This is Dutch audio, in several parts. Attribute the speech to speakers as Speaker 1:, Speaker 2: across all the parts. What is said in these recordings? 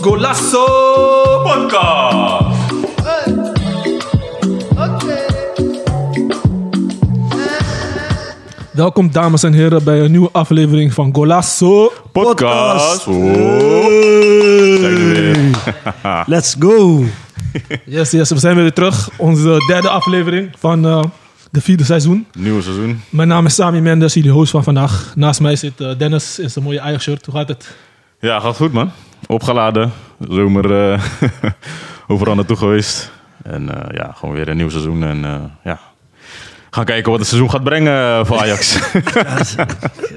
Speaker 1: Golasso Podcast.
Speaker 2: Welkom dames en heren bij een nieuwe aflevering van Golasso.
Speaker 3: Podcast. Zijn we weer.
Speaker 4: Let's go.
Speaker 2: Yes, yes, we zijn weer terug. Onze derde aflevering van eh, de vierde seizoen.
Speaker 3: Nieuwe seizoen.
Speaker 2: Mijn naam is Sami Mendes, jullie host van vandaag. Naast mij zit eh, Dennis in zijn mooie eigen shirt. Hoe gaat het?
Speaker 3: Ja, gaat goed man. Opgeladen. Zomer eh, overal naartoe geweest. En eh, ja, gewoon weer een nieuw seizoen. En eh, ja, gaan kijken wat het seizoen gaat brengen eh, voor Ajax.
Speaker 4: Er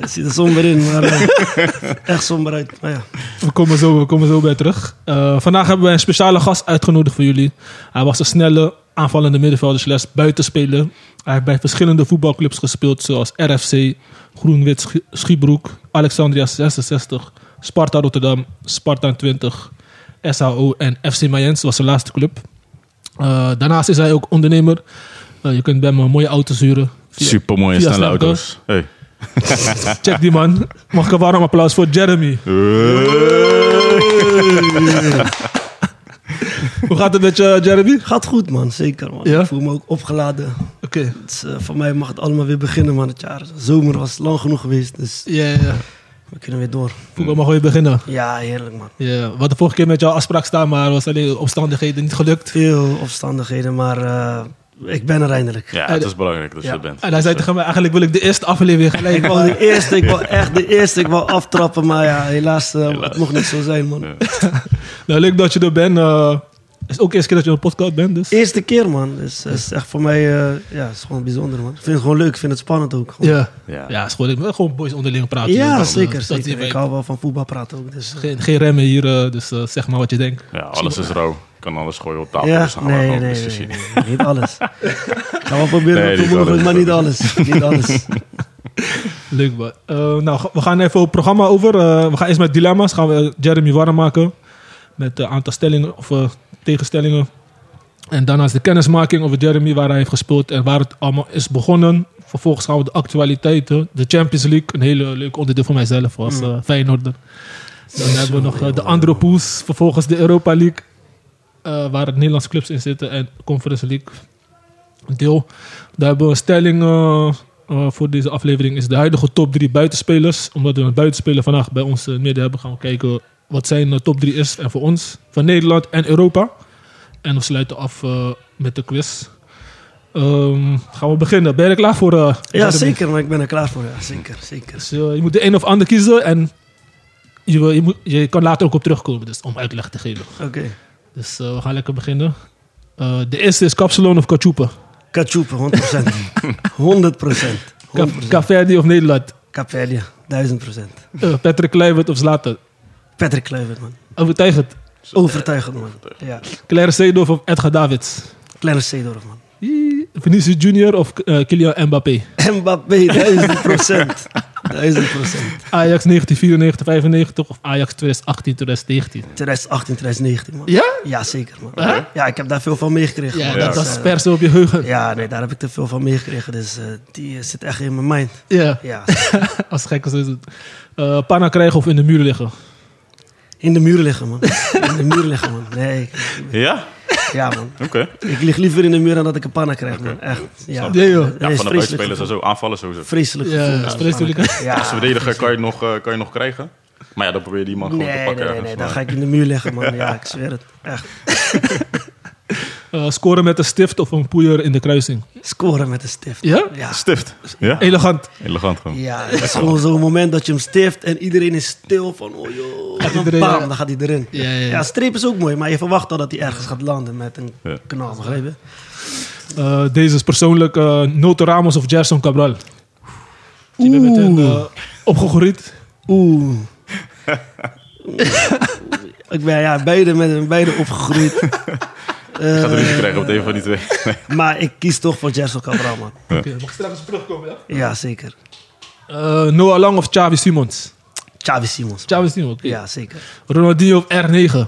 Speaker 4: zit er somber in, maar eh, echt somber uit. Maar ja,
Speaker 2: We komen zo, we komen zo bij terug. Eh, vandaag hebben wij een speciale gast uitgenodigd voor jullie. Hij was een snelle aanvallende middenvelder slash buitenspeler. Hij heeft bij verschillende voetbalclubs gespeeld zoals RFC, Groenwit Sch- Schiebroek, Alexandria 66, Sparta Rotterdam, Sparta 20, SHO en FC Mayens was zijn laatste club. Eh, daarnaast is hij ook ondernemer. Eh, je kunt bij hem een mooie auto zuren.
Speaker 3: Super mooie
Speaker 2: via
Speaker 3: snelle
Speaker 2: Snapchat.
Speaker 3: auto's. Hey.
Speaker 2: Check die man. Mag ik een warm applaus voor Jeremy. Hoe gaat het met je, Jeremy?
Speaker 4: gaat goed, man. Zeker, man.
Speaker 2: Ja?
Speaker 4: Ik voel me ook opgeladen.
Speaker 2: Oké.
Speaker 4: Het is, eh, voor mij mag het allemaal weer beginnen, man. Het jaar zomer was lang genoeg geweest, dus
Speaker 2: Ja, ja, ja.
Speaker 4: we kunnen weer door.
Speaker 2: Voetbal mag weer beginnen.
Speaker 4: Ja, heerlijk, man.
Speaker 2: Ja, we hadden vorige keer met jou afspraak staan, maar was alleen omstandigheden niet gelukt.
Speaker 4: Veel opstandigheden, maar eh, ik ben er eindelijk.
Speaker 3: Ja, het is belangrijk dat je
Speaker 4: Ja.
Speaker 3: er bent.
Speaker 2: En hij zei tegen mij, eigenlijk wil ik de eerste aflevering gelijk.
Speaker 4: Ik wou de eerste, ik wou echt de eerste, ik wou aftrappen, maar ja, helaas, eh,
Speaker 3: Helaas.
Speaker 4: het mocht niet zo zijn, man.
Speaker 2: Nou, leuk dat je er bent. eh is ook de eerste keer dat je op een podcast bent, dus.
Speaker 4: Eerste keer, man. Dus het is echt voor mij, eh, ja, het is gewoon bijzonder, man. Ik vind het gewoon leuk, ik vind het spannend ook. Gewoon.
Speaker 2: Ja.
Speaker 3: Ja.
Speaker 2: Ja, is gewoon, gewoon boys onderling praten.
Speaker 4: Ja,
Speaker 2: Dus dat-
Speaker 4: zeker.
Speaker 2: dat die
Speaker 4: zeker. Ik
Speaker 2: weet.
Speaker 4: hou wel van voetbal praten ook. Dus, eh,
Speaker 2: Geen, geen remmen hier, eh, dus eh, zeg maar wat je denkt.
Speaker 3: Ja, alles is rauw. Ik kan alles gooien op tafel.
Speaker 4: ja,
Speaker 3: dus dan gaan we
Speaker 4: nee, nee,
Speaker 3: gewoon
Speaker 4: nee,
Speaker 3: precies
Speaker 4: nee,
Speaker 3: zien.
Speaker 4: nee, niet alles. Gaan we proberen
Speaker 3: Nee,
Speaker 4: nee,
Speaker 3: niet
Speaker 4: te moedigen,
Speaker 3: alles.
Speaker 4: maar niet alles. Niet alles.
Speaker 2: Leuk man. Eh, nou, ga- we gaan even het programma over. Eh, we gaan eerst met dilemma's. Gaan we Jeremy warm maken. Met een aantal stellingen of eh, tegenstellingen. En daarnaast de kennismaking over Jeremy, waar hij heeft gespeeld en waar het allemaal is begonnen. Vervolgens gaan we de actualiteiten, de Champions League, een hele leuk onderdeel voor mijzelf als eh Feyenoorder. Dan hebben we nog eh, de andere pools, vervolgens de Europa League, eh, waar Nederlandse clubs in zitten en Conference League deel. Daar hebben we een stelling eh, eh, voor deze aflevering. Is de huidige top 3 buitenspelers. Omdat we een buitenspeler vandaag bij ons eh, midden hebben. Gaan we kijken wat zijn eh, top 3 is. En voor ons. Van Nederland en Europa. En we sluiten af eh, met de quiz. Ehm, gaan we beginnen. Ben je er klaar voor? eh,
Speaker 4: Ja,
Speaker 2: Jeremy?
Speaker 4: zeker, maar ik ben er klaar voor. Ja, zeker, zeker.
Speaker 2: Dus, eh, je moet de een of ander kiezen. En je, wil- je, moet, je kan later ook op terugkomen. Dus om uitleg te geven.
Speaker 4: Oké.
Speaker 2: Dus eh, we gaan lekker beginnen. Eh, de eerste is Kapsalon of Kachupa.
Speaker 4: Kachupen, 100%. 100%. 100%.
Speaker 2: Caverdi of Nederland.
Speaker 4: Capellia, 1000%.
Speaker 2: Eh, Patrick Kluivert of Zlatan.
Speaker 4: Patrick Kluivert, man.
Speaker 2: Overtuigend.
Speaker 4: Overtuigend, man. Ja.
Speaker 2: Claire Seedorf of Edgar Davids?
Speaker 4: Kleine Seedorf, man.
Speaker 2: Ih, Vinicius Junior of eh, Kylian Mbappé?
Speaker 4: Mbappé, 1000%. 1000%.
Speaker 2: Ajax 1994-95 of Ajax 2018-2019?
Speaker 4: 2018, 2019, man.
Speaker 2: Ja?
Speaker 4: Ja, zeker, man. Ja, ik heb daar veel van meegekregen.
Speaker 2: Ja,
Speaker 4: man.
Speaker 2: dat
Speaker 4: Dus,
Speaker 2: was
Speaker 4: eh,
Speaker 2: persen op je geheugen. Ja,
Speaker 4: Ja, nee, daar heb ik te veel van meegekregen. Dus eh, die eh, zit echt in mijn mind. Ja,
Speaker 2: als gek als het. Eh panna krijgen of in de muur liggen?
Speaker 4: in de muren liggen, man. In de muren liggen, man. Nee, ik-
Speaker 3: Ja?
Speaker 4: ja, man.
Speaker 3: Oké.
Speaker 4: Ik lig liever in de muur dan dat ik een panna krijg, man. Echt. Ja,
Speaker 2: Nee, joh.
Speaker 3: Ja,
Speaker 4: Nee,
Speaker 3: van de
Speaker 4: vreselijk
Speaker 3: buitenspelers en
Speaker 4: gevoel.
Speaker 3: zo. Aanvallen sowieso.
Speaker 4: Vreselijk
Speaker 2: Ja,
Speaker 4: gevoel.
Speaker 2: dat is vreselijk, hè?
Speaker 4: Ja.
Speaker 3: Als verdediger kan je, nog, eh, kan je nog krijgen. Maar ja, dan probeer je die man
Speaker 4: Nee,
Speaker 3: gewoon te
Speaker 4: nee,
Speaker 3: pakken.
Speaker 4: nee,
Speaker 3: ergens,
Speaker 4: nee.
Speaker 3: maar-
Speaker 4: Dan ga ik in de muur liggen, man. Ja, ik zweer het. Echt.
Speaker 2: Eh, scoren met een stift of een poeier in de kruising?
Speaker 4: Scoren met een stift.
Speaker 2: Ja?
Speaker 4: Ja.
Speaker 3: Stift. Ja?
Speaker 2: Elegant.
Speaker 3: Elegant gewoon.
Speaker 4: Ja, het is gewoon zo'n moment dat je hem stift en iedereen is stil van oh joh. En dan
Speaker 2: iedereen,
Speaker 4: bam,
Speaker 2: ja.
Speaker 4: dan gaat hij erin.
Speaker 2: Ja, ja, ja.
Speaker 4: streep is ook mooi, maar je verwacht al dat hij ergens gaat landen met een
Speaker 3: Ja.
Speaker 4: knal, begrijp je?
Speaker 2: Eh, deze is persoonlijk eh Noto Ramos of Gerson Cabral? Je bent met een eh opgegroeid.
Speaker 4: Oeh.
Speaker 2: eh,
Speaker 4: ik ben ja, beide met beide opgegroeid.
Speaker 3: Je gaat er
Speaker 4: Eh,
Speaker 3: ruzie krijgen op de een van die twee. Nee.
Speaker 4: maar ik kies toch voor Jerso Cabral, man.
Speaker 2: Oké, mag ik straks terugkomen? Ja?
Speaker 4: Ja, zeker.
Speaker 2: Eh, Noah Lang of Xavi Simons?
Speaker 4: Xavi Simons.
Speaker 2: Xavi Simons, oké.
Speaker 4: Ja, zeker.
Speaker 2: Ronaldinho of R9?
Speaker 4: Oh,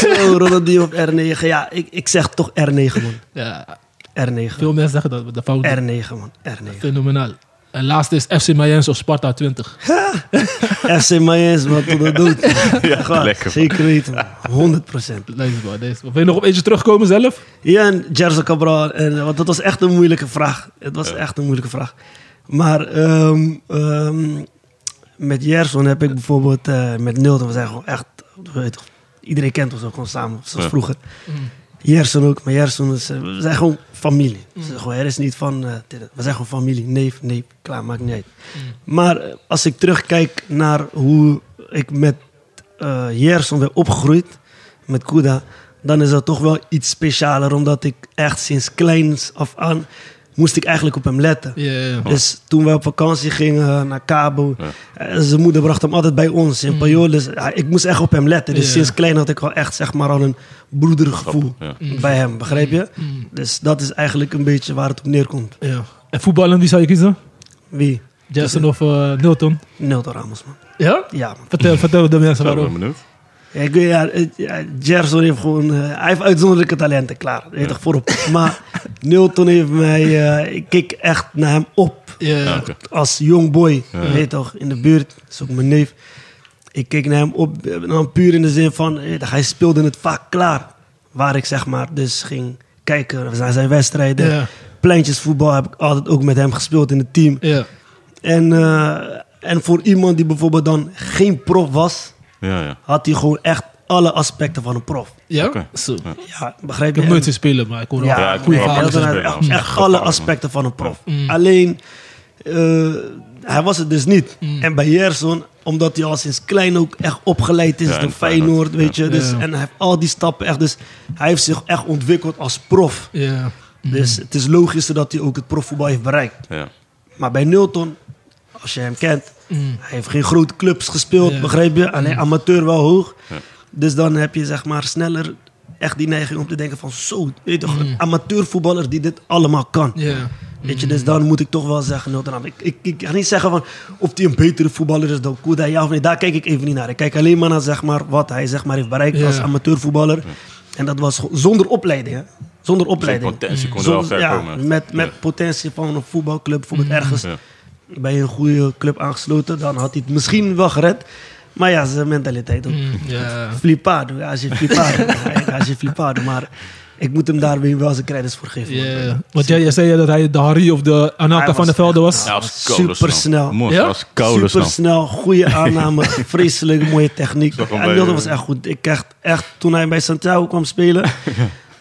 Speaker 4: Zo, Ronaldinho op R9. Ja, ik, ik zeg toch R9, man.
Speaker 2: Ja.
Speaker 4: R9.
Speaker 2: Veel mensen zeggen dat we de fout doen.
Speaker 4: R9, man. R9.
Speaker 2: Fenomenaal. En laatste is FC Mayens of Sparta 20.
Speaker 4: FC Mayens, man, tot de dood.
Speaker 3: Ja,
Speaker 4: Gewoon,
Speaker 3: lekker, man.
Speaker 4: Zeker weten, man. 100
Speaker 2: Leuk man, deze. Wil je nog op eentje terugkomen zelf?
Speaker 4: Ja, en Jerzo Cabral. En, eh, want dat was echt een moeilijke vraag. Het was echt een moeilijke vraag. Maar ehm, ehm, met Jerson heb ik bijvoorbeeld eh, met Nilton, we zijn gewoon echt, je weet, toch, iedereen kent ons ook gewoon samen, zoals
Speaker 3: Ja.
Speaker 4: vroeger. Jerson ook, maar Jerson is, eh, we zijn gewoon familie. Dus gewoon, er is niet van, eh, dit- we zijn gewoon familie, neef, neef, klaar, maakt niet uit. Maar eh, als ik terugkijk naar hoe ik met eh Jerson ben opgegroeid, met Kuda, dan is dat toch wel iets specialer, omdat ik echt sinds kleins af aan moest ik eigenlijk op hem letten.
Speaker 2: Ja, ja, ja.
Speaker 4: Dus toen we op vakantie gingen naar Cabo,
Speaker 3: Ja.
Speaker 4: eh, zijn moeder bracht hem altijd bij ons in Pajol. Dus ja, ik moest echt op hem letten. Dus
Speaker 2: Mm. Ja.
Speaker 4: sinds klein had ik al echt zeg maar al een broedergevoel
Speaker 3: Ja.
Speaker 4: bij hem, begrijp je?
Speaker 2: Mm.
Speaker 4: Dus dat is eigenlijk een beetje waar het op neerkomt.
Speaker 2: Ja. En voetballen, wie zou je kiezen?
Speaker 4: Wie?
Speaker 2: Jason of eh Nilton?
Speaker 4: Nilton Ramos, man.
Speaker 2: Ja?
Speaker 4: Ja, man.
Speaker 2: Vertel, vertel de mensen
Speaker 3: Zo, ik ben
Speaker 2: waarom.
Speaker 3: benieuwd.
Speaker 4: Ja, ik weet, ja, eh, ja, Gerson heeft gewoon... eh, hij heeft uitzonderlijke talenten, klaar. Weet je toch, voorop. Maar Nilton heeft mij... eh, ik keek echt naar hem op.
Speaker 2: Ja,
Speaker 3: Ja,
Speaker 2: ja.
Speaker 3: oké.
Speaker 4: als jong boy,
Speaker 3: Ja.
Speaker 4: weet je toch, in de buurt, dat is ook mijn neef. Ik keek naar hem op, eh, dan puur in de zin van, eh, hij speelde het vaak klaar. Waar ik zeg maar dus ging kijken naar zijn wedstrijden.
Speaker 2: Ja.
Speaker 4: Pleintjesvoetbal heb ik altijd ook met hem gespeeld in het team.
Speaker 2: ja.
Speaker 4: En, eh, en voor iemand die bijvoorbeeld dan geen prof was,
Speaker 3: Ja, ja.
Speaker 4: had hij gewoon echt alle aspecten van een prof.
Speaker 2: Ja?
Speaker 3: Oké.
Speaker 2: Zo. Ik
Speaker 4: Ja, begrijp je?
Speaker 2: heb nooit zien spelen, maar ik hoor
Speaker 4: Ja,
Speaker 2: wel
Speaker 3: ik
Speaker 2: goede
Speaker 3: hoor
Speaker 2: verhalen.
Speaker 3: alles
Speaker 4: Hij had
Speaker 3: is
Speaker 4: dan
Speaker 3: bij ons.
Speaker 4: echt
Speaker 3: Ja,
Speaker 4: alle
Speaker 3: gevaarlijk,
Speaker 4: aspecten van een prof. Alleen, eh, hij was het dus niet. En bij Jerson, omdat hij al sinds klein ook echt opgeleid is
Speaker 3: Ja,
Speaker 4: door
Speaker 3: in Feyenoord,
Speaker 4: Feyenoord, weet je. Dus,
Speaker 2: Ja.
Speaker 4: En hij heeft al die stappen echt. Dus hij heeft zich echt ontwikkeld als prof.
Speaker 2: Ja.
Speaker 4: Dus het is logisch dat hij ook het profvoetbal heeft bereikt.
Speaker 3: Ja.
Speaker 4: Maar bij Nilton, als je hem kent,
Speaker 2: Mm.
Speaker 4: hij heeft geen grote clubs gespeeld,
Speaker 2: Ja. Mm.
Speaker 4: begrijp je? Alleen amateur wel hoog.
Speaker 3: Ja.
Speaker 4: Dus dan heb je zeg maar sneller echt die neiging om te denken van zo, weet je toch, een amateurvoetballer die dit allemaal kan.
Speaker 2: Mm. Ja.
Speaker 4: Weet je, dus dan moet ik toch wel zeggen, Nilton Ramos. ik, ik, ik ga niet zeggen van of hij een betere voetballer is dan Kouda, ja of nee, daar kijk ik even niet naar. Ik kijk alleen maar naar zeg maar, wat hij zeg maar, heeft bereikt
Speaker 2: Ja.
Speaker 4: als amateurvoetballer. En dat was gewoon zonder opleiding, hè. Zonder
Speaker 3: Zijn
Speaker 4: opleiding.
Speaker 3: potentie kon er wel ver
Speaker 4: Zonder- ja,
Speaker 3: komen.
Speaker 4: Met, met potentie van een voetbalclub,
Speaker 2: Mm.
Speaker 4: bijvoorbeeld ergens
Speaker 3: Ja.
Speaker 4: bij een goede club aangesloten, dan had hij het misschien wel gered. Maar ja, zijn mentaliteit ook.
Speaker 2: Mm, Ja.
Speaker 4: Flipado, ja, als je flipado, ja, als je flipado. Maar ik moet hem daar weer wel zijn credits voor geven. eh,
Speaker 2: Ja. Want jij, jij zei dat hij de Harry of de
Speaker 4: Hij
Speaker 2: Anaka van
Speaker 4: was
Speaker 2: der Velde
Speaker 4: echt-
Speaker 2: was.
Speaker 3: Ja, als koude
Speaker 4: Ah, Supersnel.
Speaker 3: snel. Mooi,
Speaker 2: Ja?
Speaker 3: als koude snel.
Speaker 4: Super snel, goede aanname, vreselijk mooie techniek.
Speaker 3: Zag hem
Speaker 4: En
Speaker 3: bij,
Speaker 4: Nilton
Speaker 3: eh,
Speaker 4: was echt goed. Ik echt, echt, toen hij bij Santiago kwam spelen,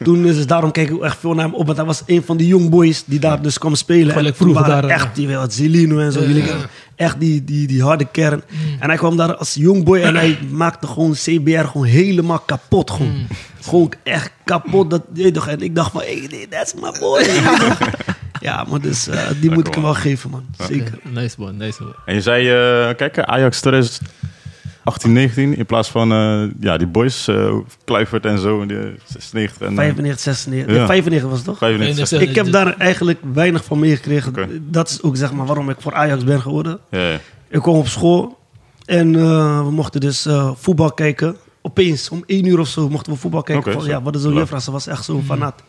Speaker 4: toen is het, daarom keek ik ook echt veel naar hem op. Want hij was een van die young boys die daar dus kwam spelen.
Speaker 2: Gelijk
Speaker 4: En toen
Speaker 2: vroeger
Speaker 4: waren
Speaker 2: daar, eh,
Speaker 4: Echt, die wel, Zelino en zo.
Speaker 2: Ja, Mm.
Speaker 4: jullie
Speaker 2: ja.
Speaker 4: kennen- Echt die, die, die harde kern. En hij kwam daar als young boy en hij maakte gewoon CBR gewoon helemaal kapot. Gewoon,
Speaker 2: Mm.
Speaker 4: gewoon echt kapot. Dat, je weet toch, en ik dacht van, hey, that's my boy. ja, maar dus, eh, die moet ik hem wel geven, man. Zeker.
Speaker 2: Nice man, nice man.
Speaker 3: En je zei, eh, kijk, Ajax 2018-19 in plaats van eh, ja, die boys, eh Kluivert en zo, in de 96 en eh,
Speaker 4: 95, 96.
Speaker 3: Ja.
Speaker 4: 95 was het toch?
Speaker 3: 95.
Speaker 2: Ja,
Speaker 4: Ik heb
Speaker 2: dit-
Speaker 4: daar eigenlijk weinig van meegekregen.
Speaker 3: Oké.
Speaker 4: Dat is ook zeg maar waarom ik voor Ajax ben geworden.
Speaker 3: Ja, ja.
Speaker 4: Ik kwam op school en eh, we mochten dus eh, voetbal kijken. Opeens, om één uur of zo, mochten we voetbal kijken.
Speaker 3: Oké,
Speaker 4: Van,
Speaker 3: zo.
Speaker 4: ja, wat is zo'n
Speaker 3: Leuk.
Speaker 4: juffrouw? Ze was
Speaker 2: Mhm.
Speaker 4: echt zo'n fanaat.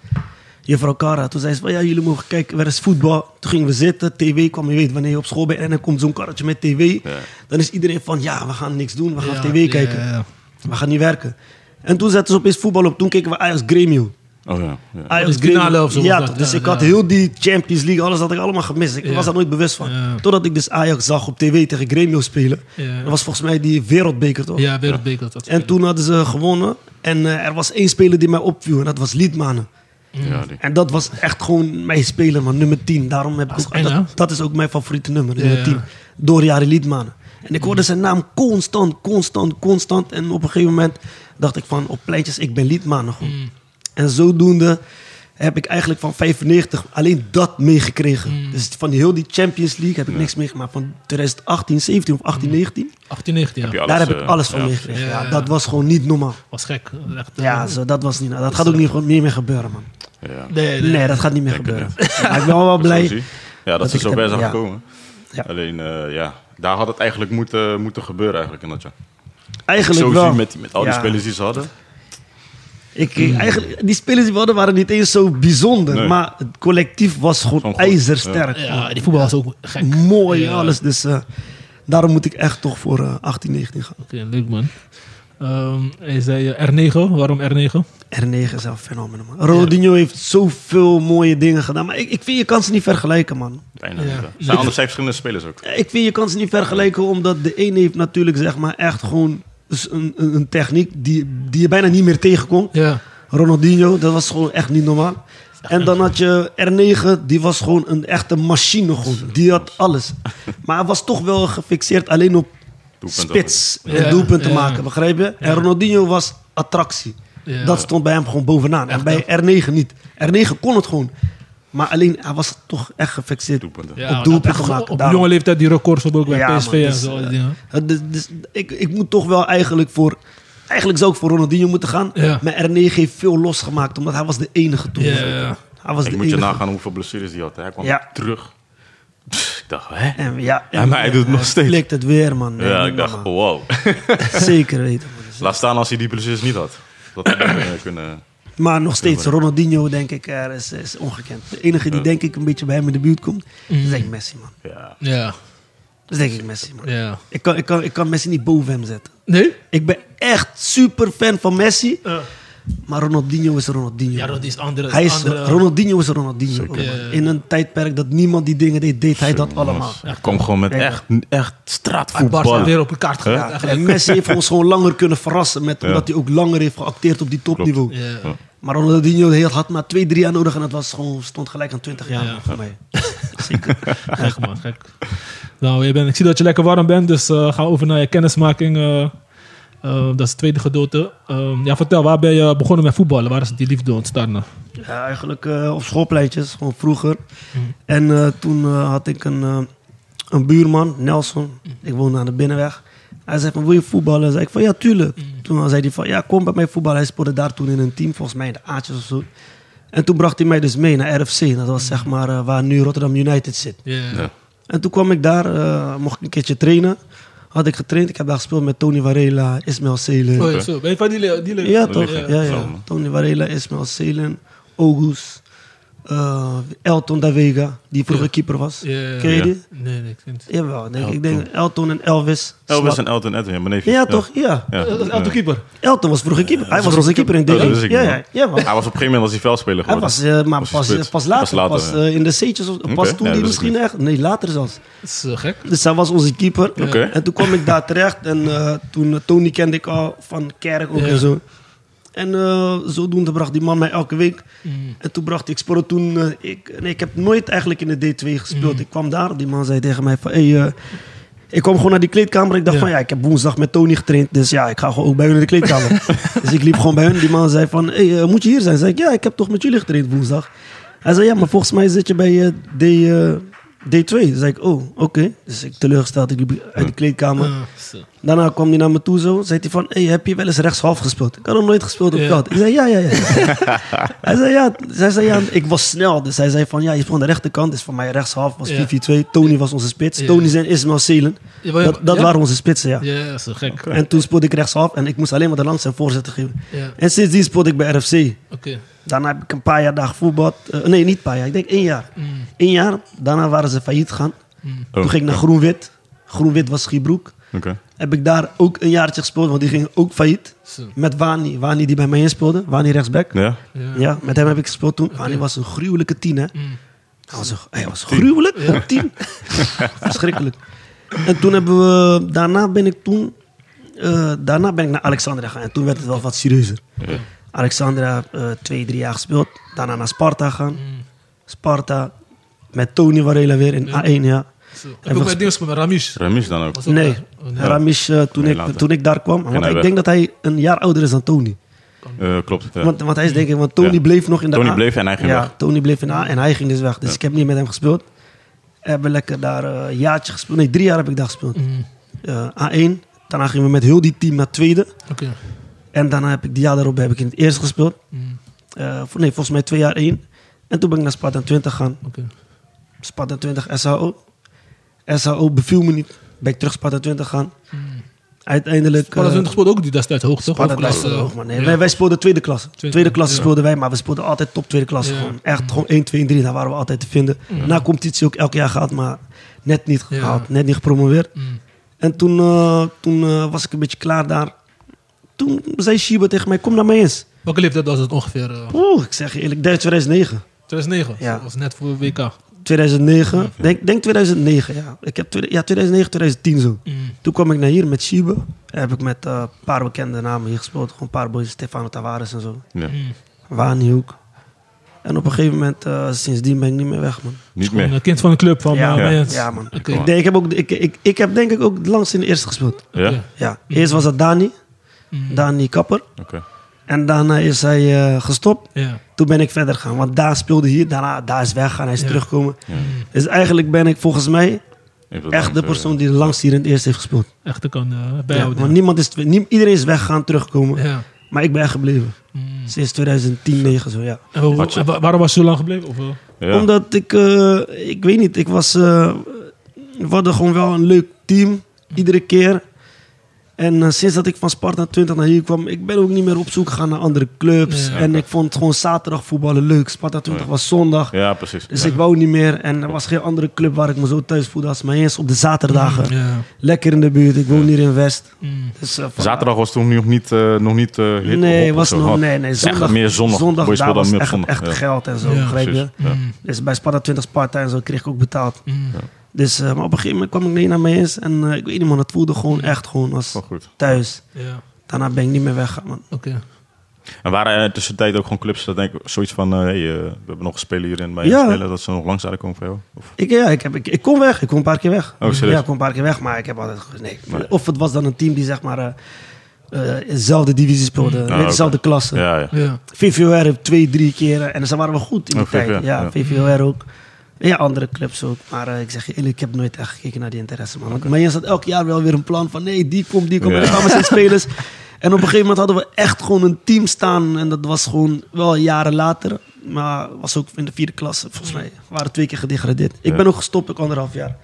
Speaker 4: Juffrouw Cara. Toen zei ze van, ja, jullie mogen kijken, waar is voetbal? Toen gingen we zitten, tv kwam. Je weet, wanneer je op school bent en dan komt zo'n karretje met tv.
Speaker 3: Ja.
Speaker 4: Dan is iedereen van, ja, we gaan niks doen, we gaan
Speaker 2: Ja,
Speaker 4: tv
Speaker 2: ja,
Speaker 4: kijken.
Speaker 2: ja.
Speaker 4: We gaan niet werken. En toen zetten ze opeens voetbal op. Toen keken we Ajax Gremio.
Speaker 3: Oh, ja, ja.
Speaker 4: Ajax
Speaker 2: Dus finale
Speaker 4: Gremio.
Speaker 2: of zo was
Speaker 4: Ja,
Speaker 2: dat,
Speaker 4: toch. Dus
Speaker 2: ja,
Speaker 4: ik had
Speaker 2: ja.
Speaker 4: heel die Champions League, alles had ik allemaal gemist. Ik
Speaker 2: Ja.
Speaker 4: was daar nooit bewust van.
Speaker 2: Ja.
Speaker 4: Totdat ik dus Ajax zag op tv tegen Gremio spelen.
Speaker 2: Ja.
Speaker 4: Dat was volgens mij die wereldbeker, toch?
Speaker 2: Ja, wereldbeker. dat
Speaker 4: En toen hadden ze gewonnen. En eh, er was één speler die mij opviel. En dat was Liedmanen.
Speaker 3: ja, die-
Speaker 4: En dat was echt gewoon mijn speler, man. Nummer 10. Daarom heb ik
Speaker 2: Dat is
Speaker 4: ook,
Speaker 2: eng, hè?
Speaker 4: dat, dat is ook mijn favoriete nummer,
Speaker 2: Ja,
Speaker 4: nummer
Speaker 2: ja.
Speaker 4: 10. Door jaren Liedmanen. En ik hoorde zijn naam constant, constant, constant. En op een gegeven moment dacht ik van, op pleintjes, ik ben Liedmanen gewoon.
Speaker 2: Mm.
Speaker 4: En zodoende heb ik eigenlijk van 95 alleen dat meegekregen.
Speaker 2: Mm.
Speaker 4: Dus van heel die Champions League heb ik niks meegemaakt. Van 2018, 17 of 18, 19.
Speaker 2: 18, 19 ja.
Speaker 3: Heb je
Speaker 4: Daar heb
Speaker 3: eh,
Speaker 4: ik alles van
Speaker 3: ja.
Speaker 4: meegekregen. Ja,
Speaker 2: Mm. Ja.
Speaker 4: dat was gewoon niet normaal.
Speaker 2: Was gek. Echt, eh,
Speaker 4: Ja, zo, dat was niet. Dat gaat ook niet, gewoon niet meer gebeuren, man.
Speaker 3: Ja.
Speaker 2: Nee, nee.
Speaker 4: Nee, dat gaat niet meer
Speaker 3: Ik denk
Speaker 4: gebeuren.
Speaker 3: het
Speaker 4: Maar ik ben wel
Speaker 3: Zo
Speaker 4: blij.
Speaker 3: zie. Ja, dat,
Speaker 4: dat
Speaker 3: ze
Speaker 4: ik
Speaker 3: zo
Speaker 4: het
Speaker 3: ver
Speaker 4: heb-
Speaker 3: zijn
Speaker 4: ja.
Speaker 3: gekomen.
Speaker 4: Ja.
Speaker 3: Alleen, eh, ja, daar had het eigenlijk moeten, moeten gebeuren eigenlijk in dat jaar.
Speaker 4: Eigenlijk
Speaker 3: Zo
Speaker 4: wel.
Speaker 3: zie met, met al die
Speaker 4: Ja.
Speaker 3: spelers die ze hadden.
Speaker 4: Ik, eigenlijk, die spelers die we hadden waren niet eens zo bijzonder.
Speaker 3: Nee.
Speaker 4: Maar het collectief was gewoon
Speaker 3: Gewoon goed,
Speaker 4: ijzersterk.
Speaker 5: Ja, die voetbal was ook gek. Oké,
Speaker 4: Mooi
Speaker 2: Ja.
Speaker 4: alles. Dus eh, daarom moet ik echt toch voor eh, 18, 19 gaan.
Speaker 2: leuk man. Ehm hij zei eh, R9, waarom R9?
Speaker 4: R9 is wel een fenomeen, man. Ronaldinho heeft zoveel mooie dingen gedaan. Maar ik, ik vind, je kan ze niet vergelijken, man.
Speaker 3: Bijna
Speaker 2: Ja.
Speaker 3: niet, hè. Er zijn anders zijn verschillende spelers ook.
Speaker 4: Ik vind, je kan ze niet vergelijken, omdat de een heeft natuurlijk, zeg maar, echt gewoon s- een, een een techniek die, die je bijna niet meer tegenkomt.
Speaker 2: Ja.
Speaker 4: Ronaldinho, dat was gewoon echt niet normaal. En dan had je R9, die was gewoon een echte machine. Gewoon. Die had alles. Maar hij was toch wel gefixeerd alleen op
Speaker 3: Doelpunten.
Speaker 4: spits en
Speaker 2: Ja,
Speaker 4: doelpunten
Speaker 2: ja.
Speaker 4: maken, begrijp je? En Ronaldinho was attractie.
Speaker 2: Ja.
Speaker 4: Dat stond bij hem gewoon bovenaan. En bij R9 niet. R9 kon het gewoon. Maar alleen, hij was toch echt gefixeerd.
Speaker 3: Doelpunten.
Speaker 2: Ja,
Speaker 4: Op
Speaker 2: dat
Speaker 4: doelpunten
Speaker 2: echt
Speaker 4: maken,
Speaker 2: Op, op
Speaker 4: daarom.
Speaker 2: jonge leeftijd die records ook bij
Speaker 4: Ja,
Speaker 2: PSV
Speaker 4: man,
Speaker 2: en
Speaker 4: dus,
Speaker 2: zo. die
Speaker 4: eh,
Speaker 2: dingen.
Speaker 4: Eh, Dus, dus ik, ik moet toch wel eigenlijk voor... Eigenlijk zou ik voor Ronaldinho moeten gaan.
Speaker 2: Ja.
Speaker 4: Maar R9 heeft veel losgemaakt, omdat hij was de enige toen.
Speaker 2: Ja, ja.
Speaker 4: Hij was
Speaker 3: Ik
Speaker 4: de
Speaker 3: moet je
Speaker 4: enige.
Speaker 3: nagaan hoeveel blessures hij had. hè. Hij kwam
Speaker 4: Ja.
Speaker 3: terug. Pff, ik dacht, hè?
Speaker 4: En ja,
Speaker 3: Ja, maar hij doet het nog steeds.
Speaker 4: Klikt het weer, man. Nee,
Speaker 3: ja,
Speaker 4: niet
Speaker 3: ik dacht, oh.
Speaker 4: normaal.
Speaker 3: wow.
Speaker 4: Zeker weten. man. Dus-
Speaker 3: Laat staan als hij die blessures niet had. Dat had hij niet, eh, kunnen...
Speaker 4: Maar nog steeds, Ronaldinho, denk ik, eh, is, is ongekend. De enige die, denk ik, een beetje bij hem in de buurt komt,
Speaker 2: Mhm.
Speaker 4: is denk ik Messi, man.
Speaker 3: Ja.
Speaker 2: Ja,
Speaker 4: Dat is denk ik Messi, man.
Speaker 2: ja.
Speaker 4: Ik kan, ik, kan, ik kan Messi niet boven hem zetten.
Speaker 2: Nee?
Speaker 4: Ik ben echt super fan van Messi, maar Ronaldinho is Ronaldinho.
Speaker 5: Eh. Ja,
Speaker 4: man.
Speaker 5: dat is andere.
Speaker 4: Hij is,
Speaker 5: andere-
Speaker 4: Ronaldinho is Ronaldinho. ook, man.
Speaker 2: Ja.
Speaker 4: In een tijdperk dat niemand die dingen deed, deed hij dat
Speaker 3: Jongens,
Speaker 4: allemaal.
Speaker 3: Hij kwam gewoon met
Speaker 4: Oh, Ja.
Speaker 3: echt, echt
Speaker 2: Barca
Speaker 3: straatvoetbal.
Speaker 2: weer op elkaar
Speaker 3: Hè?
Speaker 2: gezet.
Speaker 4: Ja,
Speaker 2: eigenlijk.
Speaker 4: en Messi heeft ons gewoon langer kunnen verrassen, met, omdat
Speaker 3: Ja.
Speaker 4: hij ook langer heeft geacteerd op die topniveau.
Speaker 2: Ja.
Speaker 3: Ja.
Speaker 4: Maar Ronaldinho heel- had maar twee, drie jaar nodig en dat was gewoon, stond gelijk aan 20 jaar
Speaker 2: Ja.
Speaker 4: voor mij.
Speaker 2: Gek man, gek. Nou, je bent, ik zie dat je lekker warm bent, dus eh gaan we over naar je kennismaking. eh, eh, dat is het tweede gedeelte. Ehm, ja, vertel, waar ben je begonnen met voetballen? Waar is die liefde ontstaan?
Speaker 4: Ja, eigenlijk eh, op schoolpleintjes, gewoon vroeger.
Speaker 2: Mhm.
Speaker 4: En eh, toen eh, had ik een, eh, een buurman, Nelson.
Speaker 2: Mhm.
Speaker 4: Ik woonde aan de binnenweg. Hij zei van, wil je voetballen? Zei ik van, ja, tuurlijk.
Speaker 2: Mhm.
Speaker 4: Toen zei hij van, ja, kom bij mij voetballen. Hij speelde daar toen in een team, volgens mij in de A'tjes of zo. En toen bracht hij mij dus mee naar RFC. Dat was zeg
Speaker 2: Mhm.
Speaker 4: maar eh, waar nu Rotterdam United zit.
Speaker 3: Ja.
Speaker 4: En toen kwam ik daar, eh, mocht ik een keertje trainen. Had ik getraind. Ik heb daar gespeeld met Tony Varela, Ismail Selen.
Speaker 2: Oh, ja, zo. Ben je van die, le- die le-
Speaker 4: Ja, toch?
Speaker 3: liggen.
Speaker 4: Ja,
Speaker 3: Zo,
Speaker 4: ja.
Speaker 3: man.
Speaker 4: Tony Varela, Ismael Selen, August, eh, Elton da Vega, die vroeger keeper was.
Speaker 2: Ja.
Speaker 4: Ken je
Speaker 3: Ja.
Speaker 4: die?
Speaker 2: Nee, nee, ik vind het.
Speaker 4: Jawel, denk ik. ik denk Elton en Elvis.
Speaker 3: Elvis
Speaker 4: Slap.
Speaker 3: en Elton Edwin, ja, mijn neefje.
Speaker 4: Ja, toch? Ja.
Speaker 3: Ja.
Speaker 2: Dat is Elton
Speaker 3: Ja.
Speaker 2: Keeper.
Speaker 4: Elton was vroeger keeper. Hij was onze keeper in D1.
Speaker 3: Ja, dat wist ik
Speaker 4: ja,
Speaker 3: niet,
Speaker 4: ja,
Speaker 3: man.
Speaker 4: ja, man.
Speaker 3: Hij was op een gegeven moment als hij veldspeler
Speaker 4: Hij
Speaker 3: geworden.
Speaker 4: was, eh, maar
Speaker 3: Was
Speaker 4: pas,
Speaker 3: spits.
Speaker 4: pas later. Pas,
Speaker 3: ja.
Speaker 4: eh, in de C'tjes. of- Pas
Speaker 3: Oké,
Speaker 4: toen
Speaker 3: ja,
Speaker 4: die
Speaker 3: dat
Speaker 4: misschien
Speaker 3: is
Speaker 4: echt. Nee, later zelfs.
Speaker 2: Dat is eh, gek.
Speaker 4: Dus hij was onze keeper.
Speaker 3: Oké.
Speaker 4: En toen kwam ik daar terecht. En eh, toen eh, Tony kende ik al van Kerk ook
Speaker 2: Ja.
Speaker 4: en zo. En eh, zodoende bracht die man mij elke week.
Speaker 2: Hmm. Mm.
Speaker 4: En toen bracht ik, ik speelde toen... eh, ik, nee, ik heb nooit eigenlijk in de D2 gespeeld. Ik kwam daar, die man zei tegen mij van... Hey, eh, ik kwam gewoon naar die kleedkamer. Ik dacht
Speaker 2: Ja.
Speaker 4: van, ja, ik heb woensdag met Tony getraind. Dus ja, ik ga gewoon ook bij hun in de kleedkamer. dus ik liep gewoon bij hun. Die man zei van, hey, eh, moet je hier zijn? Zei ik, ja, ik heb toch met jullie getraind woensdag. Hij zei, ja, maar volgens mij zit je bij eh D, eh, D2. Zei ik, oh, oké. Dus ik teleurgesteld, ik liep uit de kleedkamer.
Speaker 2: Ah, zo.
Speaker 4: Daarna kwam hij naar me toe zo. Zei hij van, hey, heb je wel eens rechtshalf gespeeld? Ik had nog nooit gespeeld op
Speaker 2: Ja.
Speaker 4: veld. Ik zei, ja, ja, ja. hij zei, ja. Zij zei, ja. Ik was snel. Dus hij zei van, ja, je speelt aan de rechterkant. Dus voor mij rechtshalf was
Speaker 2: Ja.
Speaker 4: 4-4-2. Tony was onze spits.
Speaker 2: Ja.
Speaker 4: Tony en Ismail Selen.
Speaker 2: Ja, maar-
Speaker 4: Dat, dat
Speaker 2: ja?
Speaker 4: waren onze spitsen, ja.
Speaker 2: Ja, dat is eh, gek.
Speaker 4: En toen speelde ik rechtshalf. En ik moest alleen maar de langs en voorzetten geven.
Speaker 2: Ja,
Speaker 4: En sindsdien speelde ik bij RFC.
Speaker 2: oké.
Speaker 4: Daarna heb ik een paar jaar daar gevoetbald. Eh, nee, niet een paar jaar. Ik denk één jaar.
Speaker 2: Mm.
Speaker 4: Eén jaar. Daarna waren ze failliet gegaan. Toen
Speaker 3: Oh,
Speaker 4: ging ik naar Groenwit. Groenwit was Schiebroek.
Speaker 3: Oké.
Speaker 4: Heb ik daar ook een jaartje gespeeld, want die ging ook failliet.
Speaker 2: Zo.
Speaker 4: Met Wani, Wani die bij mij inspeelde. Wani rechtsback.
Speaker 3: Ja?
Speaker 2: Ja.
Speaker 4: Ja. met hem heb ik gespeeld toen. Wani was een gruwelijke tien, hè.
Speaker 2: Mm.
Speaker 4: Hij was, een- hij was gruwelijk, een tien. Verschrikkelijk. En toen hebben we... Daarna ben ik toen... eh, daarna ben ik naar Alexandria gegaan. En toen werd het wel wat serieuzer. Alexandria, eh, twee, drie jaar gespeeld. Daarna naar Sparta gaan. Sparta met Tony Varela weer in A1, ja.
Speaker 2: Zo. Heb
Speaker 4: En
Speaker 2: je ook
Speaker 4: we-
Speaker 2: met dingen gespeeld, met Ramis?
Speaker 3: Ramis dan ook.
Speaker 2: Was ook
Speaker 4: Nee,
Speaker 2: daar. Oh, nee.
Speaker 4: Ramis, eh, toen,
Speaker 3: Nee,
Speaker 4: ik,
Speaker 3: later.
Speaker 4: toen ik daar kwam. Want
Speaker 3: hij
Speaker 4: ik
Speaker 3: weg.
Speaker 4: denk dat hij een jaar ouder is dan Tony.
Speaker 3: Eh, klopt. ja.
Speaker 4: Want, want hij is denk ik, want Tony
Speaker 3: Ja.
Speaker 4: bleef nog in de
Speaker 3: Tony
Speaker 4: A.
Speaker 3: bleef en hij ging
Speaker 4: ja,
Speaker 3: weg.
Speaker 4: Tony bleef in de A en hij ging dus weg. Dus ik heb niet met hem gespeeld. We hebben lekker daar eh, een jaartje gespeeld. Nee, drie jaar heb ik daar gespeeld.
Speaker 2: Mm.
Speaker 4: Eh, A1. Daarna gingen we met heel die team naar tweede.
Speaker 2: Oké.
Speaker 4: En daarna heb ik die jaar daarop heb ik in het eerste gespeeld.
Speaker 2: Mm.
Speaker 4: Eh, voor- nee, volgens mij twee jaar één. En toen ben ik naar Sparta 20 gegaan.
Speaker 2: Oké.
Speaker 4: Sparta
Speaker 3: Hmm.
Speaker 4: 20 SHO. SHO beviel me niet. Ben ik terug Sparta 20 gaan. uiteindelijk... eh,
Speaker 2: Palazuinter speelde ook die destijds hoog, toch?
Speaker 4: Sparta
Speaker 2: Hoofdklasse.
Speaker 4: Duitsland hoog, man. Nee,
Speaker 2: Ja.
Speaker 4: wij, wij speelden tweede klasse. Tweede, klasse
Speaker 2: ja.
Speaker 4: speelden wij, maar we speelden altijd top tweede klasse.
Speaker 2: Ja.
Speaker 4: Gewoon. Echt gewoon 1, 2 en 3, daar waren we altijd te vinden. Na competitie ook elk jaar gehad, maar net niet
Speaker 2: Ja.
Speaker 4: gehaald. Net niet gepromoveerd.
Speaker 2: Mm.
Speaker 4: En toen, eh, toen eh, was ik een beetje klaar daar. Toen zei Shiba tegen mij, kom naar mij eens.
Speaker 2: Welke leeftijd was het ongeveer? eh,
Speaker 4: Oeh, ik zeg je eerlijk, dat is 2009.
Speaker 2: 2009.
Speaker 4: Ja.
Speaker 2: Dat was net voor WK.
Speaker 4: 2009, denk, denk 2009, ja. Ik heb twe- ja, 2009, 2010 zo.
Speaker 2: Mm.
Speaker 4: Toen kwam ik naar hier met Shiba. Heb ik met eh, een paar bekende namen hier gespeeld. Gewoon een paar boys, Stefano Tavares en zo.
Speaker 3: Ja.
Speaker 2: Mm.
Speaker 4: Waanhoek. En op een gegeven moment, eh, sindsdien ben ik niet meer weg, man.
Speaker 3: Niet
Speaker 2: Gewoon
Speaker 3: meer.
Speaker 2: Een kind van een club van eh,
Speaker 4: ja, man.
Speaker 2: Mayans.
Speaker 4: ja, man.
Speaker 2: Oké.
Speaker 4: Ik, denk, ik, heb ook, ik, ik, ik heb denk ik ook het langst in de eerste gespeeld.
Speaker 3: Ja?
Speaker 2: Ja.
Speaker 3: Oké.
Speaker 4: Ja. Eerst was dat Dani,
Speaker 2: Mm.
Speaker 4: Dani Kapper. En daarna is hij eh, gestopt.
Speaker 2: Ja.
Speaker 4: Toen ben ik verder gegaan, want daar speelde hier, daarna daar is weggaan, hij is
Speaker 2: Ja.
Speaker 4: teruggekomen.
Speaker 3: Ja.
Speaker 4: Dus eigenlijk ben ik volgens mij
Speaker 3: Even wat
Speaker 4: echt de
Speaker 3: langs,
Speaker 4: persoon die het langst hier in het eerst heeft gespeeld.
Speaker 2: Echt, ik kan eh,
Speaker 4: Ja,
Speaker 2: bijhouden.
Speaker 4: want niemand is, nie- iedereen is weggegaan, teruggekomen.
Speaker 2: Ja.
Speaker 4: Maar ik ben echt gebleven.
Speaker 2: Mm.
Speaker 4: Sinds 2010, 9 zo, ja.
Speaker 2: En hoe-
Speaker 3: Had je-
Speaker 2: en wa- waarom was je zo lang gebleven? Of, eh?
Speaker 3: eh, Ja.
Speaker 4: Omdat ik, eh, ik weet niet, ik was. eh, we hadden gewoon wel een leuk team, iedere keer. En eh, sinds dat ik van Sparta 20 naar hier kwam, ik ben ook niet meer op zoek gegaan naar andere clubs.
Speaker 2: Ja.
Speaker 4: En ik vond gewoon zaterdag voetballen leuk. Sparta 20 was zondag.
Speaker 3: ja, precies.
Speaker 4: Dus ik wou niet meer. En er was geen andere club waar ik me zo thuis voelde als mijn eens op de zaterdagen.
Speaker 2: Mm, Ja.
Speaker 4: Lekker in de buurt, ik woon hier in West.
Speaker 2: Mm.
Speaker 4: Dus, eh, van-
Speaker 3: Zaterdag was toen nog niet, eh, nog niet eh, hip
Speaker 4: Nee,
Speaker 3: hop of
Speaker 4: was
Speaker 3: zo.
Speaker 4: nog,
Speaker 3: Had-
Speaker 4: nee, nee.
Speaker 3: Echt
Speaker 4: Zondag,
Speaker 3: meer zondag.
Speaker 4: zondag
Speaker 3: Boys
Speaker 4: daar
Speaker 3: speelden
Speaker 4: was
Speaker 3: meer
Speaker 4: echt,
Speaker 3: zondag,
Speaker 4: echt
Speaker 3: ja.
Speaker 4: geld en zo,
Speaker 2: Ja,
Speaker 4: begrijp je?
Speaker 3: Precies. Ja.
Speaker 2: Mm.
Speaker 4: Dus bij Sparta 20 Sparta en zo kreeg ik ook betaald.
Speaker 2: Mm.
Speaker 4: Dus, eh, maar op een gegeven moment kwam ik niet naar mij eens. En eh, ik weet niet man, het voelde gewoon echt gewoon als
Speaker 3: Wel goed.
Speaker 4: thuis.
Speaker 2: Ja.
Speaker 4: Daarna ben ik niet meer weggegaan man.
Speaker 2: Oké.
Speaker 3: En waren er tussentijd ook gewoon clubs dat denk ik zoiets van, eh, hey, eh, we hebben nog spelen hier in bij
Speaker 4: Ja.
Speaker 3: spelen, dat ze nog langs zouden komen voor jou? Of,
Speaker 4: Ik, ja, ik, heb, ik, ik kon weg, ik kon een paar keer weg.
Speaker 3: Oh, serieus?
Speaker 4: ja, ik kon een paar keer weg, maar ik heb altijd... ge- Nee. Of het was dan een team die zeg maar... eh eh, in dezelfde divisie speelde, in
Speaker 3: Mm-hmm. Ah, oké.
Speaker 4: dezelfde klasse.
Speaker 3: ja, ja.
Speaker 2: Ja.
Speaker 4: VVOR heeft twee, drie keren. En ze waren we goed in die
Speaker 3: Oh,
Speaker 4: tijd.
Speaker 3: VVOR,
Speaker 4: ja,
Speaker 3: ja.
Speaker 4: VVOR ook. Ja, andere clubs ook. Maar eh, ik zeg je eerlijk, ik heb nooit echt gekeken naar die interesse, man. Want Maar je had elk jaar wel weer een plan van... nee, die komt, die komt.
Speaker 3: Ja.
Speaker 4: En dan gaan we zijn spelers. En op een gegeven moment hadden we echt gewoon een team staan. En dat was gewoon wel jaren later. Maar was ook in de vierde klasse, volgens mij. We waren twee keer gedegradeerd. Ik
Speaker 3: Ja.
Speaker 4: ben ook gestopt, ik anderhalf jaar.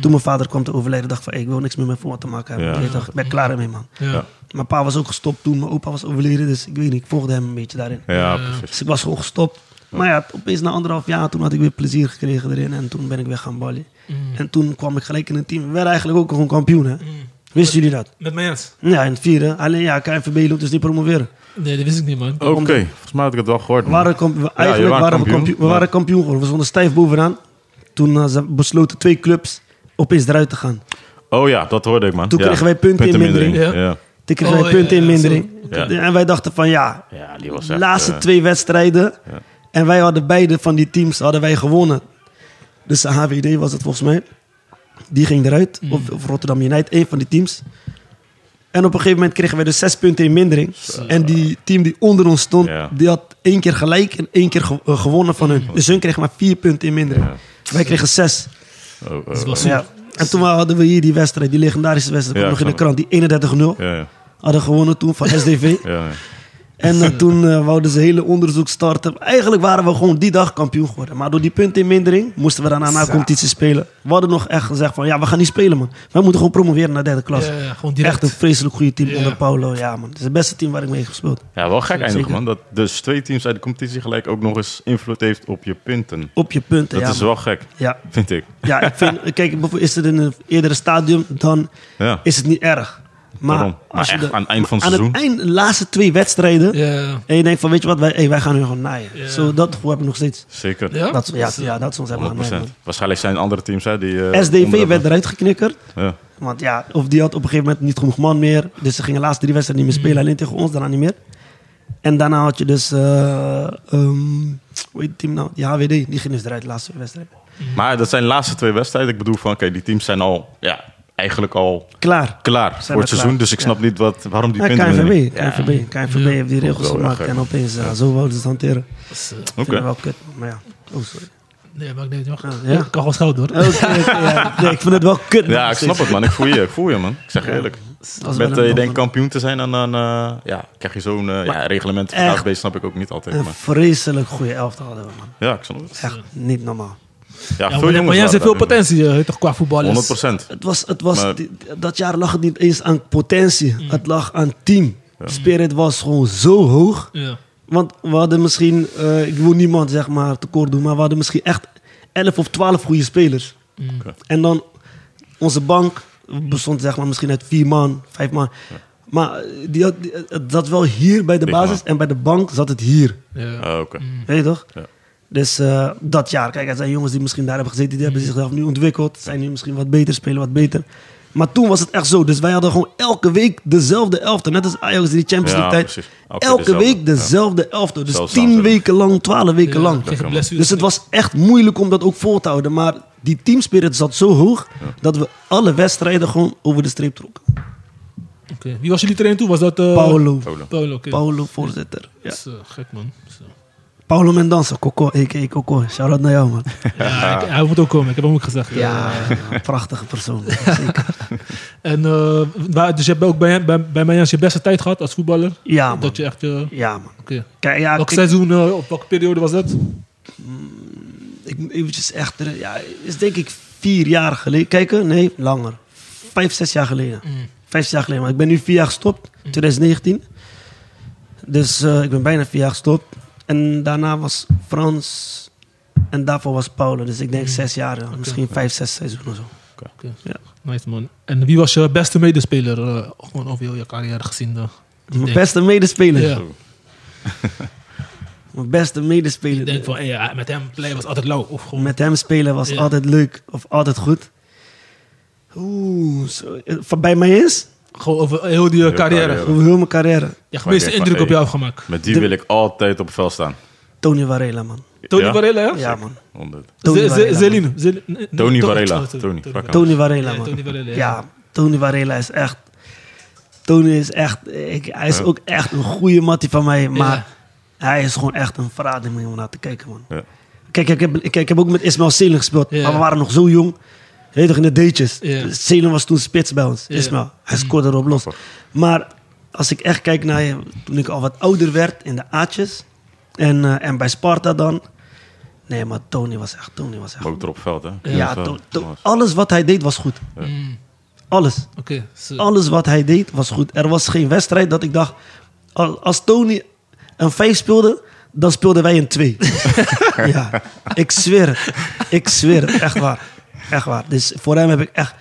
Speaker 4: Toen mijn vader kwam te overlijden, dacht ik van... Hey, ik wil niks meer met voetbal te maken hebben.
Speaker 3: Ja.
Speaker 4: Ik dacht, ik ben klaar ermee, man.
Speaker 2: Ja.
Speaker 4: Mijn pa was ook gestopt toen. Mijn opa was overleden. Dus ik weet niet, ik volgde hem een beetje daarin.
Speaker 3: Ja,
Speaker 2: Eh,
Speaker 3: precies.
Speaker 4: Dus ik was gewoon gestopt. Maar ja, opeens na anderhalf jaar, toen had ik weer plezier gekregen erin. En toen ben ik weg gaan ballen.
Speaker 2: Mm.
Speaker 4: En toen kwam ik gelijk in een team. We werden eigenlijk ook gewoon kampioen, hè.
Speaker 2: Mm.
Speaker 4: Wisten jullie dat?
Speaker 2: Met Mayans?
Speaker 4: Ja, in het vierde. Alleen ja, KNVB loopt dus niet promoveren.
Speaker 2: Nee, dat wist ik niet, man.
Speaker 3: Oké, volgens mij had ik het wel gehoord.
Speaker 4: We
Speaker 3: man.
Speaker 4: waren, kamp- we-
Speaker 3: Mm. je
Speaker 4: eigenlijk
Speaker 3: waren
Speaker 4: waren we
Speaker 3: kampioen,
Speaker 4: kampioen. We
Speaker 3: maar-
Speaker 4: waren kampioen geworden. We stonden stijf bovenaan. Toen eh, ze besloten twee clubs opeens eruit te gaan.
Speaker 3: Oh ja, dat hoorde ik man.
Speaker 4: Toen
Speaker 3: ja.
Speaker 4: kregen wij punten in
Speaker 3: Puntenmindering,
Speaker 2: mindering.
Speaker 3: Ja.
Speaker 4: Toen kregen
Speaker 2: Oh,
Speaker 4: wij punten
Speaker 2: ja,
Speaker 4: in
Speaker 2: ja,
Speaker 4: mindering.
Speaker 3: zo. Ja.
Speaker 4: En wij dachten van ja,
Speaker 3: ja, die was
Speaker 4: de
Speaker 3: echt...
Speaker 4: laatste
Speaker 3: eh,
Speaker 4: twee wedstrijden.
Speaker 3: ja.
Speaker 4: En wij hadden beide van die teams hadden wij gewonnen. Dus de HWD was het volgens mij. Die ging eruit. Of, of Rotterdam United, één van die teams. En op een gegeven moment kregen wij dus zes punten in mindering. En die team die onder ons stond,
Speaker 3: Ja.
Speaker 4: die had één keer gelijk en één keer ge- eh, gewonnen van hun. Dus hun kregen maar vier punten in mindering. Wij kregen zes.
Speaker 3: oh, oh,
Speaker 2: Dat was
Speaker 3: oh.
Speaker 2: zo.
Speaker 4: Ja. En toen hadden we hier die wedstrijd, die legendarische wedstrijd,
Speaker 3: Ja,
Speaker 4: kwam nog in de
Speaker 3: ik snap
Speaker 4: krant, die 31-0.
Speaker 3: Ja, ja.
Speaker 4: Hadden gewonnen toen van SDV.
Speaker 3: ja, ja.
Speaker 4: En eh, toen eh, wouden ze hele onderzoek starten. Eigenlijk waren we gewoon die dag kampioen geworden. Maar door die puntenmindering moesten we daarna na competitie spelen. We hadden nog echt gezegd van, ja, we gaan niet spelen, man. Wij moeten gewoon promoveren naar derde klas.
Speaker 2: Ja, ja, gewoon direct.
Speaker 4: Echt een vreselijk goede team
Speaker 2: Ja.
Speaker 4: onder Paulo. Ja, man. Het is het beste team waar ik mee heb gespeeld.
Speaker 3: Ja, wel gek eigenlijk man.
Speaker 4: Zeker.
Speaker 3: Dat dus twee teams uit de competitie gelijk ook nog eens invloed heeft op je punten.
Speaker 4: Op je punten,
Speaker 3: Dat
Speaker 4: ja.
Speaker 3: is
Speaker 4: man.
Speaker 3: wel gek,
Speaker 4: Ja,
Speaker 3: vind ik.
Speaker 4: ja ik vind, kijk, bijvoorbeeld is het in een eerdere stadium, dan
Speaker 3: Ja.
Speaker 4: is het niet erg. Maar,
Speaker 3: Daarom. Maar
Speaker 4: als je
Speaker 3: echt
Speaker 4: de-
Speaker 3: aan het eind van het
Speaker 4: aan
Speaker 3: seizoen?
Speaker 4: eind, de laatste twee wedstrijden.
Speaker 2: Ja.
Speaker 4: En je denkt van, weet je wat, wij, hey, wij gaan nu gewoon naaien.
Speaker 2: Ja.
Speaker 4: Zo, dat gevoel heb ik nog steeds.
Speaker 3: Zeker.
Speaker 2: Ja?
Speaker 4: Dat,
Speaker 3: Dus,
Speaker 4: ja, ja, dat is ons helemaal aan mij,
Speaker 3: 100%. Waarschijnlijk zijn andere teams hè, die... eh,
Speaker 4: man. SDV
Speaker 3: onder-
Speaker 4: werd eruit geknikkerd.
Speaker 3: Ja.
Speaker 4: Want ja, of die had op een gegeven moment niet genoeg man meer. Dus ze gingen de laatste drie wedstrijden niet meer spelen. Alleen tegen ons daarna niet meer. En daarna had je dus... eh, ehm, hoe heet het team nou? Die HWD. Die ging dus eruit de laatste wedstrijd.
Speaker 3: Maar dat zijn de laatste twee wedstrijden. Ik bedoel van, oké, die teams zijn al, ja, eigenlijk al
Speaker 4: Klaar.
Speaker 3: klaar voor het
Speaker 4: klaar.
Speaker 3: seizoen. Dus ik snap niet wat, waarom die
Speaker 4: Ja,
Speaker 3: punten...
Speaker 4: KNVB.
Speaker 3: minder-
Speaker 4: KNVB. KNVB heeft die regels
Speaker 3: Wel, ja,
Speaker 4: gemaakt.
Speaker 3: gek.
Speaker 4: En opeens eh, zo wouden ze het hanteren. Ik
Speaker 2: Dat is, eh,
Speaker 3: Oké.
Speaker 4: vind het wel kut. Maar ja. Oh, sorry.
Speaker 2: Nee, maar ik denk, wacht.
Speaker 4: Ja.
Speaker 2: Ik kan gewoon schoud, hoor.
Speaker 4: Oké, oké, ja. Nee, ik vind het wel kut.
Speaker 3: Ja, ik snap het man. Ik voel je, ik voel je man. Ik zeg je eerlijk.
Speaker 4: Als
Speaker 3: Met,
Speaker 4: we
Speaker 3: eh, je
Speaker 4: dan-
Speaker 3: denkt kampioen te zijn en dan eh, ja, krijg je zo'n eh, ja, reglement van
Speaker 4: echt-
Speaker 3: AFB, snap ik ook niet altijd.
Speaker 4: Een
Speaker 3: Maar,
Speaker 4: vreselijk goede elftal hadden we, man.
Speaker 3: ja, ik snap het.
Speaker 4: Echt niet normaal.
Speaker 3: Ja, Ja,
Speaker 2: Ah,
Speaker 5: Ja,
Speaker 3: veel
Speaker 5: maar,
Speaker 3: jongens
Speaker 5: maar jij
Speaker 3: waren
Speaker 5: zit veel
Speaker 3: daar nu.
Speaker 5: potentie, eh, toch, qua voetballers.
Speaker 3: 100%.
Speaker 4: Het was, het was,
Speaker 3: Maar-
Speaker 4: die- dat jaar lag het niet eens aan potentie. Het lag aan team. Spirit was gewoon zo hoog.
Speaker 2: Ja.
Speaker 4: Want we hadden misschien, eh, ik wil niemand zeg maar tekort doen, maar we hadden misschien echt 11 of 12 goede spelers.
Speaker 3: Oké.
Speaker 4: En dan onze bank bestond zeg maar misschien uit vier man, vijf man. Maar eh, die had, die- eh, dat wel hier bij de
Speaker 3: Ligt
Speaker 4: basis
Speaker 3: eraan.
Speaker 4: en bij de bank zat het hier.
Speaker 2: Ja.
Speaker 3: Ah, Oké.
Speaker 2: Hmm.
Speaker 4: Weet je toch?
Speaker 3: Ja.
Speaker 4: Dus eh, dat jaar, kijk, er zijn jongens die misschien daar hebben gezeten, die hebben
Speaker 2: Hmm.
Speaker 4: zichzelf nu ontwikkeld, zijn nu misschien wat beter, spelen wat beter. Maar toen was het echt zo. Dus wij hadden gewoon elke week dezelfde elfte. Net als Ajax in die Champions
Speaker 3: Ja,
Speaker 4: League tijd.
Speaker 3: precies. Elke
Speaker 4: Elke,
Speaker 3: dezelfde,
Speaker 4: week
Speaker 3: ja.
Speaker 4: dezelfde elfte. Dus
Speaker 3: Zelfs
Speaker 4: tien
Speaker 3: samen.
Speaker 4: weken lang, twaalf weken
Speaker 2: Ja,
Speaker 4: lang.
Speaker 2: tegen
Speaker 3: man.
Speaker 2: blessures.
Speaker 4: Dus het was echt moeilijk om dat ook vol te houden. Maar die teamspirit zat zo hoog dat we alle wedstrijden gewoon over de streep trokken.
Speaker 2: Oké. Wie was jullie trainer toe? Was dat... eh,
Speaker 4: Paolo.
Speaker 3: Polo.
Speaker 2: Paolo, oké.
Speaker 4: Paolo, voorzitter. Ja.
Speaker 2: Dat is eh, gek, man. Zo.
Speaker 4: Paolo Mendanza, Coco, a.k.a. Coco. Shout-out naar jou, man.
Speaker 2: Ja, ik- hij moet ook komen. Ik heb hem ook gezegd. eh.
Speaker 4: Ja, prachtige persoon. Zeker.
Speaker 2: En eh, waar- dus je hebt ook bij, bij, bij Mayans je beste tijd gehad als voetballer?
Speaker 4: Ja, man.
Speaker 2: Dat je echt... eh, Oké.
Speaker 4: Ja, man. Kijk, ja,
Speaker 2: Welk
Speaker 4: ik,
Speaker 2: seizoen, eh, op welke periode was dat?
Speaker 4: ik moet eventjes echt... terug- Ja, is denk ik vier jaar geleden. Kijken, nee, langer. Vijf, zes jaar geleden.
Speaker 2: Mm.
Speaker 4: Vijf, zes jaar geleden. Maar ik ben nu vier jaar gestopt. 2019. Dus eh, ik ben bijna vier jaar gestopt. En daarna was Frans... En daarvoor was Paolo. Dus ik
Speaker 2: Mm.
Speaker 4: denk zes jaar. ja. Misschien vijf, zes seizoenen of zo.
Speaker 2: Oké.
Speaker 4: Ja.
Speaker 2: Nice, man. En wie was je beste medespeler? eh, gewoon over heel je carrière gezien. eh?
Speaker 4: Mijn
Speaker 2: denk-
Speaker 4: beste medespeler.
Speaker 2: Ja.
Speaker 4: Mijn beste medespeler.
Speaker 2: Ik denk van, hey, ja, met hem play was altijd lauw. Of gewoon...
Speaker 4: Met hem spelen was
Speaker 2: Ja.
Speaker 4: altijd leuk of altijd goed. Oeh, zo, eh, van bij mij is,
Speaker 2: Gewoon over heel die eh,
Speaker 3: Heel
Speaker 2: carrière.
Speaker 3: carrière.
Speaker 4: over heel mijn
Speaker 2: Ja,
Speaker 4: carrière,
Speaker 2: de meeste
Speaker 3: Maar ik denk
Speaker 2: indruk
Speaker 3: van,
Speaker 2: op jou gemaakt.
Speaker 3: Met die
Speaker 4: De-
Speaker 3: wil ik altijd op het veld staan.
Speaker 4: Tony Varela, man.
Speaker 2: Tony
Speaker 3: Ja?
Speaker 2: Varela, ja?
Speaker 4: Ja, man.
Speaker 3: 100.
Speaker 4: Tony
Speaker 2: Z- Z-
Speaker 4: Varela, man.
Speaker 2: Zeline. Zeli- nee, nee,
Speaker 3: Tony
Speaker 2: To-
Speaker 3: Varela.
Speaker 2: oh, sorry,
Speaker 3: Tony, fuck hem.
Speaker 4: Tony Varela,
Speaker 2: Ja,
Speaker 4: man.
Speaker 2: Tony Varela, ja.
Speaker 4: Ja, Tony Varela is echt... Tony is echt... Ik, hij is ook echt een goede mattie van mij, maar... Hij is gewoon echt een verrading om naar te kijken, man.
Speaker 3: Ja.
Speaker 4: Kijk, ik heb, kijk, ik heb ook met Ismael Selim gespeeld.
Speaker 2: Ja.
Speaker 4: Maar we waren nog zo jong. Heet toch in de deetjes.
Speaker 2: Ja.
Speaker 4: Selim was toen spits bij ons.
Speaker 2: Ja.
Speaker 4: Ismael. Hij scoorde erop los. Maar als ik echt kijk naar je, toen ik al wat ouder werd in de A'tjes. En, eh, en bij Sparta dan. Nee, maar Tony was echt. Tony was echt.
Speaker 3: Motor op het veld, hè?
Speaker 4: Ja,
Speaker 3: Zo,
Speaker 4: To- To-
Speaker 3: jongens.
Speaker 4: alles wat hij deed was goed.
Speaker 2: Mm,
Speaker 4: Alles.
Speaker 2: Oké. zo.
Speaker 4: Alles wat hij deed was goed. Er was geen wedstrijd dat ik dacht... al- Als Tony een 5 speelde, dan speelden wij een 2. ja, ik zweer het. Ik zweer het, echt waar. Echt waar. Dus voor hem heb ik echt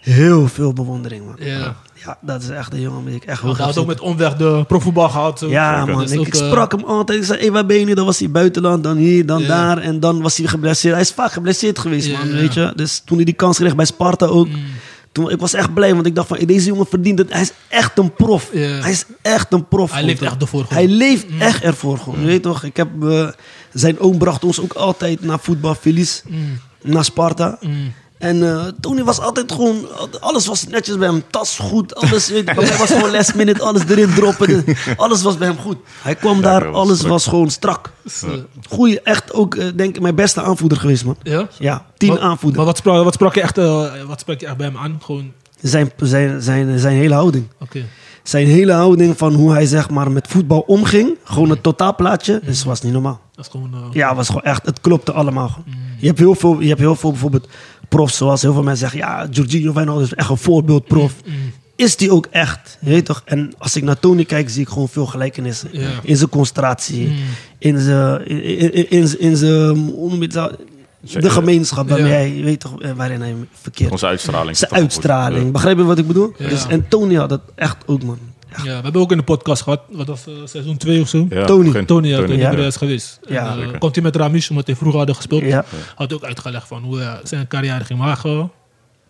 Speaker 4: heel veel bewondering, man.
Speaker 2: Ja.
Speaker 4: Ja, dat is echt een jongen die ik
Speaker 2: Want
Speaker 4: echt hoog
Speaker 2: Hij
Speaker 4: heb
Speaker 2: had ook
Speaker 4: zitten.
Speaker 2: met omweg de profvoetbal gehad. zo.
Speaker 4: Ja,
Speaker 2: Dus
Speaker 4: man.
Speaker 2: ook,
Speaker 4: Ik, ik
Speaker 2: eh,
Speaker 4: sprak hem altijd. Ik zei, hey, waar ben je nu? Dan was hij buitenland, dan hier, dan
Speaker 2: Ja.
Speaker 4: daar. En dan was hij geblesseerd. Hij is vaak geblesseerd geweest,
Speaker 2: Ja,
Speaker 4: man.
Speaker 2: ja. Mm.
Speaker 4: Weet je? Dus toen hij die kans kreeg bij Sparta ook. Toen, ik was echt blij, want ik dacht van, deze jongen verdient het. Hij is echt een prof.
Speaker 2: Ja.
Speaker 4: Hij is echt een prof.
Speaker 2: Hij
Speaker 4: gewoon,
Speaker 2: leeft
Speaker 4: toch?
Speaker 2: echt ervoor, gewoon.
Speaker 4: Hij leeft echt ervoor, gewoon. Je weet toch? Ik heb, eh, zijn oom bracht ons ook altijd naar voetbal, Felice.
Speaker 2: Mm.
Speaker 4: Naar Sparta. En eh, Tony was altijd gewoon, alles was netjes bij hem, tas goed, alles. Weet, je, bij mij was gewoon last minute, alles erin droppen. Alles was bij hem goed. Hij kwam daar,
Speaker 3: dat was
Speaker 4: alles
Speaker 3: strak.
Speaker 4: was gewoon strak.
Speaker 2: zo.
Speaker 4: Goeie, echt ook, eh, denk ik, mijn beste aanvoerder geweest, man.
Speaker 2: Ja?
Speaker 4: Ja, tien
Speaker 2: Wat-
Speaker 4: aanvoerder.
Speaker 2: Maar wat sprak, wat, sprak je echt, eh, wat sprak je echt bij hem aan? Gewoon,
Speaker 4: Zijn, zijn, zijn, zijn hele houding.
Speaker 2: oké.
Speaker 4: Zijn hele houding van hoe hij zeg maar met voetbal omging, gewoon het totaalplaatje,
Speaker 2: Mm.
Speaker 4: dus was niet normaal.
Speaker 2: Dat is gewoon... eh,
Speaker 4: Ja, het was gewoon echt, het klopte allemaal. gewoon. Je, hebt heel veel, je hebt heel veel bijvoorbeeld profs, zoals heel veel mensen zeggen, ja, Jorginho Wijnaldum is echt een voorbeeldprof.
Speaker 2: Mm,
Speaker 4: Is die ook echt? Je weet toch? En als ik naar Tony kijk, zie ik gewoon veel gelijkenissen.
Speaker 2: Ja. Mm.
Speaker 4: In zijn concentratie, in zijn, in, in, in- in zijn, hoe noem je het nou? de
Speaker 3: Zeker.
Speaker 4: gemeenschap waarmee
Speaker 2: Ja.
Speaker 4: hij, je weet toch, eh, waarin hij verkeert.
Speaker 3: Onze uitstraling. is
Speaker 4: Zijn
Speaker 3: toch wel goed.
Speaker 4: uitstraling. Begrijp je wat ik bedoel?
Speaker 2: Ja.
Speaker 4: Dus, en Tony had dat echt ook, man. Echt.
Speaker 2: Ja, we hebben ook in de podcast gehad, wat was eh, seizoen 2 of zo?
Speaker 3: Ja,
Speaker 4: Tony.
Speaker 3: begin.
Speaker 2: Tony, ja, Tony
Speaker 4: ja.
Speaker 2: Perez geweest. En,
Speaker 4: Ja.
Speaker 2: eh,
Speaker 3: Zeker.
Speaker 2: komt hij met Ramis, omdat hij vroeger hadden gespeeld.
Speaker 4: Ja.
Speaker 2: Had ook uitgelegd van hoe hij zijn carrière ging maken.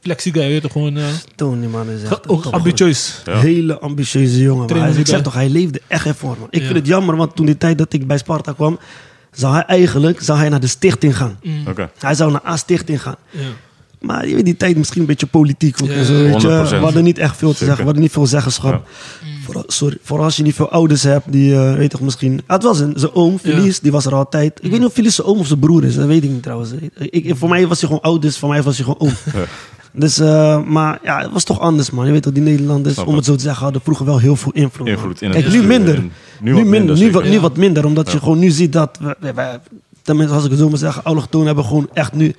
Speaker 2: Flexie guy, weet je, gewoon eh,
Speaker 4: Tony, man, is echt
Speaker 2: ook
Speaker 4: top.
Speaker 2: ambitieus.
Speaker 3: Ja.
Speaker 4: Hele ambitieuze jongen. Maar
Speaker 2: Trainer
Speaker 4: hij, ik
Speaker 2: die
Speaker 4: zeg
Speaker 2: bij-
Speaker 4: toch, hij leefde echt ervoor. Man. Ik
Speaker 2: Ja.
Speaker 4: vind het jammer, want toen die tijd dat ik bij Sparta kwam, zou hij eigenlijk zou hij naar de stichting gaan.
Speaker 3: Oké.
Speaker 4: Hij zou naar A-stichting gaan.
Speaker 2: Ja.
Speaker 4: Maar je weet, die tijd misschien een beetje politiek ook
Speaker 2: Ja,
Speaker 4: en zo, weet je.
Speaker 3: 100%.
Speaker 4: We hadden niet echt veel te zeggen. We hadden niet veel zeggenschap. Vooral, sorry, vooral als je niet veel ouders hebt, die eh, weet toch misschien... Ah, het was een, zijn oom, Felice, die was er altijd. Ik weet niet of Felice zijn oom of zijn broer is, dat weet ik niet trouwens. Ik, ik- voor mij was hij gewoon oud, dus voor mij was hij gewoon oom. Dus, eh, maar ja, het was toch anders, man. Je weet toch, die Nederlanders,
Speaker 3: Snap
Speaker 4: om
Speaker 3: het.
Speaker 4: het zo te zeggen, hadden vroeger wel heel veel invloed. man.
Speaker 3: Invloed in het
Speaker 4: Kijk, nu
Speaker 3: bestuur
Speaker 4: minder.
Speaker 3: en
Speaker 4: nu, wat minder, nu,
Speaker 3: zeker.
Speaker 4: wat, nu wat minder, omdat je gewoon nu ziet dat... We, we- we- tenminste als ik het zo moet zeggen, allochtonen hebben gewoon echt nu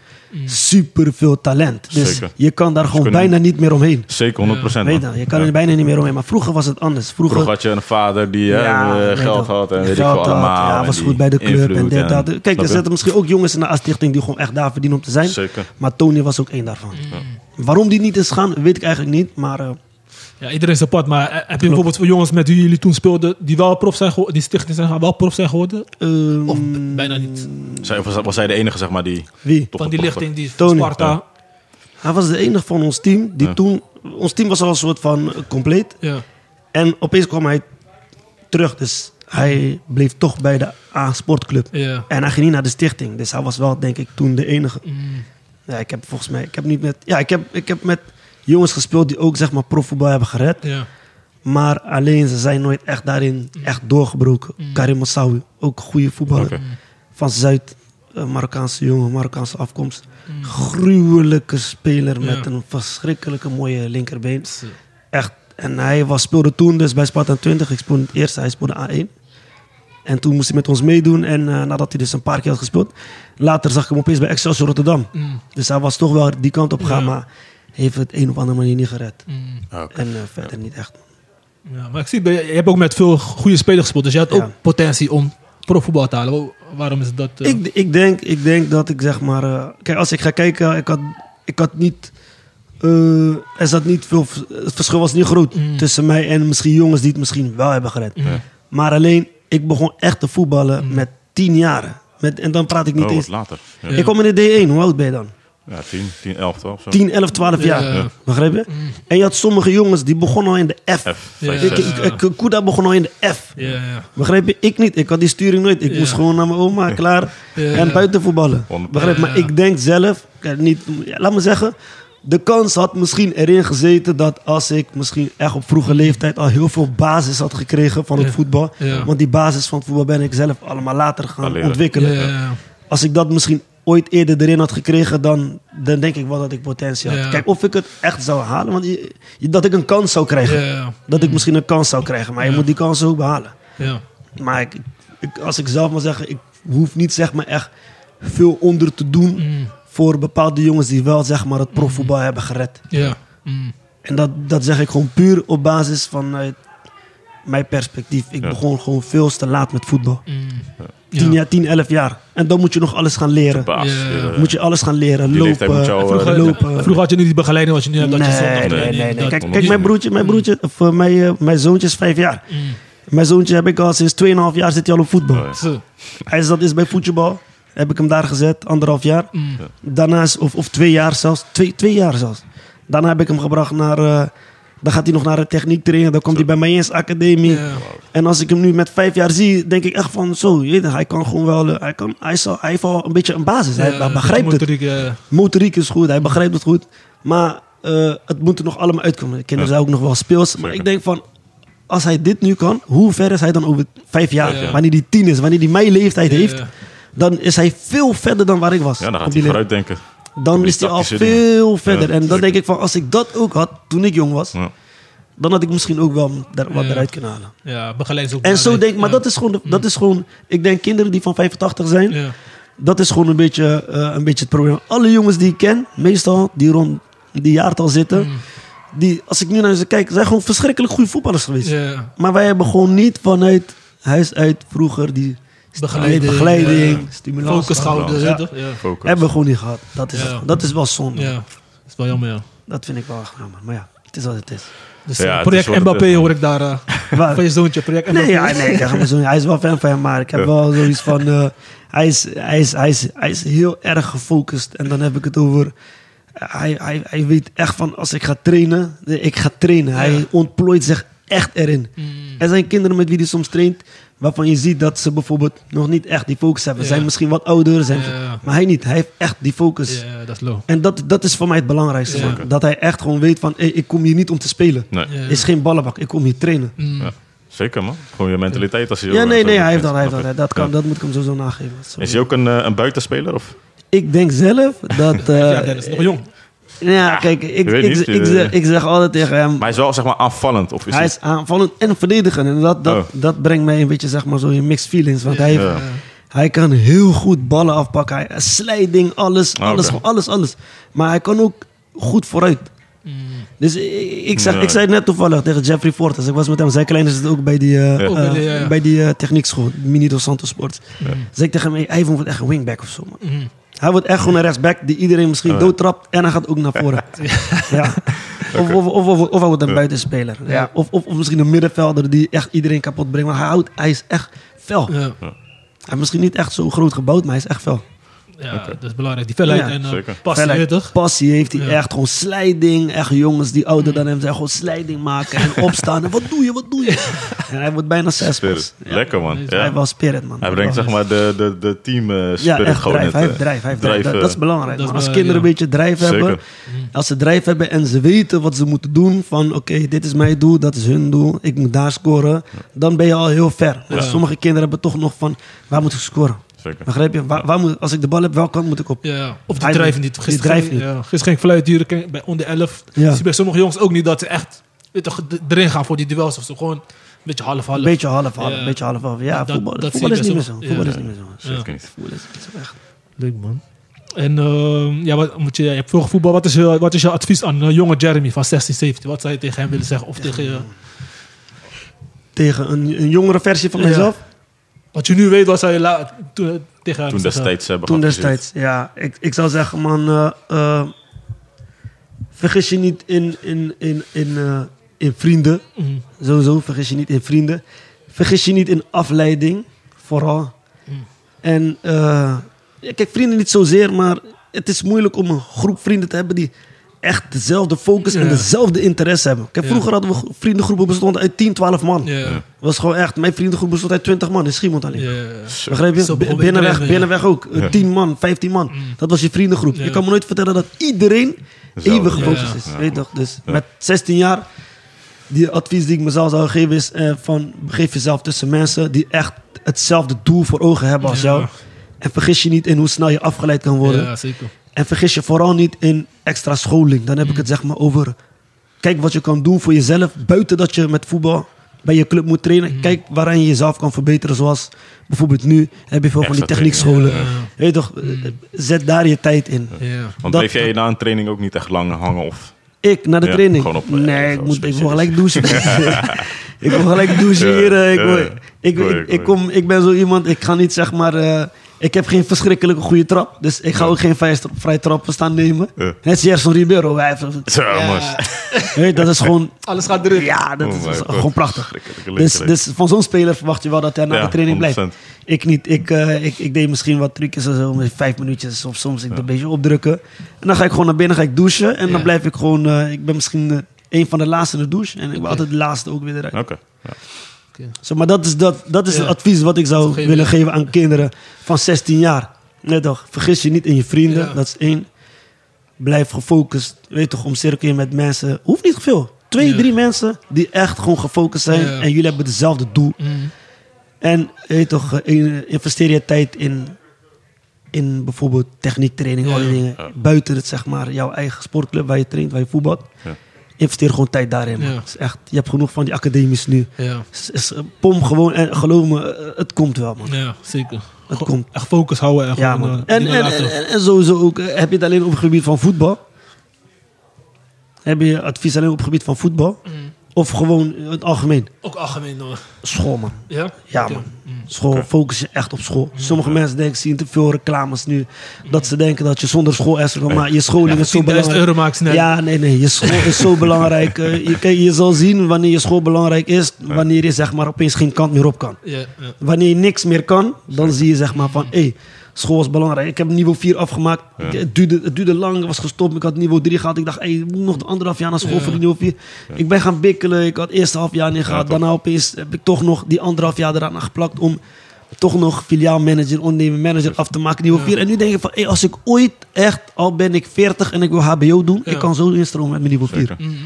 Speaker 4: super veel talent. Dus
Speaker 3: Zeker.
Speaker 4: je kan daar gewoon
Speaker 3: kunnen-
Speaker 4: bijna niet meer omheen.
Speaker 3: Zeker, 100 procent.
Speaker 4: Weet je, dan, je kan er bijna niet meer omheen. Maar vroeger was het anders. Vroeger,
Speaker 3: Vroeger had je een vader die hè, eh,
Speaker 4: weet
Speaker 3: geld
Speaker 4: je,
Speaker 3: had en weet ik
Speaker 4: geld
Speaker 3: veel
Speaker 4: had,
Speaker 3: allemaal.
Speaker 4: Ja,
Speaker 3: en
Speaker 4: was
Speaker 3: die
Speaker 4: goed bij de club en
Speaker 3: invloed
Speaker 4: dit, dat. Kijk,
Speaker 3: Snap
Speaker 4: er
Speaker 3: je?
Speaker 4: zitten misschien ook jongens in de A-stichting die gewoon echt daar verdienen om te zijn.
Speaker 3: Zeker.
Speaker 4: Maar Tony was ook één daarvan. Waarom die niet is gaan, weet ik eigenlijk niet. Maar eh,
Speaker 2: Ja, iedereen is apart. Maar eh, heb je bijvoorbeeld voor jongens met wie jullie toen speelden, die wel prof zijn geworden, die stichting zijn gaan, wel prof zijn geworden?
Speaker 4: ehm,
Speaker 5: Of b- bijna niet.
Speaker 3: Zij- was, was hij de enige, zeg maar, die...
Speaker 4: wie?
Speaker 3: toch
Speaker 2: Van die
Speaker 3: een-
Speaker 2: lichting, die
Speaker 4: Tony.
Speaker 2: Sparta.
Speaker 4: Hij was de enige van ons team die
Speaker 3: Ja.
Speaker 4: toen... Ons team was al een soort van eh, compleet.
Speaker 2: Ja.
Speaker 4: En opeens kwam hij terug. Dus hij bleef toch bij de A-sportclub.
Speaker 2: Ja.
Speaker 4: En hij ging niet naar de stichting. Dus hij was wel, denk ik, toen de enige.
Speaker 2: Mm.
Speaker 4: Ja, ik heb volgens mij... Ik heb niet met... Ja, ik heb, ik heb met jongens gespeeld die ook, zeg maar, profvoetbal hebben gered.
Speaker 2: Ja.
Speaker 4: Maar alleen, ze zijn nooit echt daarin echt doorgebroken.
Speaker 2: Mm.
Speaker 4: Karim Massaoui, ook goede voetballer.
Speaker 3: Oké.
Speaker 4: Van Zuid, eh, Marokkaanse jongen, Marokkaanse afkomst.
Speaker 2: Mm.
Speaker 4: Gruwelijke speler met
Speaker 2: Ja.
Speaker 4: een verschrikkelijke mooie linkerbeen. Echt. En hij was, speelde toen dus bij Sparta 20. Ik speelde het eerste, hij speelde A1. En toen moest hij met ons meedoen. En eh, nadat hij dus een paar keer had gespeeld... Later zag ik hem opeens bij Excelsior Rotterdam.
Speaker 2: Mm.
Speaker 4: Dus hij was toch wel die kant op gegaan.
Speaker 2: Ja.
Speaker 4: Maar heeft het een of andere manier niet gered.
Speaker 2: Mm.
Speaker 3: Oké.
Speaker 4: En eh, verder niet echt.
Speaker 2: Ja, maar ik zie, je hebt ook met veel goede spelers gespeeld, dus je had ook
Speaker 4: Ja.
Speaker 2: potentie om profvoetbal te halen. Wa- Waarom is dat? eh,
Speaker 4: Ik, ik, denk, ik denk dat ik zeg maar. eh, kijk, als ik ga kijken, ik had, ik had niet. eh, er zat niet veel. v- Het verschil was niet groot
Speaker 2: Mm.
Speaker 4: tussen mij en misschien jongens die het misschien wel hebben gered.
Speaker 3: Ja.
Speaker 4: Maar alleen, ik begon echt te voetballen
Speaker 2: Mm.
Speaker 4: met tien jaar. Met, en dan praat ik niet
Speaker 3: Oh, wat
Speaker 4: eens.
Speaker 3: later. Ja, Oh.
Speaker 4: Ik kom in de D1, hoe oud ben je dan?
Speaker 3: ja 10, 10, 11, 12. Zo.
Speaker 4: 10, 11, 12 jaar.
Speaker 2: Ja. Mm.
Speaker 4: Begrijp je? En je had sommige jongens die begonnen al in de F.
Speaker 3: F,
Speaker 2: Ja.
Speaker 3: 5,
Speaker 4: Ik,
Speaker 3: 6.
Speaker 4: ik, ik- Kuda begon al in de F.
Speaker 2: ja, ja.
Speaker 4: Begrijp je? Ik niet. Ik had die sturing nooit. Ik
Speaker 2: Ja.
Speaker 4: moest gewoon naar mijn oma, klaar.
Speaker 2: Ja.
Speaker 4: En buiten voetballen.
Speaker 3: Honderd-
Speaker 4: Begrijp je? Maar ik denk zelf, kijk, niet, ja, laat me zeggen, de kans had misschien erin gezeten dat als ik misschien echt op vroege leeftijd al heel veel basis had gekregen van het
Speaker 2: Ja.
Speaker 4: voetbal.
Speaker 2: Ja.
Speaker 4: Want die basis van het voetbal ben ik zelf allemaal later gaan
Speaker 3: Gaan leren.
Speaker 2: Ja,
Speaker 4: ontwikkelen.
Speaker 2: ja, ja.
Speaker 4: Als ik dat misschien ooit eerder erin had gekregen, dan, dan denk ik wel dat ik potentie had.
Speaker 2: Ja.
Speaker 4: Kijk, of ik het echt zou halen, want je- je- dat ik een kans zou krijgen.
Speaker 2: Ja, ja,
Speaker 4: Dat ik misschien een kans zou krijgen, maar je
Speaker 2: Ja.
Speaker 4: moet die kans ook behalen.
Speaker 2: ja.
Speaker 4: Maar ik, ik- als ik zelf maar zeggen, ik hoef niet zeg maar echt veel onder te doen
Speaker 2: Mm.
Speaker 4: voor bepaalde jongens die wel zeg maar het profvoetbal hebben gered.
Speaker 2: Ja. Mm.
Speaker 4: En dat, dat zeg ik gewoon puur op basis van eh, mijn perspectief. Ik
Speaker 3: Ja.
Speaker 4: begon gewoon veel te laat met voetbal.
Speaker 2: Mm. Ja.
Speaker 4: 10 jaar, 10, 11 jaar. En dan moet je nog alles gaan leren.
Speaker 3: Baas.
Speaker 2: Ja.
Speaker 3: eh,
Speaker 4: Moet je alles gaan leren.
Speaker 3: Die leeftijd
Speaker 4: Lopen,
Speaker 3: moet jou, eh,
Speaker 4: vroeger
Speaker 3: redden.
Speaker 4: lopen.
Speaker 2: Vroeger had je niet die begeleiding wat je nu hebt.
Speaker 4: Nee,
Speaker 2: Dat je zondag-
Speaker 4: nee, nee. nee.
Speaker 2: dat-
Speaker 4: Kijk, kijk
Speaker 3: niet.
Speaker 4: mijn broertje, mijn broertje, of eh, mijn, eh, mijn zoontje is vijf jaar.
Speaker 2: Mm.
Speaker 4: Mijn zoontje heb ik al sinds 2,5 jaar zit hij al op voetbal.
Speaker 3: Oh, ja.
Speaker 2: Zo.
Speaker 4: Hij zat eerst bij voetbal. Heb ik hem daar gezet, anderhalf jaar.
Speaker 2: Mm.
Speaker 4: Daarna is, of, of twee jaar zelfs. Twee, twee jaar zelfs. Daarna heb ik hem gebracht naar... eh, dan gaat hij nog naar de techniek trainen. Dan komt hij bij mij eens academie.
Speaker 2: Ja.
Speaker 4: En als ik hem nu met vijf jaar zie, denk ik echt van zo. Je weet, het, hij kan gewoon wel... eh, Hij, kan, hij, zal, hij heeft al een beetje een basis. Hij, hij
Speaker 2: Ja,
Speaker 4: begrijpt het.
Speaker 2: motoriek, ja.
Speaker 4: Motoriek is goed. Hij begrijpt het goed. Maar eh, het moet er nog allemaal uitkomen. De kinderen
Speaker 3: Ja.
Speaker 4: zijn ook nog wel speels. Maar
Speaker 3: Zeker.
Speaker 4: ik denk van... Als hij dit nu kan, hoe ver is hij dan over vijf jaar?
Speaker 2: Ja.
Speaker 4: Wanneer hij tien is, wanneer hij mijn leeftijd
Speaker 2: Ja,
Speaker 4: heeft
Speaker 2: ja.
Speaker 4: dan is hij veel verder dan waar ik was.
Speaker 3: Ja, dan
Speaker 4: op
Speaker 3: gaat
Speaker 4: die
Speaker 3: hij
Speaker 4: leeftijd.
Speaker 3: vooruit denken.
Speaker 4: Dan
Speaker 3: die
Speaker 4: is hij al
Speaker 3: tactische
Speaker 4: veel verder.
Speaker 3: Ja,
Speaker 4: en dan
Speaker 3: zeker.
Speaker 4: denk ik van, als ik dat ook had toen ik jong was,
Speaker 3: Ja.
Speaker 4: dan had ik misschien ook wel daar, wat
Speaker 2: Ja.
Speaker 4: eruit kunnen halen.
Speaker 2: Ja, begeleiding is ook
Speaker 4: En zo
Speaker 2: belangrijk.
Speaker 4: denk ik, maar
Speaker 2: Ja.
Speaker 4: dat is, gewoon, de- dat is gewoon, ik denk kinderen die van 85 zijn,
Speaker 2: Ja.
Speaker 4: dat is gewoon een beetje, eh, een beetje het probleem. Alle jongens die ik ken, meestal die rond die jaartal zitten,
Speaker 2: Mm.
Speaker 4: die, als ik nu naar ze kijk, zijn gewoon verschrikkelijk goede voetballers
Speaker 2: Dus
Speaker 4: geweest.
Speaker 2: Ja.
Speaker 4: Maar wij hebben gewoon niet vanuit huis uit vroeger die st-
Speaker 2: Begeleiding,
Speaker 4: begeleiding, eh,
Speaker 2: ja.
Speaker 4: stimulans.
Speaker 2: Focus houden.
Speaker 4: Ja.
Speaker 2: Ja. Ja.
Speaker 3: Focus.
Speaker 4: Hebben we gewoon niet gehad. Dat is,
Speaker 2: Ja.
Speaker 4: dat is wel zonde.
Speaker 2: ja, dat is wel jammer, ja.
Speaker 4: Dat vind ik wel echt jammer. Maar ja, het is wat het is.
Speaker 2: Dus
Speaker 3: Ja,
Speaker 2: eh,
Speaker 3: het is
Speaker 2: project
Speaker 3: wat het
Speaker 2: Mbappé
Speaker 3: is, man.
Speaker 2: hoor ik daar. eh,
Speaker 4: Waar-
Speaker 2: van je zoontje, project Mbappé.
Speaker 4: Nee, ja, nee ik zeg maar zo, hij is wel fan van hem, maar ik heb wel zoiets van... eh, hij, is, hij, is, hij, is, hij is heel erg gefocust. En dan heb ik het over... eh, hij, hij, hij weet echt van, als ik ga trainen, nee, ik ga trainen. Hij ontplooit zich echt erin.
Speaker 2: Mm.
Speaker 4: Er zijn kinderen met wie hij soms traint, waarvan je ziet dat ze bijvoorbeeld nog niet echt die focus hebben.
Speaker 2: Ja.
Speaker 4: Zijn misschien wat ouder, zijn,
Speaker 2: Ja.
Speaker 4: maar hij niet. Hij heeft echt die focus.
Speaker 2: Ja, dat is low.
Speaker 4: En dat, dat is voor mij het belangrijkste.
Speaker 2: Ja.
Speaker 4: man. Dat hij echt gewoon weet van, hey, ik kom hier niet om te spelen.
Speaker 3: Nee.
Speaker 2: Ja.
Speaker 4: Is geen ballenbak, ik kom hier trainen.
Speaker 2: Mm.
Speaker 3: Ja. Zeker, man. Gewoon je mentaliteit als je...
Speaker 4: Ja,
Speaker 3: zo-
Speaker 4: nee,
Speaker 3: zo
Speaker 4: nee,
Speaker 3: goed
Speaker 4: hij heeft
Speaker 3: bent.
Speaker 4: dat, hij
Speaker 3: Snap
Speaker 4: heeft dat. hè.
Speaker 3: je?
Speaker 4: Dat, kan,
Speaker 3: Ja.
Speaker 4: dat moet ik hem sowieso nageven. Sorry.
Speaker 3: Is hij ook een, eh, een buitenspeler? Of?
Speaker 4: Ik denk zelf dat... eh,
Speaker 2: Ja, dat is nog jong.
Speaker 4: ja, kijk, ik,
Speaker 3: weet
Speaker 4: ik,
Speaker 3: niet, eh.
Speaker 4: ik, zeg, ik zeg altijd tegen hem...
Speaker 3: Maar hij is wel, zeg maar, aanvallend. Of is
Speaker 4: hij
Speaker 3: hij...
Speaker 4: is aanvallend en verdedigend. En dat, dat,
Speaker 3: Oh.
Speaker 2: Eh,
Speaker 4: dat brengt mij een beetje, zeg maar, zo in mixed feelings. Want hij, heeft,
Speaker 3: Ja.
Speaker 4: Hij kan heel goed ballen afpakken. Hij, slijding, alles, alles,
Speaker 3: Ah, Oké.
Speaker 4: alles, alles. Maar hij kan ook goed vooruit.
Speaker 2: mm.
Speaker 4: Dus ik, ik, zeg,
Speaker 3: Ja.
Speaker 4: ik zei net toevallig tegen Jeffrey Ford, als ik was met hem, zijn kleine zit ook bij die, eh,
Speaker 2: Ook bij
Speaker 4: eh,
Speaker 2: die, ja, ja.
Speaker 4: bij die eh, techniekschool, Mini Dos Santos Sports. Zeg ik tegen hem, hey, hij wordt echt een wingback of zo. Man.
Speaker 2: Mhm.
Speaker 4: Hij wordt echt gewoon een rechtsback die iedereen misschien doodtrapt en hij gaat ook naar voren. ja. of, of, of, of, of hij wordt een buitenspeler. Ja. Of, of, of misschien een middenvelder die echt iedereen kapot brengt. Maar hij, houdt, hij is echt fel.
Speaker 2: Ja,
Speaker 4: Hij is misschien niet echt zo groot gebouwd, maar hij is echt fel.
Speaker 2: ja dat is belangrijk. Die felheid
Speaker 4: Ja,
Speaker 2: en
Speaker 3: zeker.
Speaker 2: uh, passie, weet
Speaker 4: Felheid,
Speaker 2: je toch?
Speaker 4: Passie heeft hij
Speaker 2: Ja. Mm.
Speaker 4: echt. Gewoon slijding. Echt jongens die ouder dan hem zijn. Gewoon slijding maken en opstaan. En wat doe je, wat doe je? En hij wordt bijna zes pas.
Speaker 3: Spirit. Lekker man.
Speaker 2: Hij
Speaker 3: Ja.
Speaker 4: Hij was spirit, man.
Speaker 3: Hij brengt zeg maar de, de, de team eh,
Speaker 4: Ja,
Speaker 3: spirit
Speaker 4: echt
Speaker 3: gewoon
Speaker 4: drijf. Hij
Speaker 3: net,
Speaker 4: heeft
Speaker 3: eh,
Speaker 4: drijf. Hij heeft drijf.
Speaker 3: drijf,
Speaker 4: Dat,
Speaker 3: eh,
Speaker 4: dat is belangrijk.
Speaker 2: dat is
Speaker 4: man. Als
Speaker 2: belangrijk,
Speaker 4: kinderen een
Speaker 2: ja.
Speaker 4: beetje drijf
Speaker 3: Zeker.
Speaker 4: hebben. Als ze drijf hebben en ze weten wat ze moeten doen. Van oké, dit is mijn doel. Dat is hun doel. Ik moet daar scoren. Dan ben je al heel ver. Want Sommige kinderen hebben toch nog van... Waar moet ik scoren?
Speaker 3: Zeker.
Speaker 4: Begrijp je? Waar, waar moet, als ik de bal heb, welke kant moet ik op?
Speaker 2: Ja, of die
Speaker 4: Hij-
Speaker 2: drijven niet. Gisteren,
Speaker 4: die drijven
Speaker 2: ging-
Speaker 4: niet.
Speaker 2: Ja, gisteren ging ik fluit duren ken- bij onder 11.
Speaker 4: Ja.
Speaker 2: Zie je bij sommige jongens ook niet dat ze echt weet je toch, d- erin gaan voor die duels of zo. Gewoon een beetje half-half.
Speaker 4: Een beetje half-half.
Speaker 2: Ja.
Speaker 4: Een beetje half-half. Ja,
Speaker 2: Dat-
Speaker 4: voetbal,
Speaker 2: dat
Speaker 4: voetbal
Speaker 2: zie
Speaker 4: is
Speaker 2: ik
Speaker 4: niet meer
Speaker 2: best
Speaker 4: zo.
Speaker 2: wel.
Speaker 4: Voetbal
Speaker 2: Ja.
Speaker 4: is niet meer zo.
Speaker 3: Zeker niet.
Speaker 4: Voetbal is niet zo echt.
Speaker 2: Leuk man. En ehm, ja, wat, moet je, je hebt veel voetbal. Wat is, je, wat is je advies aan eh, jonge Jeremy van 16, 17? Wat zou je tegen hem willen zeggen? Of tegen eh, je,
Speaker 4: tegen een, een jongere versie van
Speaker 2: Ja.
Speaker 4: mezelf.
Speaker 2: wat je nu weet, wat zou je la- toen- eh, tegen hem
Speaker 3: Toen
Speaker 2: zeggen?
Speaker 3: destijds hebben
Speaker 4: Toen
Speaker 3: geadviseerd.
Speaker 4: destijds. Ja, ik, ik zou zeggen, man. eh, eh, vergis je niet in, in, in, in, eh, in vrienden.
Speaker 2: Mhm.
Speaker 4: Sowieso, vergis je niet in vrienden. Vergis je niet in afleiding, vooral.
Speaker 2: Mm.
Speaker 4: En eh, ja, kijk, vrienden niet zozeer, maar het is moeilijk om een groep vrienden te hebben die echt dezelfde focus en
Speaker 2: Ja.
Speaker 4: dezelfde interesse hebben. Kijk,
Speaker 2: Ja.
Speaker 4: vroeger hadden we gro- vriendengroepen bestonden uit 10, 12 man.
Speaker 2: Ja, ja,
Speaker 4: was gewoon echt, mijn vriendengroep bestond uit 20 man in Schiemond alleen.
Speaker 2: ja, ja.
Speaker 3: Zo.
Speaker 2: Zo
Speaker 4: Begrijp
Speaker 2: begon
Speaker 4: je? B-
Speaker 2: iedereen,
Speaker 4: Binnenweg,
Speaker 2: ja. Mm.
Speaker 4: binnenweg ook. Eh, 10 man, 15 man. Dat was je vriendengroep.
Speaker 2: Ja.
Speaker 4: Je kan me nooit vertellen dat iedereen
Speaker 3: Hetzelfde.
Speaker 4: even gefocust
Speaker 2: Ja.
Speaker 4: is.
Speaker 3: Ja.
Speaker 4: Weet je toch? Dus met 16 jaar, die advies die ik mezelf zou geven is eh, van begeef jezelf tussen mensen die echt hetzelfde doel voor ogen hebben als
Speaker 2: Ja.
Speaker 4: jou. En vergis je niet in hoe snel je afgeleid kan worden.
Speaker 2: Ja, zeker.
Speaker 4: En vergis je vooral niet in extra scholing. Dan heb ik het
Speaker 2: Mm.
Speaker 4: zeg maar over. Kijk wat je kan doen voor jezelf. Buiten dat je met voetbal bij je club moet trainen.
Speaker 2: Mm.
Speaker 4: Kijk waaraan je jezelf kan verbeteren. Zoals bijvoorbeeld nu heb je veel van die
Speaker 3: Extra
Speaker 4: techniekscholen.
Speaker 2: training, ja. Mm.
Speaker 4: Weet je toch, zet daar je tijd in.
Speaker 2: Ja.
Speaker 3: Want
Speaker 4: Dat-
Speaker 3: bleef jij na een training ook niet echt lang hangen of...
Speaker 4: Ik naar de
Speaker 3: Ja,
Speaker 4: training.
Speaker 3: gewoon op, eh,
Speaker 4: nee, ik
Speaker 3: zo'n
Speaker 4: moet, ik wil
Speaker 3: specialist.
Speaker 4: gelijk douchen. ik wil gelijk douchen
Speaker 3: Ja,
Speaker 4: hier. eh, Ik,
Speaker 3: ja,
Speaker 4: wil-
Speaker 3: ja.
Speaker 4: ik,
Speaker 3: Goeie,
Speaker 4: ik,
Speaker 3: goeie.
Speaker 4: ik, kom, ik ben zo iemand, ik ga niet zeg maar. eh, ik heb geen verschrikkelijke goede trap. Dus ik ga ook geen vrije trap- vrije trappen staan nemen.
Speaker 3: Ja.
Speaker 4: Net als Gerson Ribeiro. Hij heeft,
Speaker 3: Zo, man.
Speaker 4: Weet, dat is gewoon.
Speaker 2: Alles gaat erin.
Speaker 4: Ja, dat
Speaker 3: Oh
Speaker 4: is
Speaker 3: my God.
Speaker 4: gewoon prachtig.
Speaker 3: Schrikkelijke
Speaker 4: Dus,
Speaker 3: leeftijd.
Speaker 4: dus van zo'n speler verwacht je wel dat hij na
Speaker 3: Ja,
Speaker 4: de training blijft.
Speaker 3: 100%.
Speaker 4: Ik niet. Ik, eh, ik, ik deed misschien wat trucjes en zo, met vijf minuutjes of soms ik een beetje opdrukken. En dan ga ik gewoon naar binnen, ga ik douchen. En dan
Speaker 2: Ja.
Speaker 4: blijf ik gewoon. eh, ik ben misschien eh, een van de laatste in de douche. En ik ben altijd de laatste ook weer eruit.
Speaker 3: Oké.
Speaker 4: Zo, maar dat is, dat, dat is
Speaker 2: Ja.
Speaker 4: het advies wat ik zou
Speaker 2: Dat geven,
Speaker 4: willen
Speaker 2: ja.
Speaker 4: geven aan kinderen van 16 jaar. Net toch, vergis je niet in je vrienden,
Speaker 2: Ja.
Speaker 4: dat is één. Blijf gefocust, weet toch, omcirkel je met mensen. Hoeft niet veel. Twee,
Speaker 2: Ja.
Speaker 4: drie mensen die echt gewoon gefocust zijn
Speaker 2: Ja.
Speaker 4: en jullie hebben hetzelfde doel.
Speaker 2: Mm.
Speaker 4: En weet toch, eh, in- investeer je tijd in, in bijvoorbeeld techniektraining,
Speaker 2: Ja.
Speaker 4: al die dingen. Buiten het, zeg maar, jouw eigen sportclub waar je traint, waar je voetbalt.
Speaker 3: Ja.
Speaker 4: Investeer gewoon tijd daarin. man.
Speaker 2: Ja.
Speaker 4: Dat is echt, je hebt genoeg van die academies nu.
Speaker 2: Ja.
Speaker 4: S- s- eh, Pom gewoon en geloof me, eh, het komt wel, man.
Speaker 2: ja, zeker.
Speaker 4: Het
Speaker 2: Gewoon
Speaker 4: komt.
Speaker 2: Echt focus houden. En
Speaker 4: Ja,
Speaker 2: gewoon,
Speaker 4: man.
Speaker 2: eh,
Speaker 4: En,
Speaker 2: dingen
Speaker 4: en,
Speaker 2: laten.
Speaker 4: en, en- en sowieso ook, eh, heb je het alleen op het gebied van voetbal? Heb je advies alleen op het gebied van voetbal? Of gewoon in het algemeen?
Speaker 2: Mhm. Ook algemeen hoor.
Speaker 4: School, man.
Speaker 2: Ja?
Speaker 4: Ja,
Speaker 2: Oké. Mhm. Mm.
Speaker 4: man. School, focus je echt op school. Sommige mensen denken, zien te veel reclames nu. Dat ze denken dat je zonder school extra kan. Maar je scholing is zo
Speaker 2: 10.000
Speaker 4: belangrijk.
Speaker 2: euro maakt snel.
Speaker 4: Ja, nee, nee. Je school is zo belangrijk. Eh, je, kijk, je zal zien wanneer je school belangrijk is. Wanneer je zeg maar opeens geen kant meer op kan.
Speaker 2: Ja, ja.
Speaker 4: Wanneer je niks meer kan, dan zie je zeg maar van... Hé, school is belangrijk. Ik heb niveau 4 afgemaakt. Ik- Het, duurde, het duurde lang. Ik was gestopt. Ik had niveau 3 gehad. Ik dacht, hé, ik moet nog de anderhalf jaar naar school
Speaker 2: Ja.
Speaker 4: voor die niveau 4. Ik ben gaan bikkelen. Ik had eerst half jaar niet gehad.
Speaker 3: toch.
Speaker 4: Daarna opeens heb ik toch nog die anderhalf jaar eraan geplakt om... Toch nog filiaalmanager, ondernemer, manager af te maken, niveau 4. En nu denk ik van, hé, als ik ooit echt, al ben ik 40 en ik wil HBO doen,
Speaker 2: Ja.
Speaker 4: ik kan zo instromen met mijn niveau 4.
Speaker 3: Zeker.
Speaker 2: Mhm.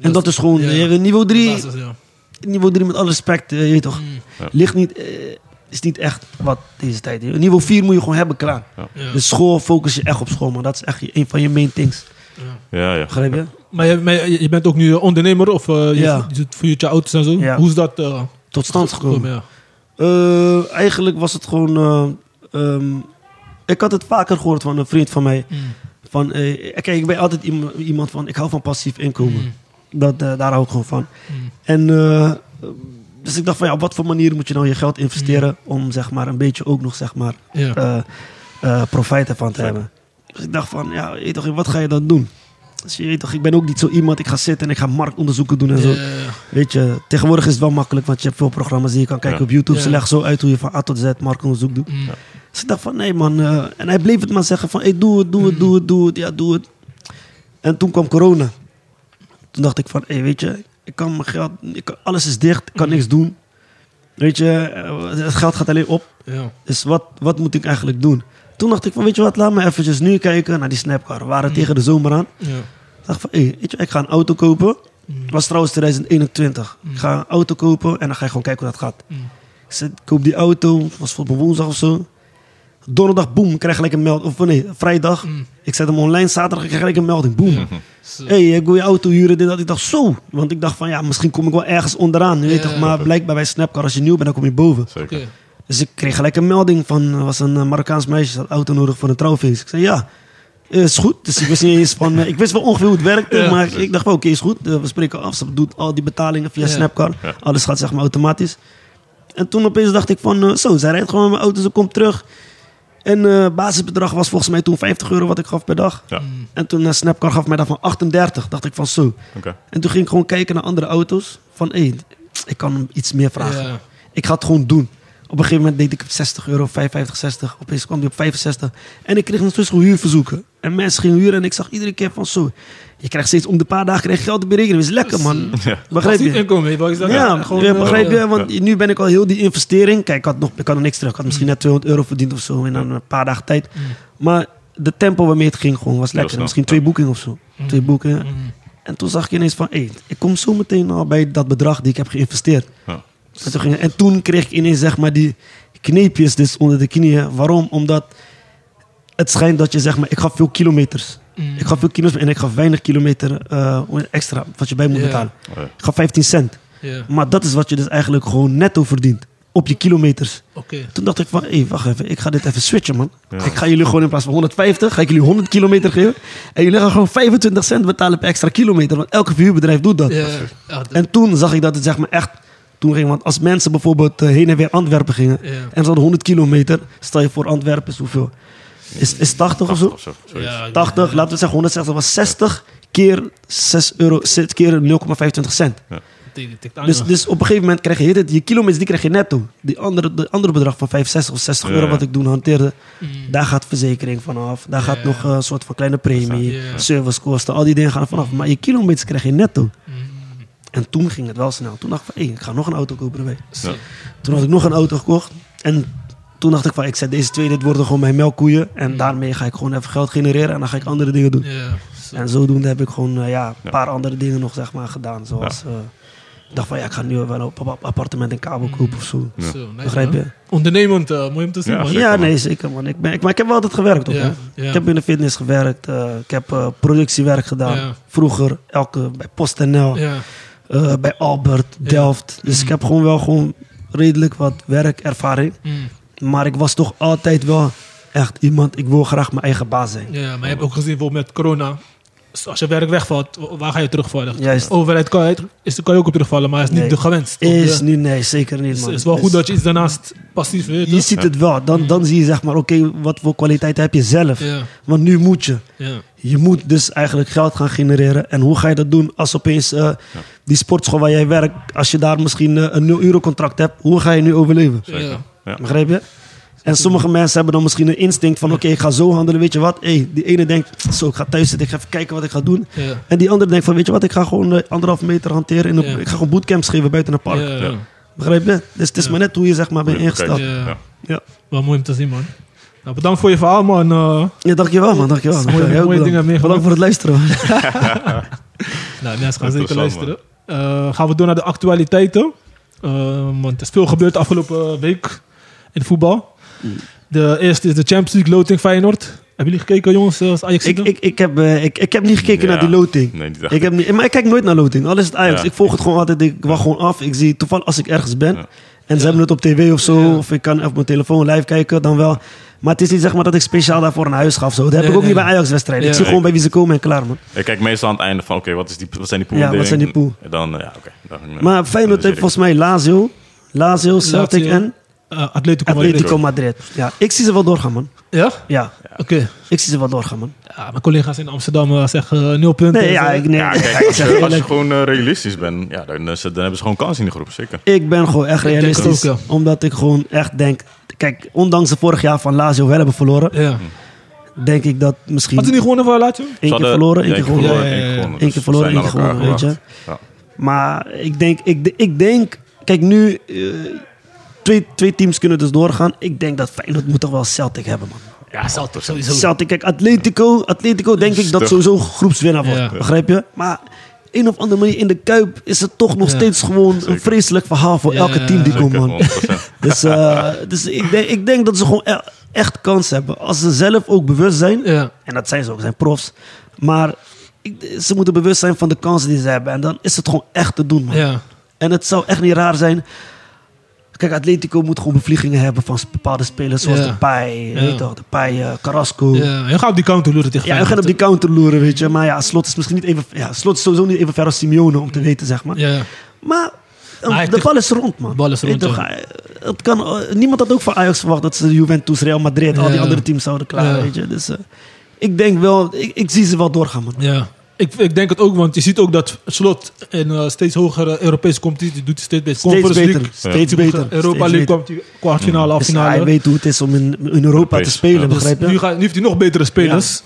Speaker 4: En dat is gewoon,
Speaker 2: ja.
Speaker 4: eh, niveau 3
Speaker 2: Basis, ja.
Speaker 4: niveau 3 met alle respect, eh, je weet toch,
Speaker 2: Mm.
Speaker 3: Ja.
Speaker 4: ligt niet, eh, is niet echt wat deze tijd. is. Niveau 4 moet je gewoon hebben klaar.
Speaker 2: Ja.
Speaker 4: Dus school, focus je echt op school, man. Dat is echt je- een van je main things.
Speaker 3: Ja, ja.
Speaker 4: Begrijp je?
Speaker 2: Maar, je, maar je je bent ook nu ondernemer of eh, je,
Speaker 4: Ja.
Speaker 2: je doet voor je auto's en zo.
Speaker 4: Ja.
Speaker 2: Hoe is dat eh,
Speaker 4: Tot stand gekomen.
Speaker 2: gekomen? Ja.
Speaker 4: Eh, eigenlijk was het gewoon eh, ehm, ik had het vaker gehoord van een vriend van mij.
Speaker 2: Mm.
Speaker 4: Van, eh, kijk, ik ben altijd iem- iemand van, ik hou van passief inkomen.
Speaker 2: Mm.
Speaker 4: Dat, eh, daar hou ik gewoon van.
Speaker 2: Mm.
Speaker 4: En eh, dus ik dacht van, ja, op wat voor manier moet je nou je geld investeren
Speaker 2: Mm.
Speaker 4: om zeg maar een beetje ook nog zeg maar
Speaker 2: Ja.
Speaker 4: eh, eh, profijt ervan te hebben. Dus ik dacht van, ja, weet toch, wat ga je dan doen? Dus je weet toch, ik ben ook niet zo iemand, ik ga zitten en ik ga marktonderzoeken doen en zo.
Speaker 2: Ja.
Speaker 4: Weet je, tegenwoordig is het wel makkelijk, want je hebt veel programma's die je kan kijken
Speaker 3: Ja.
Speaker 4: op YouTube. Ze
Speaker 2: Ja.
Speaker 4: leggen zo uit hoe je van A tot Z marktonderzoek doet.
Speaker 2: Mm.
Speaker 4: Dus ik dacht van, nee man. eh, en hij bleef het maar zeggen van, hey, doe het, doe het, doe het, doe het, ja, doe het. En toen kwam corona. Toen dacht ik van, hey, weet je, ik kan mijn geld, ik kan- alles is dicht, ik
Speaker 2: Mm.
Speaker 4: kan niks doen. Weet je, eh, het geld gaat alleen op.
Speaker 2: Ja.
Speaker 4: Dus wat, wat moet ik eigenlijk doen? Toen dacht ik van, weet je wat, laat me eventjes nu kijken naar die snapcar. We
Speaker 2: Mm.
Speaker 4: waren tegen de zomer aan.
Speaker 2: Ja.
Speaker 4: Ik dacht van, hé, weet je, ik ga een auto kopen.
Speaker 2: Mm.
Speaker 4: Het was trouwens 2021. Ik ga een auto kopen en dan ga je gewoon kijken hoe dat gaat.
Speaker 2: Mm.
Speaker 4: Ik zet, ik koop die auto, het was voor woensdag of zo. Donderdag, boem, ik krijg gelijk een melding. Of nee, vrijdag. Ik zet hem online, zaterdag, ik krijg gelijk een melding, boem.
Speaker 2: Mm. Zo.
Speaker 4: Hé, hey, ik wil je auto huren, dit, dat. Ik dacht, zo. Want ik dacht van, ja, misschien kom ik wel ergens onderaan. Je weet
Speaker 2: Ja.
Speaker 4: toch, maar blijkbaar bij Snapcar, als je nieuw bent, dan kom je boven.
Speaker 3: Zeker.
Speaker 2: Oké.
Speaker 4: Dus ik kreeg gelijk een melding van, er was een eh, Marokkaans meisje, ze had auto nodig voor een trouwfeest. Ik zei ja, eh, is goed. Dus ik wist niet eens van, eh, ik wist wel ongeveer hoe het werkte,
Speaker 2: Ja.
Speaker 4: maar ik dacht wel, oké, is goed. Eh, we spreken af, ze doet al die betalingen via
Speaker 2: Ja.
Speaker 4: Snapcar.
Speaker 3: Ja.
Speaker 4: Alles gaat zeg maar automatisch. En toen opeens dacht ik van, eh, zo, zij rijdt gewoon met mijn auto, ze komt terug. En eh, basisbedrag was volgens mij toen 50 euro wat ik gaf per dag.
Speaker 3: Ja,
Speaker 4: En toen eh, Snapcar gaf mij daarvan 38, dacht ik van zo.
Speaker 3: oké.
Speaker 4: En toen ging ik gewoon kijken naar andere auto's. Van hé, ik kan hem iets meer vragen.
Speaker 2: Ja.
Speaker 4: Ik ga het gewoon doen. Op een gegeven moment deed ik op 60 euro, 55, 60. Opeens kwam die op 65. En ik kreeg intussen huurverzoeken. En mensen gingen huren en ik zag iedere keer van zo. Je krijgt steeds om de paar dagen krijg je geld op je rekening. Dat is lekker man.
Speaker 3: Ja.
Speaker 4: Begrijp
Speaker 2: Passief
Speaker 4: je?
Speaker 2: inkomen, weet je wel, is dat?
Speaker 4: Ja,
Speaker 2: Gewoon,
Speaker 4: ja,
Speaker 2: eh,
Speaker 4: begrijp je? Want nu ben ik al heel die investering. Kijk, ik had nog, ik had nog niks terug. Ik had misschien net 200 euro verdiend of zo in een paar dagen tijd. Maar de tempo waarmee het ging gewoon was lekker.
Speaker 3: snel,
Speaker 4: Misschien
Speaker 3: ja.
Speaker 4: twee boekingen of zo. Twee boekingen.
Speaker 2: Mm.
Speaker 4: En toen zag ik ineens van, hé, ik kom zo meteen al bij dat bedrag die ik heb geïnvesteerd.
Speaker 3: Ja.
Speaker 4: En toen, ging- en toen kreeg ik ineens zeg maar die kneepjes dus onder de knieën. Waarom? Omdat het schijnt dat je zeg maar, ik gaf veel kilometers.
Speaker 2: Mm.
Speaker 4: Ik gaf veel kilometers en ik gaf weinig kilometer eh, extra wat je bij moet
Speaker 2: Ja.
Speaker 4: betalen.
Speaker 3: Oh, ja.
Speaker 4: Ik gaf 15 cent.
Speaker 2: Ja.
Speaker 4: Maar dat is wat je dus eigenlijk gewoon netto verdient. Op je kilometers.
Speaker 2: Oké.
Speaker 4: Toen dacht ik van, hé, wacht even, ik ga dit even switchen, man.
Speaker 3: Ja.
Speaker 4: Ik ga jullie gewoon in plaats van 150, ga ik jullie 100 kilometer geven. En jullie gaan gewoon 25 cent betalen per extra kilometer, want elke verhuurbedrijf doet dat.
Speaker 2: Ja. Ja, dat-
Speaker 4: En toen zag ik dat het zeg maar echt toen ging. Want als mensen bijvoorbeeld eh, heen en weer Antwerpen gingen,
Speaker 2: Ja.
Speaker 4: en ze hadden 100 kilometer, stel je voor Antwerpen is hoeveel? Is, is 80 of zo?
Speaker 3: Of zo, zoiets.
Speaker 2: ja,
Speaker 4: 80, laten we zeggen 160, was 60 keer 6 euro, zes keer 0,25 cent.
Speaker 2: Tik- tik aan,
Speaker 4: Dus,
Speaker 2: ja.
Speaker 4: dus op een gegeven moment krijg je heel dit- je kilometers, die krijg je netto. Die andere, de andere bedrag van 65 of 60
Speaker 3: Ja,
Speaker 4: euro
Speaker 3: ja.
Speaker 4: wat ik toen hanteerde,
Speaker 2: Mm.
Speaker 4: daar gaat verzekering vanaf. Daar gaat
Speaker 2: Ja.
Speaker 4: nog eh, een soort van kleine premie,
Speaker 2: Ja.
Speaker 4: servicekosten, al die dingen gaan er vanaf. Maar je kilometers krijg je netto.
Speaker 2: Mm.
Speaker 4: En toen ging het wel snel. Toen dacht ik van, hé, ik ga nog een auto kopen erbij.
Speaker 2: Zo.
Speaker 4: Toen had ik nog een auto gekocht. En toen dacht ik van, ik zet deze twee, dit worden gewoon mijn melkkoeien. En
Speaker 2: Mm.
Speaker 4: daarmee ga ik gewoon even geld genereren en dan ga ik andere dingen doen.
Speaker 2: Ja. Zo.
Speaker 4: En zodoende heb ik gewoon eh, ja,
Speaker 3: Ja.
Speaker 4: een paar andere dingen nog zeg maar, gedaan. Zoals, eh, ik dacht van, ja, ik ga nu wel een pap- appartement in Kabel
Speaker 2: Mm.
Speaker 4: kopen of zo.
Speaker 3: Ja.
Speaker 2: Zo, nice,
Speaker 4: Begrijp
Speaker 2: man.
Speaker 4: je?
Speaker 2: Ondernemend, eh, mooi om te zien,
Speaker 3: Ja,
Speaker 2: man.
Speaker 3: zeker.
Speaker 4: ja,
Speaker 3: man.
Speaker 4: nee, zeker man. Ik ben, ik, maar ik heb wel altijd gewerkt ook.
Speaker 2: Ja,
Speaker 4: hè.
Speaker 2: ja.
Speaker 4: Ik heb in de fitness gewerkt. eh, ik heb eh, productiewerk gedaan.
Speaker 2: Ja.
Speaker 4: Vroeger, elke, bij PostNL.
Speaker 2: Ja.
Speaker 4: eh, bij Albert,
Speaker 2: Ja.
Speaker 4: Delft. Dus ik heb gewoon wel gewoon redelijk wat werkervaring.
Speaker 2: Mm.
Speaker 4: Maar ik was toch altijd wel echt iemand, ik wil graag mijn eigen baas zijn.
Speaker 2: Ja, maar je hebt ook gezien bijvoorbeeld met corona. Dus Als je werk wegvalt, wa- waar ga je terugvallen?
Speaker 4: Juist.
Speaker 2: Overheid kan, je- is, kan je ook op terugvallen, maar is niet
Speaker 4: Nee.
Speaker 2: de gewenst.
Speaker 4: Is
Speaker 2: Ja.
Speaker 4: niet, nee, zeker niet
Speaker 2: is,
Speaker 4: man.
Speaker 2: is wel
Speaker 4: Dus
Speaker 2: goed dat je iets daarnaast passief weet.
Speaker 4: Je
Speaker 2: toch?
Speaker 4: ziet het wel. Dan, dan zie je zeg maar, oké, wat voor kwaliteit heb je zelf?
Speaker 2: Ja,
Speaker 4: Want nu moet je.
Speaker 2: ja.
Speaker 4: Je moet dus eigenlijk geld gaan genereren. En hoe ga je dat doen als opeens eh, die sportschool waar jij werkt, als je daar misschien eh, een 0 euro contract hebt, hoe ga je nu overleven?
Speaker 3: Zeker.
Speaker 2: Ja.
Speaker 3: Ja.
Speaker 4: Begrijp je? En sommige mensen hebben dan misschien een instinct van... oké, ik ga zo handelen, weet je wat? Hey, die ene denkt, zo, ik ga thuis zitten, ik ga even kijken wat ik ga doen.
Speaker 2: Ja.
Speaker 4: En die andere denkt van, weet je wat? Ik ga gewoon eh, anderhalf meter hanteren. In een,
Speaker 2: Ja.
Speaker 4: Ik ga gewoon bootcamps geven buiten een park.
Speaker 2: Ja, ja.
Speaker 4: Begrijp je? Dus het is maar net hoe je zeg maar bent
Speaker 3: Goeie
Speaker 4: ingesteld.
Speaker 3: bekijk.
Speaker 2: Ja.
Speaker 3: Ja.
Speaker 4: Ja.
Speaker 2: Wel mooi om te zien, man. Nou, bedankt voor je verhaal, man. Eh,
Speaker 4: ja, dankjewel man, dankjewel.
Speaker 2: Mooie-
Speaker 4: Jij ook
Speaker 2: mooie
Speaker 4: bedankt.
Speaker 2: dingen meegemaakt.
Speaker 4: Bedankt voor het luisteren. man.
Speaker 2: nou, mensen gaan zeker
Speaker 3: Interessant,
Speaker 2: luisteren. Eh, gaan we door naar de actualiteiten. Eh, want er is veel gebeurd de afgelopen week in voetbal.
Speaker 4: Mm.
Speaker 2: De eerste is de Champions League loting Feyenoord. Hebben jullie gekeken, jongens? eh, Als Ajax
Speaker 4: ik, ik, ik, heb, eh, ik, ik heb niet gekeken
Speaker 3: Ja.
Speaker 4: naar die loting.
Speaker 3: Nee, niet echt.
Speaker 4: Ik heb niet, maar ik kijk nooit naar loting. Alles is het Ajax.
Speaker 3: Ja.
Speaker 4: Ik volg het gewoon altijd. Ik wacht gewoon af. Ik zie toevallig als ik ergens ben.
Speaker 3: Ja.
Speaker 4: En ze hebben het op tv of zo, of ik kan op mijn telefoon live kijken, dan wel. Maar het is niet zeg maar dat ik speciaal daarvoor naar huis gaf. Zo. Dat heb
Speaker 2: Nee,
Speaker 4: ik ook
Speaker 2: nee.
Speaker 4: niet bij Ajax-wedstrijden.
Speaker 2: Ja.
Speaker 4: Ik zie gewoon bij wie ze komen en klaar, man.
Speaker 3: Ik kijk meestal aan het einde van, oké, wat is die, wat zijn die pool?
Speaker 4: Ja, wat zijn die pool?
Speaker 3: Dan, eh, ja, oké. dan, eh,
Speaker 4: Maar
Speaker 3: dan
Speaker 4: Feyenoord
Speaker 3: zie
Speaker 4: heeft
Speaker 3: ik.
Speaker 4: volgens mij Lazio, Lazio, Celtic
Speaker 2: Lazio.
Speaker 4: en
Speaker 2: Eh, Atletico Madrid.
Speaker 4: Atletico Madrid. Ja, ik zie ze wel doorgaan, man.
Speaker 2: Ja?
Speaker 4: Ja,
Speaker 2: Oké.
Speaker 4: ik zie ze wel doorgaan, man.
Speaker 2: Ja, mijn collega's in Amsterdam eh, zeggen eh, nul punten.
Speaker 4: Nee, ja,
Speaker 2: Eh,
Speaker 4: ik, nee,
Speaker 3: Ja,
Speaker 4: ik
Speaker 3: kijk, als
Speaker 4: zeg
Speaker 3: je, als je
Speaker 4: eerlijk,
Speaker 3: gewoon eh, realistisch bent, ja, dan, eh, ze- dan hebben ze gewoon kans in de groep, zeker.
Speaker 4: ik ben gewoon echt
Speaker 2: Ik denk het
Speaker 4: realistisch.
Speaker 2: ook,
Speaker 4: Omdat ik gewoon echt denk... Kijk, ondanks ze vorig jaar van Lazio wel hebben verloren...
Speaker 2: Ja.
Speaker 4: denk ik dat misschien...
Speaker 2: Had hij niet gewonnen van Lazio?
Speaker 4: Eén
Speaker 3: Ze
Speaker 4: keer
Speaker 3: hadden-
Speaker 4: verloren, één
Speaker 3: ja,
Speaker 4: keer gewonnen.
Speaker 2: Ja, ja, ja, ja.
Speaker 3: gewonnen.
Speaker 4: Eén keer
Speaker 3: Dus
Speaker 4: verloren,
Speaker 3: ze zijn
Speaker 4: één keer
Speaker 3: aan elkaar
Speaker 4: gewonnen, weet
Speaker 3: gewaagd.
Speaker 4: Maar ik denk, ik, ik denk kijk nu, eh, twee, twee teams kunnen dus doorgaan. Ik denk dat Feyenoord moet toch wel Celtic hebben, man.
Speaker 5: Ja, Celtic sowieso.
Speaker 4: Celtic, kijk, Atletico, Atletico denk ik dat
Speaker 3: Stug.
Speaker 4: sowieso groepswinnaar wordt,
Speaker 2: Ja.
Speaker 4: begrijp je? Maar een of andere manier in de Kuip is het toch nog
Speaker 2: Ja.
Speaker 4: steeds gewoon een vreselijk verhaal voor
Speaker 2: Ja,
Speaker 4: elke team die
Speaker 2: ja,
Speaker 4: komt,
Speaker 3: Ja,
Speaker 4: man.
Speaker 3: 100%.
Speaker 4: Dus, eh, dus ik, denk, ik denk dat ze gewoon e- echt kans hebben. Als ze zelf ook bewust zijn,
Speaker 2: Ja.
Speaker 4: en dat zijn ze ook, ze zijn profs. Maar ik- ze moeten bewust zijn van de kansen die ze hebben. En dan is het gewoon echt te doen, man.
Speaker 2: Ja.
Speaker 4: En het zou echt niet raar zijn. Kijk, Atletico moet gewoon bevliegingen hebben van s- bepaalde spelers. Zoals
Speaker 2: Ja.
Speaker 4: de Pai, weet je
Speaker 2: Ja.
Speaker 4: toch, de Pai, eh, Carrasco. Ja,
Speaker 2: ja. En ga op die counter loeren tegen
Speaker 4: we gaan op die counter loeren, weet je. Maar ja, Slot is misschien niet even... Ja, Slot is sowieso niet even ver als Simeone, om te weten, zeg maar.
Speaker 2: Ja, ja.
Speaker 4: Maar eh,
Speaker 2: Maar hij
Speaker 4: de
Speaker 2: heeft-
Speaker 4: bal is rond, man.
Speaker 2: De bal is
Speaker 4: Weet je
Speaker 2: rond,
Speaker 4: toch,
Speaker 2: ja.
Speaker 4: eh, het kan, eh, niemand had ook van Ajax verwacht dat ze Juventus, Real Madrid... al die
Speaker 2: Ja.
Speaker 4: andere teams zouden klaren,
Speaker 2: Ja.
Speaker 4: weet je. Dus eh, ik denk wel... Ik, ik zie ze wel doorgaan, man.
Speaker 2: ja. Ik, ik denk het ook, want je ziet ook dat Slot in eh, steeds hogere Europese competitie doet steeds beter.
Speaker 4: Steeds
Speaker 2: Conference
Speaker 4: beter.
Speaker 2: League,
Speaker 4: Steeds
Speaker 2: Europa
Speaker 4: beter. steeds
Speaker 2: Europa League
Speaker 4: beter.
Speaker 2: kwam hij kwartfinale, half
Speaker 4: Dus hij
Speaker 2: finale.
Speaker 4: weet hoe het is om in, in Europa te
Speaker 3: Europees,
Speaker 4: spelen,
Speaker 3: ja.
Speaker 2: Dus
Speaker 4: begrijp je?
Speaker 2: nu, ga, nu heeft hij nog betere spelers.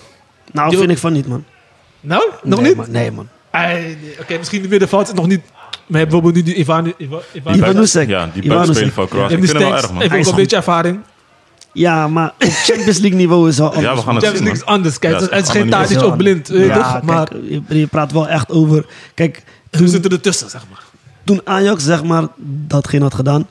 Speaker 4: nou,
Speaker 2: die-
Speaker 4: vind ik van niet, man.
Speaker 2: Nou, nog
Speaker 4: nee,
Speaker 2: niet?
Speaker 4: Man, nee, man.
Speaker 2: Ei, nee. Oké, misschien de middenveld is nog niet. Maar hebben we nu die Ivan... Ivan, Ivan
Speaker 4: Ivan- Ivanusek.
Speaker 3: Ja, die
Speaker 4: Ivanusek.
Speaker 3: buitenspeler van Kroatië.
Speaker 2: Heeft die
Speaker 3: Ik vind hem wel
Speaker 2: Stanks,
Speaker 3: erg, man.
Speaker 2: heeft ook
Speaker 4: Hij is
Speaker 2: een
Speaker 4: goed.
Speaker 2: beetje ervaring.
Speaker 4: Ja, maar op Champions League niveau is wel anders.
Speaker 3: Ja, we gaan het
Speaker 2: Champions
Speaker 3: zien.
Speaker 2: League is
Speaker 3: man.
Speaker 2: anders. Kijk,
Speaker 3: Ja,
Speaker 2: het is
Speaker 3: is
Speaker 2: geen
Speaker 3: allemaal
Speaker 4: Dat
Speaker 2: taart,
Speaker 4: is
Speaker 2: is
Speaker 4: heel
Speaker 2: ook blind.
Speaker 4: anders.
Speaker 2: weet je
Speaker 4: Ja,
Speaker 2: toch? Maar
Speaker 4: kijk, eh, je, je praat wel echt over... Kijk,
Speaker 2: we zitten ertussen, zeg maar.
Speaker 4: toen Ajax, zeg maar, datgene had gedaan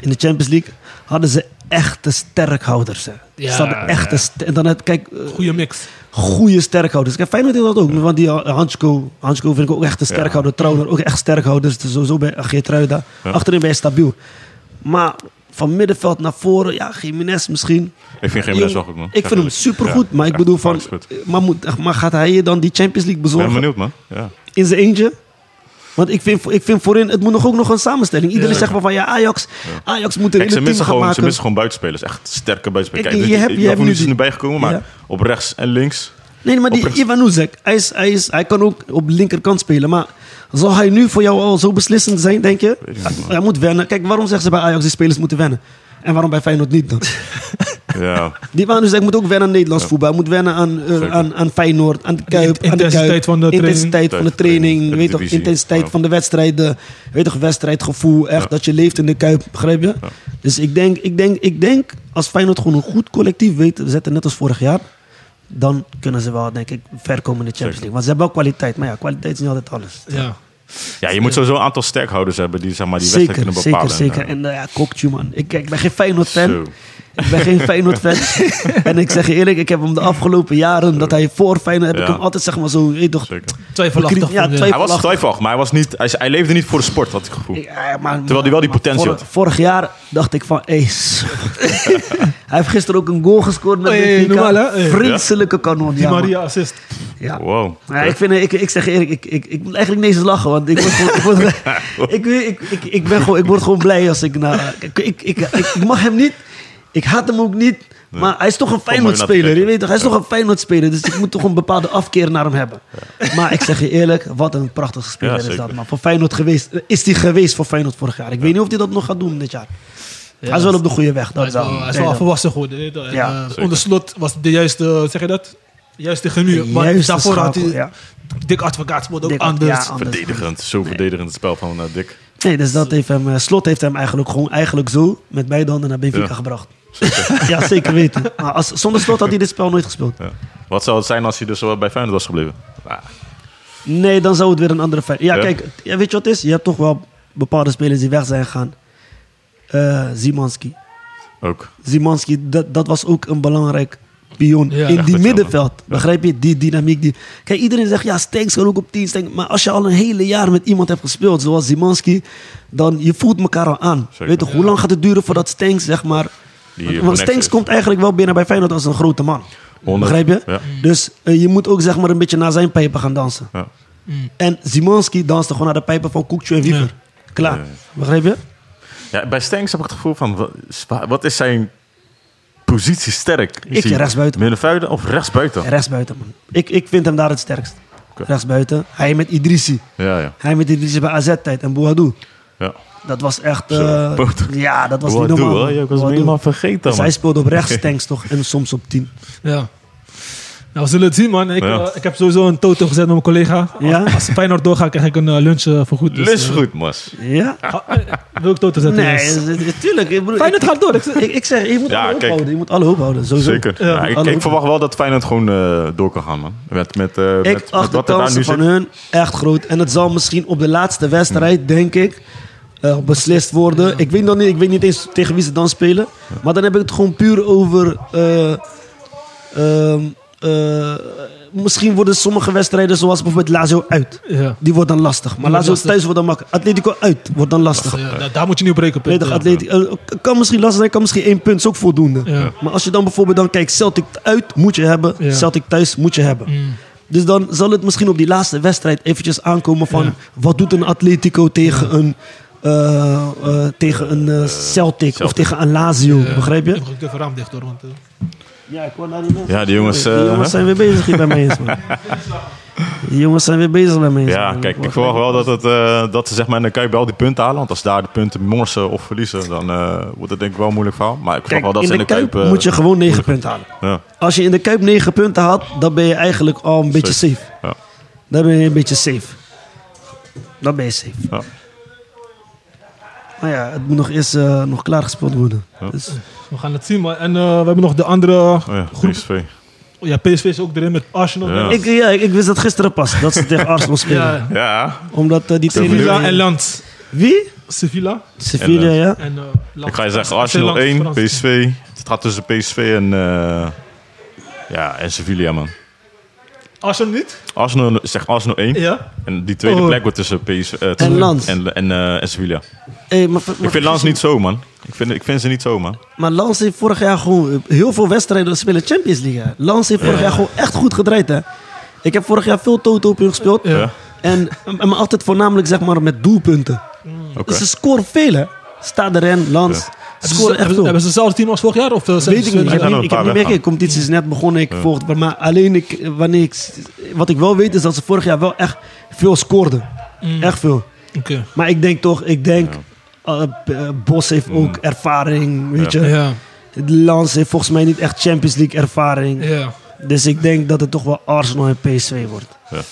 Speaker 4: in de Champions League, hadden ze echte sterkhouders. Hè.
Speaker 2: Ja,
Speaker 4: ze hadden echte... st- en dan had, kijk, eh,
Speaker 2: Goeie mix.
Speaker 4: goede sterkhouders. Kijk, Feyenoord heeft dat ook. Want die eh, Hansko, Hansko vind ik ook echt een sterkhouder. Trouwner ook echt sterkhouders. Dus sowieso bij Geertruida. Achterin ben je stabiel. Maar van middenveld naar voren, ja, Jiménez misschien.
Speaker 3: Ik vind geen
Speaker 4: Jong-
Speaker 3: best wel goed, man.
Speaker 4: Ik vind hem supergoed. maar ik bedoel van... eh, Maar, moet, maar gaat hij je dan die Champions League
Speaker 3: Ik ben
Speaker 4: bezorgen
Speaker 3: benieuwd, man. Ja.
Speaker 4: in zijn eentje? Want ik vind, ik vind voorin... Het moet nog ook nog een samenstelling. Iedereen
Speaker 2: Ja.
Speaker 4: zegt maar van... Ja, Ajax, Ajax moet een
Speaker 3: Kijk, ze
Speaker 4: hele team
Speaker 3: missen,
Speaker 4: gaan
Speaker 3: gewoon, ze
Speaker 4: maken.
Speaker 3: missen gewoon buitenspelers. Echt sterke buitenspelers.
Speaker 4: Kijk,
Speaker 3: Kijk,
Speaker 4: je
Speaker 3: dus-
Speaker 4: hebt- je
Speaker 3: Ivan
Speaker 4: hebt nu
Speaker 3: Nunes is
Speaker 4: die-
Speaker 3: nu bijgekomen, maar
Speaker 4: Ja.
Speaker 3: op rechts en links.
Speaker 4: Nee, maar die
Speaker 3: Oprecht.
Speaker 4: Ivanuzek, hij, is, hij, is, hij kan ook op de linkerkant spelen. Maar zal hij nu voor jou al zo beslissend zijn, denk je?
Speaker 3: Weet ik
Speaker 4: Hij,
Speaker 3: niet, man.
Speaker 4: hij moet wennen. Kijk, waarom zeggen ze bij Ajax die spelers moeten wennen? En waarom bij Feyenoord niet dan?
Speaker 3: Ja,
Speaker 4: Die Ivanuzek moet ook wennen aan Nederlands voetbal. Hij moet wennen aan, eh,
Speaker 3: Zeker.
Speaker 4: aan, aan Feyenoord, aan de Kuip. aan de
Speaker 2: intensiteit
Speaker 4: Kuip,
Speaker 2: van de training.
Speaker 4: Intensiteit van de training.
Speaker 3: De
Speaker 4: weet toch,
Speaker 3: divisie.
Speaker 4: intensiteit
Speaker 3: Ja.
Speaker 4: van de wedstrijden. Weet toch, wedstrijdgevoel. Echt, dat je leeft in de Kuip, begrijp je? Dus ik denk, ik, denk, ik denk, als Feyenoord gewoon een goed collectief weet te zetten, net als vorig jaar dan kunnen ze wel, denk ik, ver komen in de Champions League. Want ze hebben wel kwaliteit. Maar ja, kwaliteit is niet altijd alles.
Speaker 2: Ja.
Speaker 3: ja, je moet sowieso een aantal sterkhouders hebben die zeg maar, die wedstrijd
Speaker 4: zeker,
Speaker 3: kunnen
Speaker 4: zeker,
Speaker 3: bepalen.
Speaker 4: zeker. En eh, ja, Kokju, man. Ik, kijk, ik ben geen Feyenoord-fan.
Speaker 3: Zo.
Speaker 4: Ik ben geen Feyenoord-fan. en ik zeg je eerlijk, ik heb hem de afgelopen jaren, dat hij voor Feyenoord, heb ik
Speaker 3: Ja.
Speaker 4: hem altijd, zeg maar, zo... eh, toch,
Speaker 3: Zeker.
Speaker 2: Twijfelachtig.
Speaker 4: Ja,
Speaker 2: van, eh,
Speaker 4: twijfel-
Speaker 3: Hij was twijfelachtig, maar hij, was niet, hij, hij leefde niet voor de sport, had ik het gevoel.
Speaker 4: eh, Ja, maar-
Speaker 3: Terwijl hij wel die
Speaker 4: maar
Speaker 3: potentie
Speaker 4: vorig-
Speaker 3: had.
Speaker 4: Vorig jaar dacht ik van, ace. hij heeft gisteren ook een goal gescoord met
Speaker 2: Hey, hey,
Speaker 4: Benfica.
Speaker 2: Oh, normaal, hè? Hey.
Speaker 4: Vreselijke kanon,
Speaker 2: Die
Speaker 4: ja, man.
Speaker 2: Maria assist.
Speaker 4: Ja.
Speaker 3: Wow.
Speaker 4: Ja, ik, vind, ik, ik zeg je eerlijk, ik, ik, ik moet eigenlijk niet eens lachen, want ik word gewoon, ik, word, ik, ik, ik, ik ben gewoon, ik word gewoon blij als ik naar... Ik, ik, ik, ik, ik mag hem niet, ik haat hem ook niet, maar hij is toch een
Speaker 3: mooi naar
Speaker 4: Feyenoord-speler,
Speaker 3: te
Speaker 4: je weet toch? Hij is toch een Feyenoord-speler, dus ik moet toch een bepaalde afkeer naar hem hebben. Maar ik zeg je eerlijk, wat een prachtige
Speaker 3: Ja,
Speaker 4: speler is
Speaker 3: zeker.
Speaker 4: dat, man. Voor Feyenoord geweest, is hij geweest voor Feyenoord vorig jaar. Ik weet niet of hij dat nog gaat doen dit jaar. hij is wel op de goede weg,
Speaker 2: Hij
Speaker 4: dat
Speaker 2: is wel, hij is wel
Speaker 4: Nee, dat-
Speaker 2: volwassen geworden. weet je wel. En,
Speaker 4: Ja.
Speaker 2: eh,
Speaker 3: Zeker.
Speaker 2: onder slot was de juiste, eh, zeg je dat? Juiste gemuur.
Speaker 4: De
Speaker 2: Want
Speaker 4: juiste
Speaker 2: daarvoor had
Speaker 4: schakel,
Speaker 2: hij...
Speaker 4: ja.
Speaker 2: Dik advocaat speelde ook
Speaker 4: Dik-
Speaker 2: anders.
Speaker 4: ja, anders.
Speaker 3: Verdedigend, zo verdedigend het spel van eh, Dick.
Speaker 4: Nee, dus dat heeft hem, eh, Slot heeft hem eigenlijk gewoon eigenlijk zo met beide handen naar Benfica
Speaker 3: Ja.
Speaker 4: gebracht. ja, zeker weten. Maar als, zonder Slot had hij dit spel nooit gespeeld.
Speaker 3: Ja. Wat zou het zijn als hij dus wel bij Feyenoord was gebleven? Ah,
Speaker 4: Nee, dan zou het weer een andere feit. Ja,
Speaker 3: Ja.
Speaker 4: kijk, ja, weet je wat het is? Je hebt toch wel bepaalde spelers die weg zijn gegaan. Eh Zimanski.
Speaker 3: ook.
Speaker 4: Zimanski, dat, dat was ook een belangrijk kampioen
Speaker 2: Ja.
Speaker 4: in
Speaker 3: Echt
Speaker 4: die
Speaker 3: hetzelfde.
Speaker 4: middenveld. Begrijp je? Die dynamiek. Die... Kijk, iedereen zegt ja, Stenks kan ook op 10. Stenks. Maar als je al een hele jaar met iemand hebt gespeeld, zoals Zimanski, dan je voelt elkaar al aan.
Speaker 3: Zeker.
Speaker 4: Weet je, hoe lang gaat het duren voordat Stenks, zeg maar.
Speaker 3: Die
Speaker 4: want- want
Speaker 3: connectie
Speaker 4: Stenks
Speaker 3: is.
Speaker 4: komt eigenlijk wel binnen bij Feyenoord als een grote man.
Speaker 3: Honderd,
Speaker 4: Begrijp je?
Speaker 3: ja.
Speaker 4: Dus eh, je moet ook zeg maar een beetje naar zijn pijpen gaan dansen.
Speaker 3: Ja.
Speaker 4: En Zimanski danste gewoon naar de pijpen van Koekje en Wiever. Klaar.
Speaker 3: Ja, ja.
Speaker 4: Begrijp je?
Speaker 3: Ja, bij Stenks heb ik het gevoel van, wa- is- wat is zijn positie sterk? Is
Speaker 4: Ik
Speaker 3: hij
Speaker 4: rechtsbuiten.
Speaker 3: Middenvelden of rechtsbuiten?
Speaker 4: Rechtsbuiten, man. Ik, ik vind hem daar het sterkst.
Speaker 3: Oké.
Speaker 4: Rechtsbuiten. Hij met Idrissi.
Speaker 3: Ja, ja.
Speaker 4: Hij met Idrissi bij AZ-tijd en Bouhadou.
Speaker 3: ja.
Speaker 4: Dat was echt...
Speaker 3: Zo,
Speaker 4: eh,
Speaker 3: poot.
Speaker 4: ja, dat was
Speaker 3: Wat
Speaker 4: niet
Speaker 3: doe,
Speaker 4: normaal.
Speaker 3: hoor.
Speaker 4: man.
Speaker 3: Ja, Ik was hem
Speaker 4: Boadu.
Speaker 3: helemaal vergeten,
Speaker 4: Dus
Speaker 3: man.
Speaker 4: hij speelde op rechts, tanks toch, en soms op 10.
Speaker 2: Ja. Nou, we zullen het zien, man. Ik,
Speaker 3: Ja.
Speaker 2: eh, ik heb sowieso een toto gezet met mijn collega.
Speaker 4: Ja?
Speaker 2: Als Feyenoord doorgaat, krijg ik een eh, lunch eh, voorgoed. Dus,
Speaker 3: Lus
Speaker 2: eh,
Speaker 3: goed, mas.
Speaker 4: Ja?
Speaker 2: ga- eh, wil ik toto zetten?
Speaker 4: Nee,
Speaker 2: dus.
Speaker 4: natuurlijk. Ik, bedoel,
Speaker 2: Feyenoord gaat door. Ik,
Speaker 4: ik, ik, ik zeg, je moet
Speaker 3: Ja,
Speaker 4: alle hoop
Speaker 3: kijk.
Speaker 4: houden. Je moet alle hoop houden, sowieso.
Speaker 3: Zeker.
Speaker 2: Ja,
Speaker 3: Ja, eh, ik,
Speaker 4: alle-
Speaker 3: ik verwacht wel dat Feyenoord gewoon eh, door kan gaan, man. Met, met, eh, met,
Speaker 4: Ik
Speaker 3: met
Speaker 4: acht de
Speaker 3: wat er daar nu
Speaker 4: kansen
Speaker 3: zit.
Speaker 4: van hun echt groot. En het zal misschien op de laatste wedstrijd, denk ik, eh, beslist worden. Ik, weet nog niet, ik weet niet eens tegen wie ze dan spelen. Maar dan heb ik het gewoon puur over... eh, ehm, eh, misschien worden sommige wedstrijden zoals bijvoorbeeld Lazio uit.
Speaker 2: ja.
Speaker 4: Die wordt dan lastig. Maar
Speaker 2: wordt
Speaker 4: Lazio
Speaker 2: lastig.
Speaker 4: thuis wordt dan makkelijk. Atletico uit wordt dan
Speaker 2: Ja,
Speaker 4: lastig.
Speaker 2: da- Eh, nou, daar moet je nu breken.
Speaker 4: Weet
Speaker 2: punt.
Speaker 4: je,
Speaker 2: Ja.
Speaker 4: Atletico, eh, kan misschien lastig zijn, kan misschien één punt, is ook voldoende.
Speaker 2: Ja.
Speaker 4: Maar als je dan bijvoorbeeld dan kijkt, Celtic uit moet je hebben,
Speaker 2: Ja. Mm.
Speaker 4: Celtic thuis moet je hebben. Dus dan zal het misschien op die laatste wedstrijd eventjes aankomen van
Speaker 2: Ja.
Speaker 4: wat doet een Atletico tegen een, eh, eh, tegen een eh, Celtic, of
Speaker 3: Celtic.
Speaker 4: tegen een Lazio, begrijp je?
Speaker 2: Ik heb even raam dicht, hoor. Want, eh,
Speaker 4: Ja, ik hoor naar die mensen.
Speaker 3: Ja, die jongens,
Speaker 4: Die
Speaker 3: eh,
Speaker 4: jongens
Speaker 3: hè?
Speaker 4: zijn weer bezig hier bij mij eens, man. Die jongens zijn weer bezig bij mij eens,
Speaker 3: Ja,
Speaker 4: man.
Speaker 3: kijk, ik
Speaker 4: word-
Speaker 3: verwacht wel dat, het, eh, dat ze zeg maar in de Kuip wel die punten halen. Want als ze daar de punten morsen of verliezen, dan eh, wordt het denk ik wel een moeilijk verhaal. Maar ik verwacht
Speaker 4: Kijk,
Speaker 3: wel dat
Speaker 4: in
Speaker 3: ze
Speaker 4: de, Kuip
Speaker 3: eh,
Speaker 4: moet je gewoon 9 punten halen.
Speaker 3: Ja,
Speaker 4: Als je in de Kuip 9 punten haalt, dan ben je eigenlijk al een beetje
Speaker 3: Safe.
Speaker 4: safe.
Speaker 3: ja,
Speaker 4: Dan ben je een beetje safe. Dan ben je safe.
Speaker 3: ja.
Speaker 4: Maar ja, het moet nog eerst eh, nog klaargespeeld worden.
Speaker 3: Ja.
Speaker 4: Dus,
Speaker 2: we gaan het zien, man. En eh, we hebben nog de andere
Speaker 3: Oh ja,
Speaker 2: groep.
Speaker 3: PSV.
Speaker 2: Ja, PSV is ook erin met Arsenal.
Speaker 3: Ja.
Speaker 2: Ja.
Speaker 4: ik, ja, ik, ik wist dat gisteren pas, dat ze tegen Arsenal spelen.
Speaker 2: Ja.
Speaker 3: Ja,
Speaker 4: Omdat eh, die twee...
Speaker 2: Sevilla en Lens.
Speaker 4: Wie?
Speaker 2: Sevilla
Speaker 4: Sevilla,
Speaker 3: En,
Speaker 4: ja.
Speaker 2: en eh, Lens.
Speaker 3: ik ga je zeggen, Arsenal
Speaker 2: Lens,
Speaker 3: 1,
Speaker 2: Frans.
Speaker 3: PSV. Het gaat tussen PSV en, eh, ja, en Sevilla, man.
Speaker 2: Arsenal niet?
Speaker 3: Arsenal, zeg Arsenal 1.
Speaker 2: Ja.
Speaker 3: En die tweede
Speaker 2: Oh.
Speaker 3: plek wordt tussen PSV eh, tussen-
Speaker 4: En Lens.
Speaker 3: En, en, eh, en Sevilla.
Speaker 4: Hey, maar, ver-
Speaker 3: Ik
Speaker 4: maar-
Speaker 3: vind Lans niet zo, man. Ik vind, ik vind ze niet zo, man.
Speaker 4: Maar Lans heeft vorig jaar gewoon eh, heel veel wedstrijden spelen Champions League. hè. Lans heeft vorig jaar gewoon echt goed gedraaid, hè. Ik heb vorig jaar veel toto op hun gespeeld.
Speaker 2: Ja.
Speaker 3: Ja.
Speaker 4: En, en maar altijd voornamelijk zeg maar met doelpunten.
Speaker 3: Oké.
Speaker 4: Dus ze scoren veel, hè. Staderen, Lans.
Speaker 3: Ja.
Speaker 4: Ze scoren echt
Speaker 2: hebben, ze,
Speaker 4: veel.
Speaker 2: hebben ze hetzelfde team als vorig jaar? Of eh, zijn
Speaker 4: Weet
Speaker 2: ze-
Speaker 4: ik niet. Ik
Speaker 3: zijn
Speaker 4: heb
Speaker 3: er
Speaker 4: niet,
Speaker 3: een
Speaker 4: ik
Speaker 3: paar
Speaker 4: heb niet
Speaker 3: weggaan.
Speaker 4: meegekregen. Competitie is net begonnen. Ik volg het. maar- Maar alleen ik, wanneer ik, wat ik wel weet is dat ze vorig jaar wel echt veel scoorden.
Speaker 2: Mm.
Speaker 4: Echt veel.
Speaker 2: Oké.
Speaker 4: Maar ik denk toch, ik denk... eh, eh, Bos heeft
Speaker 3: Mm.
Speaker 4: ook ervaring, weet je.
Speaker 2: Ja.
Speaker 4: Lans heeft volgens mij niet echt Champions League ervaring.
Speaker 2: Ja.
Speaker 4: Dus ik denk dat het toch wel Arsenal en PSV wordt.
Speaker 2: ja.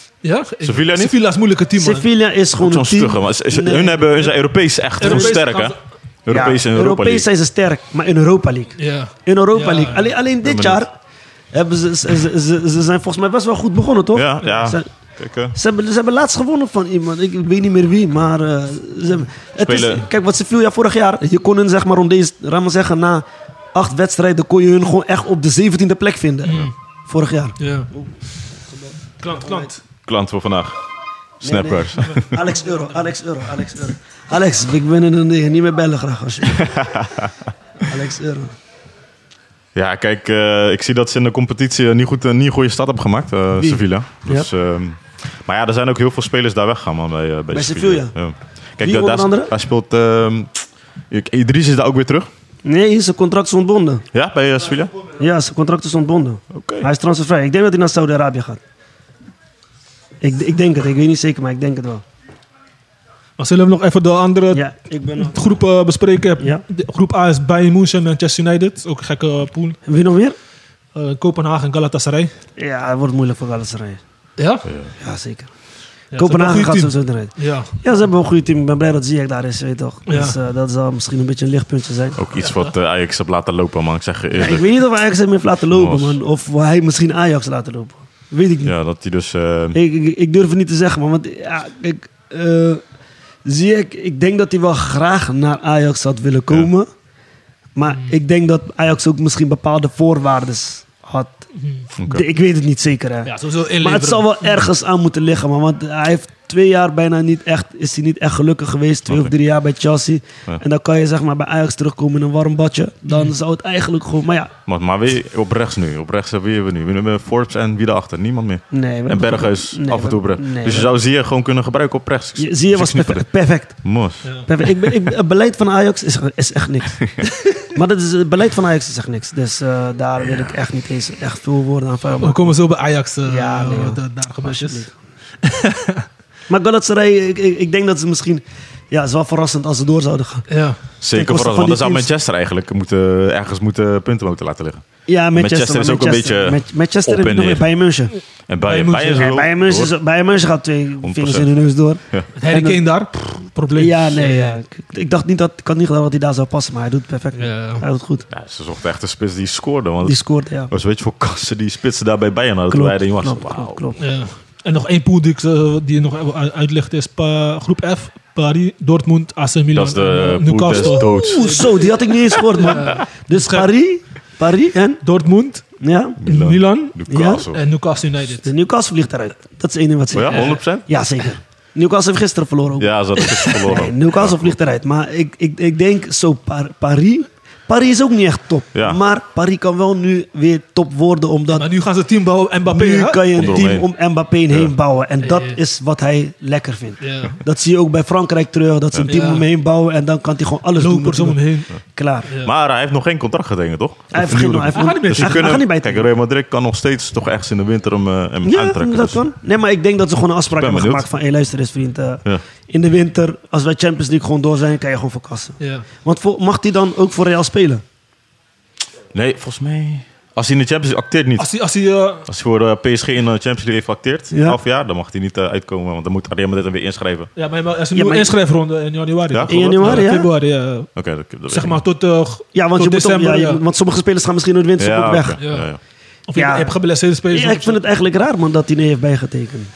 Speaker 3: Sevilla niet?
Speaker 2: Sevilla is een moeilijke team, man.
Speaker 4: Sevilla is gewoon
Speaker 3: Ook zo'n
Speaker 4: een team.
Speaker 3: stugge, maar ze- ze-
Speaker 4: Nee.
Speaker 3: hun, hebben, hun zijn Europees echt gewoon
Speaker 2: Europees
Speaker 3: sterk, hè?
Speaker 2: gaan ze-
Speaker 4: Ja,
Speaker 3: Europees en Europa
Speaker 4: Europees
Speaker 3: League.
Speaker 4: zijn ze sterk, maar in Europa League.
Speaker 2: Ja.
Speaker 4: In Europa
Speaker 2: Ja.
Speaker 4: League. Alleen, alleen dit
Speaker 3: benieuwd.
Speaker 4: jaar hebben ze, ze, ze, ze- ze zijn volgens mij best wel goed begonnen, toch?
Speaker 3: Ja, ja.
Speaker 4: Ze,
Speaker 3: Kijk, eh,
Speaker 4: ze, hebben, ze hebben laatst gewonnen van iemand. Ik weet niet meer wie, maar... eh, ze hebben- het is,
Speaker 3: Spelen.
Speaker 4: kijk, wat Sevilla vorig jaar... Je kon hun, zeg maar, om deze... Laat maar zeggen, na acht wedstrijden... kon je hun gewoon echt op de 17e plek vinden. Vorig jaar.
Speaker 2: Ja. Klant, klant.
Speaker 3: klant voor vandaag. Snappers.
Speaker 4: Alex Euro, Alex Euro, Alex Euro. Alex, ik ben in een ding. Niet meer bellen graag, alsjeblieft. Alex Euro.
Speaker 3: Ja, kijk, eh, ik zie dat ze in de competitie eh, niet goed, eh, niet een goede start hebben gemaakt, eh,
Speaker 4: Wie?
Speaker 3: Sevilla. Dus, ehm, maar ja, er zijn ook heel veel spelers daar weggaan man, bij, eh, bij,
Speaker 4: Bij Sevilla?
Speaker 3: Ja. Kijk,
Speaker 4: Wie
Speaker 3: eh,
Speaker 4: onder
Speaker 3: daar,
Speaker 4: andere?
Speaker 3: daar speelt ehm, ik- Idris is daar ook weer terug.
Speaker 4: Nee, zijn contract is ontbonden.
Speaker 3: Ja, bij eh, Sevilla. Oké.
Speaker 4: Ja, zijn contract is ontbonden. Hij is transfervrij. Ik denk dat hij naar Saudi-Arabië gaat. Ik, ik denk het, ik weet niet zeker, maar ik denk het wel.
Speaker 2: Maar zullen we nog even de andere
Speaker 4: Ja, ik ben.
Speaker 2: groep eh, bespreken?
Speaker 4: Ja.
Speaker 2: De groep A is Bayern München en Manchester United. Ook een gekke pool.
Speaker 4: Wie nog meer?
Speaker 2: Eh, Kopenhagen en Galatasaray.
Speaker 4: Ja, het wordt moeilijk voor Galatasaray.
Speaker 2: Ja?
Speaker 4: Ja, zeker.
Speaker 2: Ja,
Speaker 4: Kopenhagen
Speaker 2: dat
Speaker 4: gaat
Speaker 2: is
Speaker 4: zo
Speaker 2: een goed team.
Speaker 4: eruit.
Speaker 2: Ja.
Speaker 4: Ja, ze hebben wel een goed team. Ik ben blij dat Ziyech daar is, weet je toch.
Speaker 2: Ja.
Speaker 4: Dus eh, dat zal misschien een beetje een lichtpuntje zijn.
Speaker 3: Ook iets wat eh, Ajax heb laten lopen, man. Ik zeg je
Speaker 4: Ja, ik
Speaker 3: eerlijk.
Speaker 4: weet niet of Ajax hem heeft laten lopen,
Speaker 3: Mos.
Speaker 4: man. Of hij misschien Ajax laten lopen. Weet ik niet.
Speaker 3: Ja, dat hij dus... eh,
Speaker 4: Ik, ik, ik durf het niet te zeggen, man. Want ja, ik, eh, zie ik, ik denk dat hij wel graag naar Ajax had willen komen. Maar ik denk dat Ajax ook misschien bepaalde voorwaarden had. De- ik weet het niet zeker. Hè.
Speaker 2: Ja, sowieso inleveren.
Speaker 4: Maar het zal wel ergens aan moeten liggen, man. Want hij heeft twee jaar bijna niet echt, is hij niet echt gelukkig geweest. Twee of
Speaker 3: Oké.
Speaker 4: drie jaar bij Chelsea.
Speaker 3: Ja.
Speaker 4: En dan kan je zeg maar bij Ajax terugkomen in een warm badje. Dan zou het eigenlijk gewoon... Maar ja,
Speaker 3: Maar, maar wie, op rechts nu. Op rechts hebben we- wie hebben we nu. We hebben Forbes en wie daarachter. Niemand meer.
Speaker 4: nee. we-
Speaker 3: En Berghuis
Speaker 4: Nee,
Speaker 3: af en
Speaker 4: we-
Speaker 3: toe op rechts.
Speaker 4: nee,
Speaker 3: dus je
Speaker 4: we-
Speaker 3: zou Zier gewoon kunnen gebruiken op rechts. Dus
Speaker 4: Je- Zie je, was perfect. perfect.
Speaker 3: Mos.
Speaker 4: Perfect. Ik ben, ik, het beleid van Ajax is, is echt niks. maar dat is, het beleid van Ajax is echt niks. Dus eh, daar wil ik echt niet eens echt veel woorden aan vuil
Speaker 2: We komen zo bij Ajax. eh
Speaker 4: Ja, nee,
Speaker 2: wat
Speaker 4: joh.
Speaker 2: er daar gebeurd is.
Speaker 4: Alsjeblieft. Maar Galatasaray, ik, ik, ik denk dat ze misschien... Ja, het is wel verrassend als ze door zouden gaan.
Speaker 2: Ja.
Speaker 3: Zeker
Speaker 4: Ten koste
Speaker 3: vooral.
Speaker 4: van
Speaker 3: Want dan zou
Speaker 4: die teams.
Speaker 3: Manchester eigenlijk moeten, eh, ergens moeten punten moeten laten liggen.
Speaker 4: Ja, Manchester.
Speaker 3: Manchester is ook een beetje
Speaker 4: Met- Manchester
Speaker 3: op
Speaker 4: heb je
Speaker 3: en
Speaker 4: nog
Speaker 3: neer.
Speaker 4: weer bij München.
Speaker 2: Bayern
Speaker 3: En bij
Speaker 2: moet
Speaker 3: Bayern
Speaker 2: je-
Speaker 3: zo.
Speaker 4: Ja, bij München, is- bij München gaat twee
Speaker 3: 100%.
Speaker 4: vingers in de neus door.
Speaker 2: Met Harry
Speaker 4: En dan-
Speaker 2: Kane daar. pff, probleem.
Speaker 4: Ja, nee. Ja. Ik, ik dacht niet dat, ik had niet gedacht dat hij daar zou passen, maar hij doet het perfect.
Speaker 2: Ja.
Speaker 4: Hij doet het goed.
Speaker 3: Ja, ze zochten echt een spits die scoorde. Want
Speaker 4: Die scoort, ja.
Speaker 3: het was weet je voor kansen die spitsen daar bij Bayern hadden.
Speaker 4: Klopt,
Speaker 3: Klopt, toen hij er niet
Speaker 4: klopt,
Speaker 3: was.
Speaker 4: klopt,
Speaker 3: Wauw.
Speaker 4: klopt.
Speaker 2: Ja. En nog één pool die, ik, eh, die je nog even u- uitlicht is pa- groep F. Paris, Dortmund, AC Milan,
Speaker 3: Dat is
Speaker 2: en,
Speaker 3: de
Speaker 2: eh,
Speaker 3: poel des
Speaker 2: Newcastle.
Speaker 3: doods.
Speaker 4: Oeh, zo, die had ik niet eens gehoord, man. Dus Paris, Paris en...
Speaker 2: Dortmund,
Speaker 4: Ja,
Speaker 2: Milan,
Speaker 3: Newcastle.
Speaker 2: en Newcastle United.
Speaker 4: de Newcastle vliegt eruit. Dat is één ding wat
Speaker 3: Oh
Speaker 4: zeker.
Speaker 3: ja, 100%?
Speaker 4: Ja, zeker. Newcastle heeft gisteren verloren ook.
Speaker 3: Ja, ze hadden gisteren verloren.
Speaker 4: Nee, Newcastle vliegt eruit. Maar ik, ik, ik denk zo Par- Paris... Paris is ook niet echt top.
Speaker 3: Ja.
Speaker 4: Maar Paris kan wel nu weer top worden, omdat...
Speaker 2: Maar nu gaan ze team bouwen en Mbappé.
Speaker 4: nu
Speaker 2: hè?
Speaker 4: kan je een team om
Speaker 3: Eromheen.
Speaker 4: Mbappé heen bouwen. En dat
Speaker 2: Ja.
Speaker 4: is wat hij lekker vindt.
Speaker 2: Ja.
Speaker 4: Dat zie je ook bij Frankrijk terug. Dat ze een team
Speaker 2: Ja.
Speaker 4: om hem heen bouwen. En dan kan hij gewoon
Speaker 2: Dus
Speaker 4: alles doen.
Speaker 2: Lopers om hem
Speaker 4: natuurlijk.
Speaker 2: heen.
Speaker 4: Klaar.
Speaker 3: Maar hij heeft nog geen contract getekend, toch?
Speaker 4: eh, Hij heeft geen... Hij heeft
Speaker 2: Hij gaat niet meer.
Speaker 3: Dus ze
Speaker 4: hij gaat
Speaker 3: kunnen,
Speaker 4: niet bij het
Speaker 3: kijk, Real Madrid kan nog steeds toch ergens in de winter hem, eh, hem
Speaker 4: Ja,
Speaker 3: aantrekken.
Speaker 4: dat
Speaker 3: dus.
Speaker 4: kan. Nee, maar ik denk dat ze gewoon een afspraak
Speaker 3: ben
Speaker 4: hebben
Speaker 3: benieuwd.
Speaker 4: gemaakt van... Hé, luister eens vriend. eh,
Speaker 3: Ja.
Speaker 4: In de winter, als wij Champions League gewoon door zijn, kan je gewoon verkassen.
Speaker 2: Ja.
Speaker 4: Want voor, mag hij dan ook voor Real spelen?
Speaker 3: Nee, volgens mij... Als hij in de Champions League acteert niet.
Speaker 2: Als hij, als hij, eh,
Speaker 3: Als hij voor eh, PSG in de Champions League heeft acteert,
Speaker 4: Ja.
Speaker 3: half jaar, dan mag hij niet eh, uitkomen. Want dan moet Real Madrid hem weer inschrijven. Oké,
Speaker 2: ja, maar als hij een
Speaker 4: Ja,
Speaker 2: nieuwe
Speaker 4: maar-
Speaker 2: inschrijfronde in januari.
Speaker 3: Ja,
Speaker 2: toch?
Speaker 4: In januari, ja?
Speaker 2: Februari, ja.
Speaker 3: dat, dat weet
Speaker 2: Zeg
Speaker 3: ik
Speaker 2: maar
Speaker 3: niet.
Speaker 2: tot, eh,
Speaker 4: Ja, want,
Speaker 2: tot
Speaker 4: je moet
Speaker 2: december.
Speaker 4: om, ja, je
Speaker 2: ja.
Speaker 4: moet- want sommige spelers gaan misschien in het winter
Speaker 3: Ja,
Speaker 4: ook weg.
Speaker 3: oké.
Speaker 2: Ja.
Speaker 3: Ja, ja.
Speaker 2: Of je
Speaker 4: Ja.
Speaker 2: hebt geblesseerde spelers.
Speaker 4: Ja, ik vind het eigenlijk raar, man, dat hij niet heeft bijgetekend.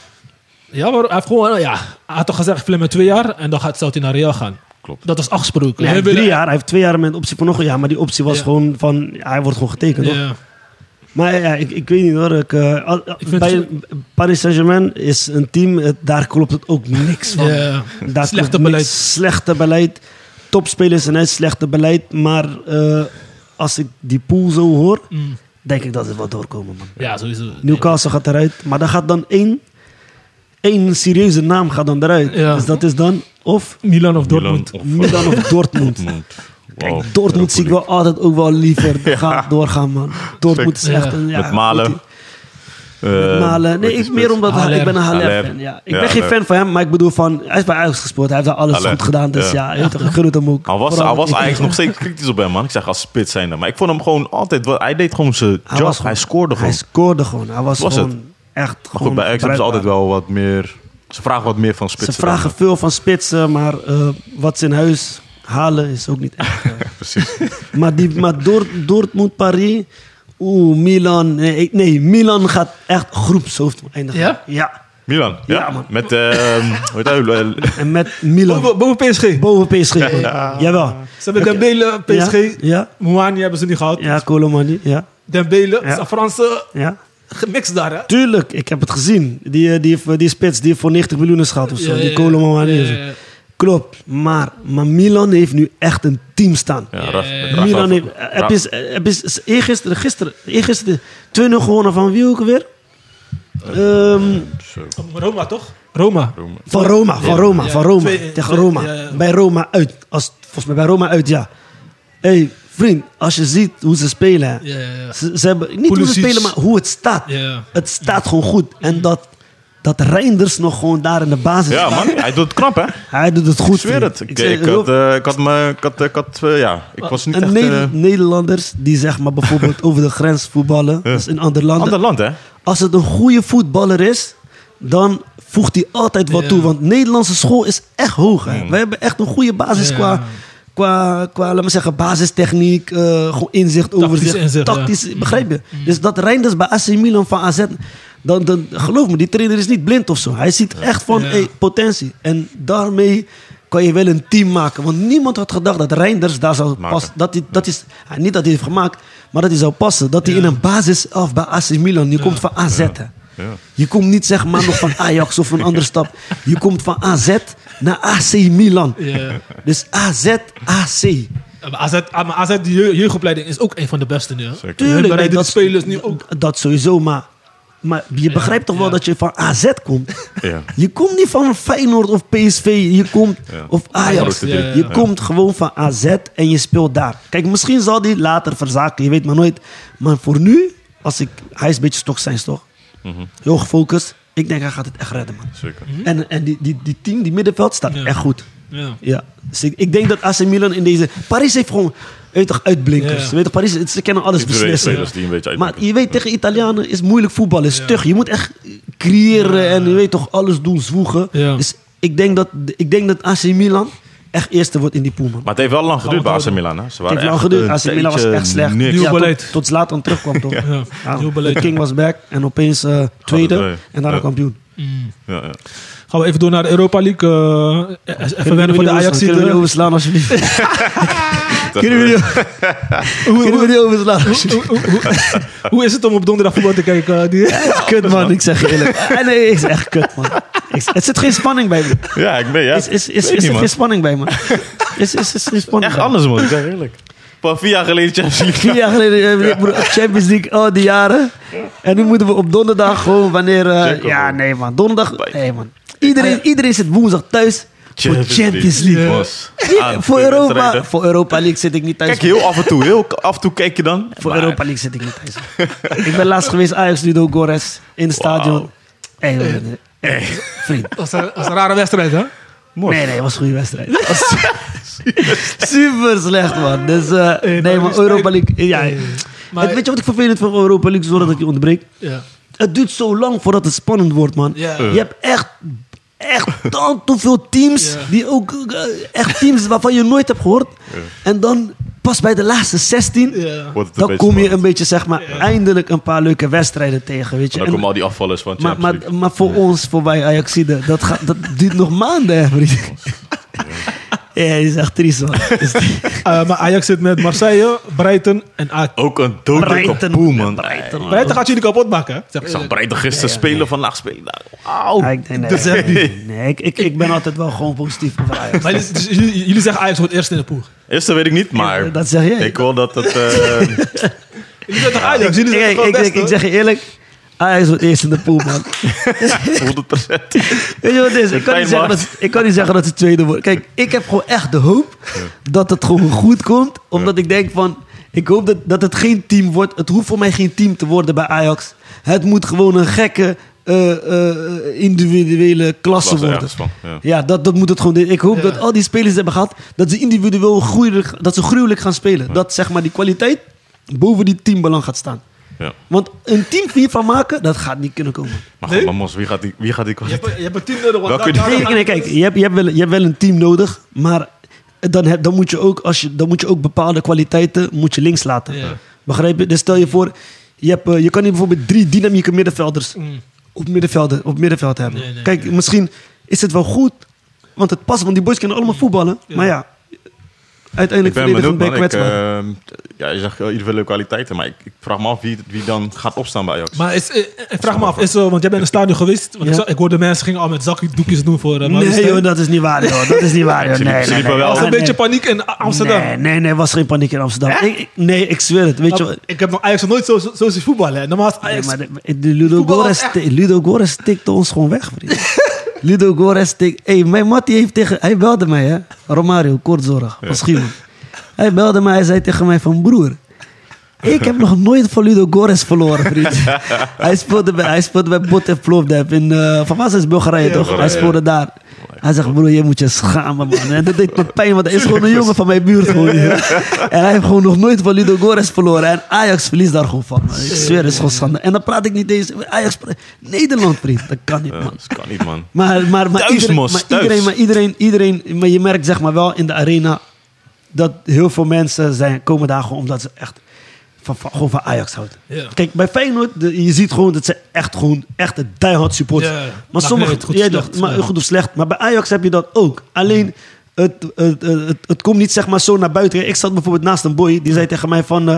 Speaker 2: Ja, maar hij heeft gewoon, ja, hij had toch gezegd, flim met twee jaar en dan gaat, zou hij naar Real gaan.
Speaker 3: Klopt.
Speaker 2: Dat was afgesproken.
Speaker 4: Ja, hij
Speaker 2: Hij
Speaker 4: heeft
Speaker 2: wil-
Speaker 4: drie jaar, hij heeft twee jaar met een optie voor nog een jaar. Maar die optie was
Speaker 2: Ja.
Speaker 4: gewoon van, ja, hij wordt gewoon getekend. toch?
Speaker 2: Ja.
Speaker 4: Maar ja, ik, ik weet niet hoor. Ik, eh, al-
Speaker 2: vind
Speaker 4: bij-
Speaker 2: het-
Speaker 4: Paris Saint-Germain is een team, het- daar klopt het ook niks van.
Speaker 2: Ja.
Speaker 4: Daar
Speaker 2: Slechte
Speaker 4: klopt niks.
Speaker 2: beleid.
Speaker 4: Slechte beleid. Topspelers en hij slechte beleid. Maar eh, als ik die pool zo hoor,
Speaker 2: Mm.
Speaker 4: denk ik dat het wel doorkomen, man.
Speaker 2: ja, sowieso.
Speaker 4: Newcastle gaat eruit, maar dan gaat dan één, één serieuze naam gaat dan eruit.
Speaker 2: Ja.
Speaker 4: Dus dat is dan of
Speaker 2: Milan of
Speaker 3: Milan
Speaker 2: Dortmund.
Speaker 3: of, eh,
Speaker 4: Milan of Dortmund.
Speaker 3: Dortmund.
Speaker 4: Kijk,
Speaker 3: Wow.
Speaker 4: Dortmund zie ik wel altijd ook wel liever gaan, doorgaan, man. Dortmund is
Speaker 2: Ja.
Speaker 4: echt een... Ja,
Speaker 3: Met Malen. Eh,
Speaker 4: goed- Met Malen. Nee, ik, meer omdat hij- ik ben een Halef fan. Ja. Ik
Speaker 3: Ja,
Speaker 4: ben geen
Speaker 3: Halef.
Speaker 4: fan van hem, maar ik bedoel van... Hij is bij Ajax gespeeld, hij heeft daar alles
Speaker 3: Halef.
Speaker 4: goed gedaan. Dus
Speaker 3: Ja.
Speaker 4: ja, ja. toch, ik gun het hem ook.
Speaker 3: Al was,
Speaker 4: Vooral
Speaker 3: al was
Speaker 4: dat-
Speaker 3: eigenlijk nog steeds kritisch op hem, man. Ik zeg als spits zijn. Maar ik vond hem gewoon altijd... wel- Hij deed gewoon zijn job. Hij,
Speaker 4: was gewoon-
Speaker 3: scoorde gewoon.
Speaker 4: Hij scoorde gewoon. Hij was,
Speaker 3: Was het?
Speaker 4: gewoon echt
Speaker 3: Maar
Speaker 4: gewoon
Speaker 3: goed, bij Ajax hebben ze
Speaker 4: bruikbaar.
Speaker 3: altijd wel wat meer... Ze vragen wat meer van spitsen.
Speaker 4: Ze vragen
Speaker 3: dan,
Speaker 4: veel van spitsen, maar eh, wat ze in huis halen is ook niet echt... eh,
Speaker 3: eh, Precies.
Speaker 4: maar die, maar Dort, Dortmund, Paris... Oeh, Milan. Nee, ik- nee, Milan gaat echt groepshoofd eindigen.
Speaker 2: Ja?
Speaker 4: Ja.
Speaker 3: Milan. Ja,
Speaker 4: Ja, man.
Speaker 3: Met... ehm, hoe heet hij?
Speaker 4: En met Milan.
Speaker 2: Boven, boven PSG.
Speaker 4: Boven PSG. Jawel.
Speaker 2: Ze hebben Dembele, PSG.
Speaker 4: Ja,
Speaker 2: Mouani hebben ze niet gehad.
Speaker 4: ja Colomani. Ja,
Speaker 2: Dembele,
Speaker 4: Ja.
Speaker 2: ja. Franse
Speaker 4: ja.
Speaker 2: gemixt daar, hè?
Speaker 4: Tuurlijk, ik heb het gezien. Die, eh, die, die, die spits die heeft voor 90 miljoen is gehad of zo.
Speaker 2: Ja,
Speaker 4: Die
Speaker 2: ja,
Speaker 4: Colomani.
Speaker 2: ja,
Speaker 4: en zo.
Speaker 2: ja, ja.
Speaker 4: Klopt. Maar, maar Milan heeft nu echt een team staan.
Speaker 3: Ja, Raf- Rafa-
Speaker 4: Milan heeft... eh,
Speaker 3: Ra-
Speaker 4: Heb je, eh, heb je, eergisteren, gisteren, eergisteren 2-0 gewonnen van wie ook weer? Ehm,
Speaker 3: Zo.
Speaker 2: Roma, toch? Roma.
Speaker 4: van Roma, van Roma,
Speaker 2: Ja,
Speaker 4: van Roma.
Speaker 2: twee-
Speaker 4: tegen
Speaker 2: twee-
Speaker 4: Roma.
Speaker 2: ja, ja.
Speaker 4: Bij Roma uit. Als, volgens mij bij Roma uit, ja. Hé, hey, vriend, als je ziet hoe ze spelen... hè.
Speaker 2: Ja, ja, ja.
Speaker 4: Ze, ze hebben, niet hoe ze
Speaker 2: Pulisic.
Speaker 4: spelen, maar hoe het staat.
Speaker 2: Ja.
Speaker 4: Het staat gewoon goed. En dat, dat Reinders nog gewoon daar in de basis
Speaker 3: Ja,
Speaker 4: staat.
Speaker 3: man. Hij doet het knap, hè?
Speaker 4: Hij doet het goed.
Speaker 3: Ik zweer
Speaker 4: vriend.
Speaker 3: het. Ik,
Speaker 4: zeg-
Speaker 3: ik, had, eh, ik had me... Ik had... Ik, had, eh, ja, ik was niet
Speaker 4: en
Speaker 3: echt...
Speaker 4: Neder-
Speaker 3: eh
Speaker 4: Nederlanders die zeg maar bijvoorbeeld over de grens voetballen, dat is in andere landen.
Speaker 3: ander land, hè?
Speaker 4: Als het een goede voetballer is, dan voegt hij altijd wat
Speaker 2: Ja.
Speaker 4: toe. Want Nederlandse school is echt hoog. Hè.
Speaker 3: Mm.
Speaker 4: Wij hebben echt een goede basis
Speaker 2: Ja.
Speaker 4: qua, qua, qua, laat maar zeggen, basistechniek, eh, gewoon inzicht, overzicht,
Speaker 2: inzicht, ja. Mm.
Speaker 4: tactisch, begrijp je? Dus dat Reinders bij AC Milan van AZ, dan, dan geloof me, die trainer is niet blind of zo. Hij ziet echt van
Speaker 2: Ja.
Speaker 4: hey, potentie. En daarmee kon je wel een team maken. Want niemand had gedacht dat Reinders daar zou
Speaker 3: Maken.
Speaker 4: passen. Dat hij, dat is, ah, niet dat hij heeft gemaakt, maar dat hij zou passen. Dat hij
Speaker 2: Ja.
Speaker 4: in een basis af bij AC Milan, je komt van AZ. hè.
Speaker 3: Ja.
Speaker 4: Je komt niet zeg maar nog van Ajax of een andere stap. Je komt van AZ naar AC Milan.
Speaker 2: Ja.
Speaker 4: Dus AZ, AC.
Speaker 2: Maar AZ, ah, maar AZ, die jeugd- jeugdopleiding is ook een van de beste nu. hè?
Speaker 3: Zeker.
Speaker 2: Hun
Speaker 4: Tuurlijk,
Speaker 2: bereiden
Speaker 4: nee,
Speaker 2: de spelers nu ook.
Speaker 4: Dat sowieso, maar, maar je begrijpt toch wel
Speaker 2: ja.
Speaker 4: dat je van AZ komt?
Speaker 3: Ja.
Speaker 4: Je komt niet van Feyenoord of PSV, je komt,
Speaker 3: Ja.
Speaker 4: of Ajax.
Speaker 3: Grote drie.
Speaker 2: Ja, ja,
Speaker 4: Je
Speaker 2: ja.
Speaker 4: komt gewoon van AZ en je speelt daar. Kijk, misschien zal die later verzaken, je weet maar nooit. Maar voor nu, als ik, hij is een beetje stok zijn, toch?
Speaker 3: Mhm.
Speaker 4: Heel gefocust. Ik denk, hij gaat het echt redden, man.
Speaker 3: Zeker.
Speaker 4: En, en die, die, die team, die middenveld, staat
Speaker 2: Mhm. Ja.
Speaker 4: echt goed.
Speaker 2: Ja.
Speaker 4: Ja, dus ik, ik denk dat AC Milan in deze... Paris heeft gewoon weet toch, uitblinkers.
Speaker 2: Ja.
Speaker 4: Weet toch, Paris, het- ze kennen alles
Speaker 3: Twee
Speaker 4: beslissen.
Speaker 3: spelers die een beetje
Speaker 4: Maar
Speaker 3: uitpakken.
Speaker 4: je weet, tegen Italianen is moeilijk voetballen. is stug. Je moet echt creëren en je weet toch, alles doen, zwoegen.
Speaker 2: Ja.
Speaker 4: Dus ik denk, dat, ik denk dat AC Milan echt eerste wordt in die pool, man.
Speaker 3: Maar het heeft wel lang geduurd bij AC
Speaker 2: houden.
Speaker 3: Milan. Hè? Ze
Speaker 4: Het
Speaker 3: waren
Speaker 4: heeft lang
Speaker 3: echt
Speaker 4: geduurd.
Speaker 3: een
Speaker 4: AC Milan was
Speaker 3: tijdje
Speaker 4: echt slecht.
Speaker 3: niks.
Speaker 2: Nieuw
Speaker 4: tot-
Speaker 2: beleid.
Speaker 4: Tot Zlatan terugkwam, toch? Ja.
Speaker 2: Ja. Nieuw
Speaker 4: Ah. de
Speaker 2: beleid.
Speaker 4: King was back en opeens eh, tweede
Speaker 3: erbij.
Speaker 4: en daarna
Speaker 3: Ja.
Speaker 4: kampioen.
Speaker 3: Ja, ja.
Speaker 2: Gaan we even door naar de Europa League. eh, even
Speaker 4: Kunnen
Speaker 2: wennen
Speaker 4: we
Speaker 2: voor
Speaker 4: die
Speaker 2: de
Speaker 4: overslaan?
Speaker 2: ajax
Speaker 4: Kunnen we die overslaan alsjeblieft? Kunnen
Speaker 3: eh,
Speaker 4: we die, kunnen we die overslaan alsjeblieft?
Speaker 2: hoe, hoe- hoe- hoe is het om op donderdag voetbal te kijken? eh, die,
Speaker 4: Kut man, ik zeg je eerlijk. Ah, nee, ik zeg echt kut man. Ik- Het zit geen spanning bij me.
Speaker 3: Ja, ik ben ja.
Speaker 4: Is, is,
Speaker 3: Weet
Speaker 4: is,
Speaker 3: niet,
Speaker 4: is er
Speaker 3: man.
Speaker 4: geen spanning bij me? Is, is, is er geen spanning
Speaker 3: Echt
Speaker 4: bij me?
Speaker 3: anders, man. Ik zeg eerlijk. Pas vier jaar geleden Champions
Speaker 4: Vier
Speaker 3: League.
Speaker 4: jaar geleden eh, ik bedoel, Champions League, al die jaren. En nu moeten we op donderdag gewoon wanneer... eh,
Speaker 3: Check op,
Speaker 4: ja,
Speaker 3: man.
Speaker 4: nee man, donderdag... Nee man. Iedereen, iedereen zit woensdag thuis voor Champions League.
Speaker 3: Bos.
Speaker 4: Ja,
Speaker 3: Aan
Speaker 4: Voor,
Speaker 3: de
Speaker 4: Europa,
Speaker 3: wedstrijden.
Speaker 4: voor Europa League zit ik niet thuis.
Speaker 3: Kijk, heel af en toe. Heel af en toe kijk je dan.
Speaker 4: Voor
Speaker 3: Maar-
Speaker 4: Europa League zit ik niet thuis. ik ben laatst geweest Ajax Ludo Gores in het stadion. Hey, man, eh, vriend.
Speaker 2: dat, was een, dat was een rare wedstrijd, hè?
Speaker 3: Mooi.
Speaker 4: Nee, nee, het was een goede wedstrijd. Het was Super slecht, man. Dus, eh, nee,
Speaker 2: maar
Speaker 4: maar
Speaker 2: die
Speaker 4: Europa
Speaker 2: spijt-
Speaker 4: League... Ja,
Speaker 2: Eh, maar-
Speaker 4: Het- weet je wat ik vervelend vind van Europa League, zonder dat ik je ontbreekt?
Speaker 2: Ja.
Speaker 4: Het duurt zo lang voordat het spannend wordt, man.
Speaker 2: Ja.
Speaker 4: Je hebt echt, echt dan te veel teams,
Speaker 2: Ja.
Speaker 4: die ook, eh, echt teams waarvan je nooit hebt gehoord. En dan pas bij de laatste 16,
Speaker 2: Ja.
Speaker 3: Wordt het een
Speaker 4: dan
Speaker 3: beetje
Speaker 4: kom je
Speaker 3: spannend.
Speaker 4: een beetje, zeg maar, eindelijk een paar leuke wedstrijden tegen, weet je.
Speaker 3: Dan
Speaker 4: En-
Speaker 3: komen al die afvallers van
Speaker 4: maar,
Speaker 3: Champions
Speaker 4: maar,
Speaker 3: League.
Speaker 4: maar voor ons, voor wij Ajaxiden, dat, gaat, dat duurt nog maanden, hè, vriend. Ja, dat is echt triest, Dus man. Dat is-
Speaker 2: Eh, maar Ajax zit met Marseille, Brighton en AK.
Speaker 3: Ook een dodelijke
Speaker 4: Breiten,
Speaker 3: poel, man.
Speaker 4: Breiten, man.
Speaker 2: Brighton gaat jullie kapot maken, hè? Zeg
Speaker 3: Ik
Speaker 2: eerlijk.
Speaker 3: zag Breiten gisteren spelen, vandaag spelen. Auw.
Speaker 4: Ja, Ah, ik denk, nee, nee, nee, nee, ik, ik, ik ben altijd wel gewoon positief over Ajax.
Speaker 2: Maar jullie- dus jullie, jullie zeggen Ajax wordt eerst in de pool.
Speaker 3: Eerste weet ik niet, maar...
Speaker 4: Dat zeg jij.
Speaker 3: Ik hoor dat het... eh,
Speaker 2: Jullie zijn toch Ajax? Jullie zijn
Speaker 4: Kijk,
Speaker 2: toch
Speaker 4: ik,
Speaker 2: wel
Speaker 4: ik,
Speaker 2: best,
Speaker 4: ik zeg je eerlijk. Ajax wordt eerst in de pool, man.
Speaker 3: 100%.
Speaker 4: Weet je wat het is? Ik kan,
Speaker 3: Pijn,
Speaker 4: niet zeggen
Speaker 3: man.
Speaker 4: dat, ze- ik kan niet zeggen dat ze tweede wordt. Kijk, ik heb gewoon echt de hoop dat het gewoon goed komt. Omdat ik denk van... Ik hoop dat, dat het geen team wordt. Het hoeft voor mij geen team te worden bij Ajax. Het moet gewoon een gekke eh, eh, individuele klasse
Speaker 3: Was er
Speaker 4: worden.
Speaker 3: ergens van, ja.
Speaker 4: Ja, dat, dat moet het gewoon. Ik hoop dat al die spelers die hebben gehad, dat ze individueel gruwelijk, dat ze gruwelijk gaan spelen. Dat zeg maar die kwaliteit boven die teambelang gaat staan.
Speaker 3: Ja.
Speaker 4: Want een team hiervan maken, dat gaat niet kunnen komen.
Speaker 3: Maar
Speaker 2: Nee?
Speaker 3: goed, maar Mos, wie gaat die, wie gaat die
Speaker 2: Je
Speaker 3: kwaliteit...
Speaker 2: hebt, je hebt een team nodig. want
Speaker 3: Welke
Speaker 2: daar-
Speaker 4: Nee,
Speaker 2: daar-
Speaker 4: nee, nee, kijk, je hebt, je, hebt wel, je hebt wel een team nodig, maar dan, heb, dan, moet je ook, als je, dan moet je ook bepaalde kwaliteiten moet je links laten.
Speaker 2: Ja.
Speaker 4: Begrijp je? Dus stel je voor, je, hebt, eh, je kan hier bijvoorbeeld drie dynamieke middenvelders
Speaker 2: Mm.
Speaker 4: op, middenvelden, op middenveld hebben.
Speaker 2: Nee, nee,
Speaker 4: kijk, misschien is het wel goed, want het past, want die boys kunnen allemaal voetballen. Maar ja,
Speaker 3: Ik
Speaker 4: uiteindelijk
Speaker 3: ben benieuwd,
Speaker 4: verdedigend ben je
Speaker 3: man. Ik,
Speaker 4: kwetsbaar.
Speaker 3: eh, ja, je zegt wel individuele kwaliteiten, maar ik, ik vraag me af wie, wie dan gaat opstaan bij Ajax.
Speaker 2: Maar is, eh, ik vraag me af, is, eh, want jij bent in een stadion geweest. Want ik,
Speaker 4: Ja.
Speaker 2: zag- ik hoorde mensen gingen al met zakdoekjes doen voor... eh,
Speaker 4: Nee
Speaker 2: Marseille.
Speaker 4: joh, dat is niet waar joh. Dat is niet waar joh.
Speaker 3: Ze
Speaker 4: Nee,
Speaker 3: liepen- ze
Speaker 4: nee,
Speaker 3: liepen
Speaker 4: nee.
Speaker 3: wel-
Speaker 2: Er was
Speaker 4: Ah,
Speaker 2: een
Speaker 4: nee.
Speaker 2: beetje paniek in A- Amsterdam.
Speaker 4: Nee, nee, nee, was geen paniek in Amsterdam. Ik- ik- nee, ik zweer het. Weet je
Speaker 2: Maar
Speaker 4: wat?
Speaker 2: Nou, Ik heb nog Ajax nog nooit zo, zo, zo zien voetballen. hè. Normaal is
Speaker 4: Nee,
Speaker 2: Ajax...
Speaker 4: maar de, de Ludo,
Speaker 2: Voetbal was
Speaker 4: Gores,
Speaker 2: echt-
Speaker 4: ti- Ludo Gores tikte ons gewoon weg, vriend. Ludo Gores tikte... Hey, mijn mattie heeft tegen... Hij belde mij, hè. Romario, kortzorg, van Schiemen. Hij belde mij, hij zei tegen mij van... Broer, ik heb nog nooit van Ludo Gores verloren, vriend. hij, speelde bij, hij speelde bij Botev Plovdiv in... eh, van was is Bulgarije, toch?
Speaker 3: Bulgarije.
Speaker 4: Hij speelde daar. Hij zegt, broer, je moet je schamen, man. En dat deed me pijn, want hij is gewoon een jongen van mijn buurt. Gewoon, joh. en hij heeft gewoon nog nooit van Ludo Gores verloren. En Ajax verliest daar gewoon van. man. Ik zweer, het is gewoon schande. En dan praat ik niet eens... Ajax... pra- Nederland, vriend. Dat kan niet,
Speaker 3: Ja,
Speaker 4: man.
Speaker 3: Eh, dat kan niet, man.
Speaker 4: Maar, maar, maar,
Speaker 3: Thuis,
Speaker 4: iedereen,
Speaker 3: Mos,
Speaker 4: maar,
Speaker 3: thuis.
Speaker 4: Iedereen, maar iedereen, iedereen, maar je merkt zeg maar wel in de arena dat heel veel mensen zijn, komen daar gewoon omdat ze echt van, van- gewoon van Ajax houden.
Speaker 2: Ja.
Speaker 4: Kijk, bij Feyenoord, de- je ziet gewoon dat ze echt gewoon echt een diehard supporters.
Speaker 2: Ja,
Speaker 4: maar
Speaker 2: maakt
Speaker 4: sommige,
Speaker 2: niet uit, goed of
Speaker 4: jij dacht,
Speaker 2: slecht,
Speaker 4: maar
Speaker 2: ja.
Speaker 4: goed of slecht, maar bij Ajax heb je dat ook. Alleen het, het, het, het, het komt niet zeg maar zo naar buiten. Ik zat bijvoorbeeld naast een boy, die zei tegen mij van... eh,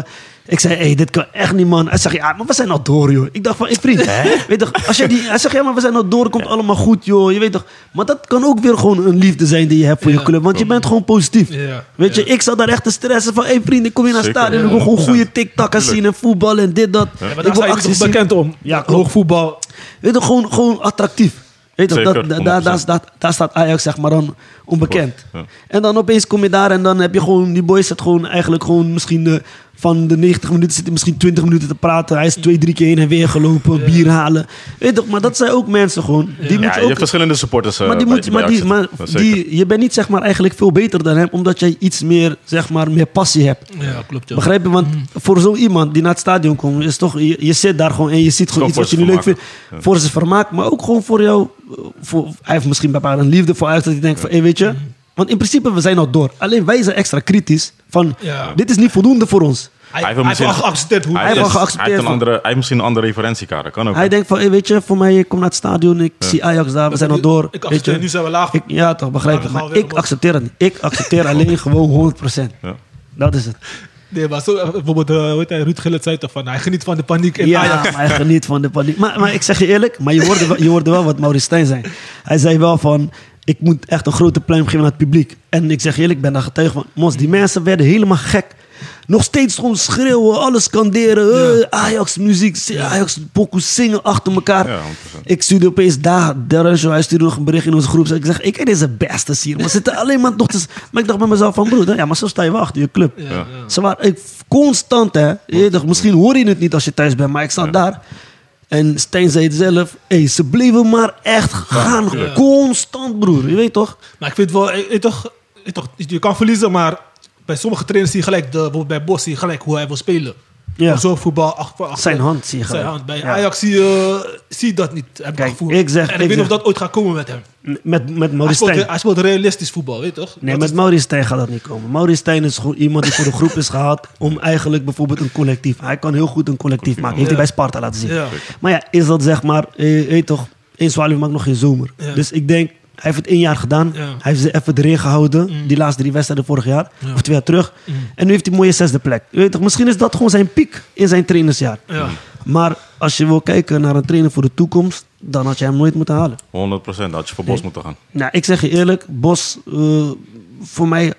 Speaker 4: ik zei, hey, dit kan echt niet, man. Hij zegt, ja, maar we zijn al door, joh. Ik dacht van, hey, vriend, weet toch, als je die... Hij zegt, ja, maar we zijn al door, het komt allemaal goed, joh. Je weet toch, maar dat kan ook weer gewoon een liefde zijn die je hebt voor
Speaker 2: Ja.
Speaker 4: je club. Want je bent gewoon positief.
Speaker 2: Ja.
Speaker 4: Weet je,
Speaker 2: Ja.
Speaker 4: ik zat daar echt te stressen van... hey, vriend, ik kom hier naar het
Speaker 3: Zeker,
Speaker 4: stadion, ik wil gewoon goede tiktakken zien en voetbal en dit, dat.
Speaker 2: Ja, maar
Speaker 4: ik
Speaker 2: daar
Speaker 4: wil
Speaker 2: sta je
Speaker 4: acties
Speaker 2: toch
Speaker 4: zien.
Speaker 2: bekend om.
Speaker 4: Ja, klopt.
Speaker 2: Hoog voetbal.
Speaker 4: Weet je, gewoon, gewoon attractief. Weet je,
Speaker 3: Zeker,
Speaker 4: dat, da-
Speaker 3: 100%.
Speaker 4: daar, daar, staat- daar staat Ajax zeg maar dan onbekend.
Speaker 3: Klopt,
Speaker 4: En dan opeens kom je daar en dan heb je gewoon... Die boy zit gewoon eigenlijk gewoon misschien... eh, van de 90 minuten zit hij misschien 20 minuten te praten. Hij is twee, drie keer heen en weer gelopen. Bier halen. Weet je, toch, maar dat zijn ook mensen gewoon. Die moet
Speaker 3: Ja,
Speaker 4: je
Speaker 3: je
Speaker 4: ook
Speaker 3: hebt verschillende supporters. eh,
Speaker 4: maar die
Speaker 3: bij-
Speaker 4: moet,
Speaker 3: bij
Speaker 4: maar
Speaker 3: Ajax
Speaker 4: die, maar
Speaker 3: zitten. Dat zeker.
Speaker 4: die, je bent niet zeg maar eigenlijk veel beter dan hem, omdat jij iets meer, zeg maar, meer passie hebt.
Speaker 2: Ja, klopt. Ja.
Speaker 4: Begrijp je? Want voor zo iemand die naar het stadion komt, is toch, je, je zit daar gewoon en je ziet gewoon
Speaker 3: Gewoon
Speaker 4: iets
Speaker 3: voor
Speaker 4: wat je
Speaker 3: zijn
Speaker 4: niet leuk vindt.
Speaker 3: vermaak.
Speaker 4: Voor zijn vermaak, maar ook gewoon voor jou. eh, Voor, hij heeft misschien bepaalde liefde voor Ajax, dat hij denkt van, hé, weet je...
Speaker 2: Mhm.
Speaker 4: Want in principe, we zijn al door. Alleen wij zijn extra kritisch van,
Speaker 2: Ja.
Speaker 4: dit is niet voldoende voor ons.
Speaker 2: Hij heeft wel geaccepteerd hoe
Speaker 3: hij
Speaker 4: Hij heeft
Speaker 3: is-
Speaker 4: wel
Speaker 3: hij heeft
Speaker 4: geaccepteerd
Speaker 3: een
Speaker 4: van-
Speaker 3: andere, hij heeft misschien een andere referentiekader. Kan ook.
Speaker 4: Hij denkt van, hé, weet je, voor mij, ik kom naar het stadion, ik zie Ajax daar, we zijn al door.
Speaker 2: Ik
Speaker 4: weet je.
Speaker 2: accepteer, nu zijn we laag.
Speaker 4: Ik, ja, toch, begrijp
Speaker 2: Maar
Speaker 4: ik.
Speaker 2: we gaan
Speaker 4: Maar
Speaker 2: weer
Speaker 4: ik
Speaker 2: omhoog.
Speaker 4: accepteer het niet. Ik accepteer alleen gewoon 100%.
Speaker 3: Ja.
Speaker 4: Dat is het.
Speaker 2: Nee, maar zo, eh, bijvoorbeeld, eh, hoe heet hij, Ruud Gillet zei toch van, hij geniet van de paniek in
Speaker 4: Ja,
Speaker 2: Ajax.
Speaker 4: maar hij geniet van de paniek. Maar, maar ik zeg je eerlijk, maar je hoorde, wel, je hoorde wel wat Maurits Stijn zei. Hij zei wel van, ik moet echt een grote pluim geven aan het publiek. En ik zeg je eerlijk, ik ben daar getuige van. Mos, die mensen werden helemaal gek. Nog steeds gewoon schreeuwen, alles scanderen. eh, Ajax muziek, zi- Ajax pokoes zingen achter elkaar.
Speaker 3: Ja, 100%.
Speaker 4: ik stuurde opeens daar, Derujo, hij stuurde nog een bericht in onze groep. Ik zeg, ik heb deze beste hier. Maar zitten alleen maar nog te... s- Maar ik dacht bij mezelf van, broer, ja, maar zo sta je wel achter je club.
Speaker 3: Ja.
Speaker 4: Ze waren ik, constant, hè. Je weet toch, misschien hoor je het niet als je thuis bent, maar ik zat daar. En Stijn zei het zelf. Hey, ze bleven maar echt gaan. Constant, broer. Je weet toch?
Speaker 2: Maar ik vind wel, eh, eh, toch, eh, toch, je kan verliezen, maar bij sommige trainers zie je gelijk, de, bijvoorbeeld bij Bos zie je gelijk hoe hij wil spelen.
Speaker 4: Ja.
Speaker 2: Of Zo voetbal, ach, ach,
Speaker 4: Zijn hand zie je
Speaker 2: Zijn
Speaker 4: gelijk.
Speaker 2: hand. Bij
Speaker 4: Ja.
Speaker 2: Ajax zie je, zie je dat niet, heb ik
Speaker 4: Kijk,
Speaker 2: het gevoel.
Speaker 4: ik
Speaker 2: en
Speaker 4: zeg-
Speaker 2: ik,
Speaker 4: ik
Speaker 2: weet niet of
Speaker 4: zeg- Oh,
Speaker 2: dat ooit gaat komen met hem.
Speaker 4: Met, met
Speaker 2: Hij
Speaker 4: Maurice
Speaker 2: speelt,
Speaker 4: Stijn.
Speaker 2: hij speelt realistisch voetbal, weet je toch?
Speaker 4: Nee,
Speaker 2: Dat
Speaker 4: met
Speaker 2: is-
Speaker 4: Maurice Stijn gaat dat niet komen. Maurice Stijn is gewoon iemand die voor de groep is gehaald... om eigenlijk bijvoorbeeld een collectief... Hij kan heel goed een collectief maken. Heeft hij bij Sparta laten zien.
Speaker 2: Ja.
Speaker 4: Maar ja, is dat zeg maar... eh, Je weet toch, in Zwaluw maakt nog geen zomer.
Speaker 2: Ja.
Speaker 4: Dus ik denk, hij heeft het één jaar gedaan.
Speaker 2: Ja. Mm.
Speaker 4: Hij heeft ze even erin gehouden. Die laatste drie wedstrijden vorig jaar. Of twee jaar terug. En nu heeft hij een mooie zesde plek. Je weet toch, misschien is dat gewoon zijn piek in zijn trainersjaar.
Speaker 2: Ja.
Speaker 4: Maar als je wil kijken naar een trainer voor de toekomst... dan had je hem nooit moeten halen.
Speaker 3: 100% had je voor Bos moeten gaan.
Speaker 4: Nou, ik zeg je eerlijk, Bos, eh, voor mij,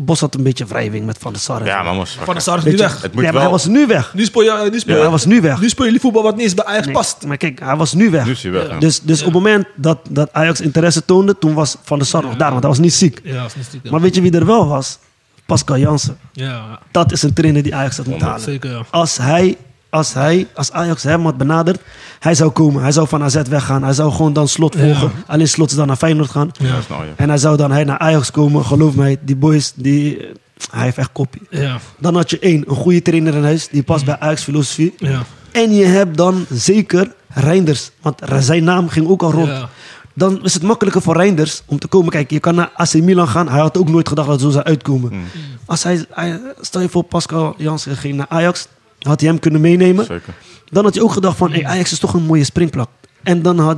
Speaker 4: Bos had een beetje wrijving met Van der Sar. en
Speaker 3: Ja,
Speaker 4: zo.
Speaker 3: maar mos.
Speaker 2: Van de Sar is
Speaker 4: Weet
Speaker 2: nu
Speaker 4: je,
Speaker 2: weg.
Speaker 3: Het
Speaker 4: Ja,
Speaker 3: moet
Speaker 4: maar
Speaker 3: wel-
Speaker 4: hij was nu weg.
Speaker 2: Nu speel je, nu speel,
Speaker 4: Ja, hij was nu weg.
Speaker 2: Nu speel je voetbal wat niet eens bij Ajax
Speaker 4: Nee,
Speaker 2: past.
Speaker 4: Maar kijk, hij was nu weg.
Speaker 3: Nu is hij weg, ja.
Speaker 4: Dus, dus op het moment dat, dat Ajax interesse toonde, toen was Van der Sar nog daar, want hij was niet ziek.
Speaker 2: Ja, dat is niet stiekem.
Speaker 4: Maar weet je wie er wel was? Pascal Jansen.
Speaker 2: Ja,
Speaker 4: Dat is een trainer die Ajax had moeten halen.
Speaker 2: zeker. ja.
Speaker 4: Als hij, als hij, als Ajax hem had benaderd, hij zou komen. Hij zou van AZ weggaan. Hij zou gewoon dan slot volgen. Alleen slot is dan naar Feyenoord gaan.
Speaker 3: Ja, snel, ja.
Speaker 4: En hij zou dan hij naar Ajax komen. Geloof mij, die boys, die, eh, hij heeft echt kopie.
Speaker 2: Ja,
Speaker 4: Dan had je één, een goede trainer in huis. Die past bij Ajax filosofie.
Speaker 2: ja.
Speaker 4: En je hebt dan zeker Reinders. Want zijn naam ging ook al rond.
Speaker 2: Ja.
Speaker 4: Dan is het makkelijker voor Reinders om te komen. Kijk, je kan naar AC Milan gaan. Hij had ook nooit gedacht dat het zo zou uitkomen.
Speaker 3: Mm.
Speaker 4: Als hij, hij- stel je voor, Pascal Jansen ging naar Ajax. Had hij hem kunnen meenemen.
Speaker 3: Zeker.
Speaker 4: Dan had je ook gedacht van, hey, Ajax is toch een mooie springplak. En dan had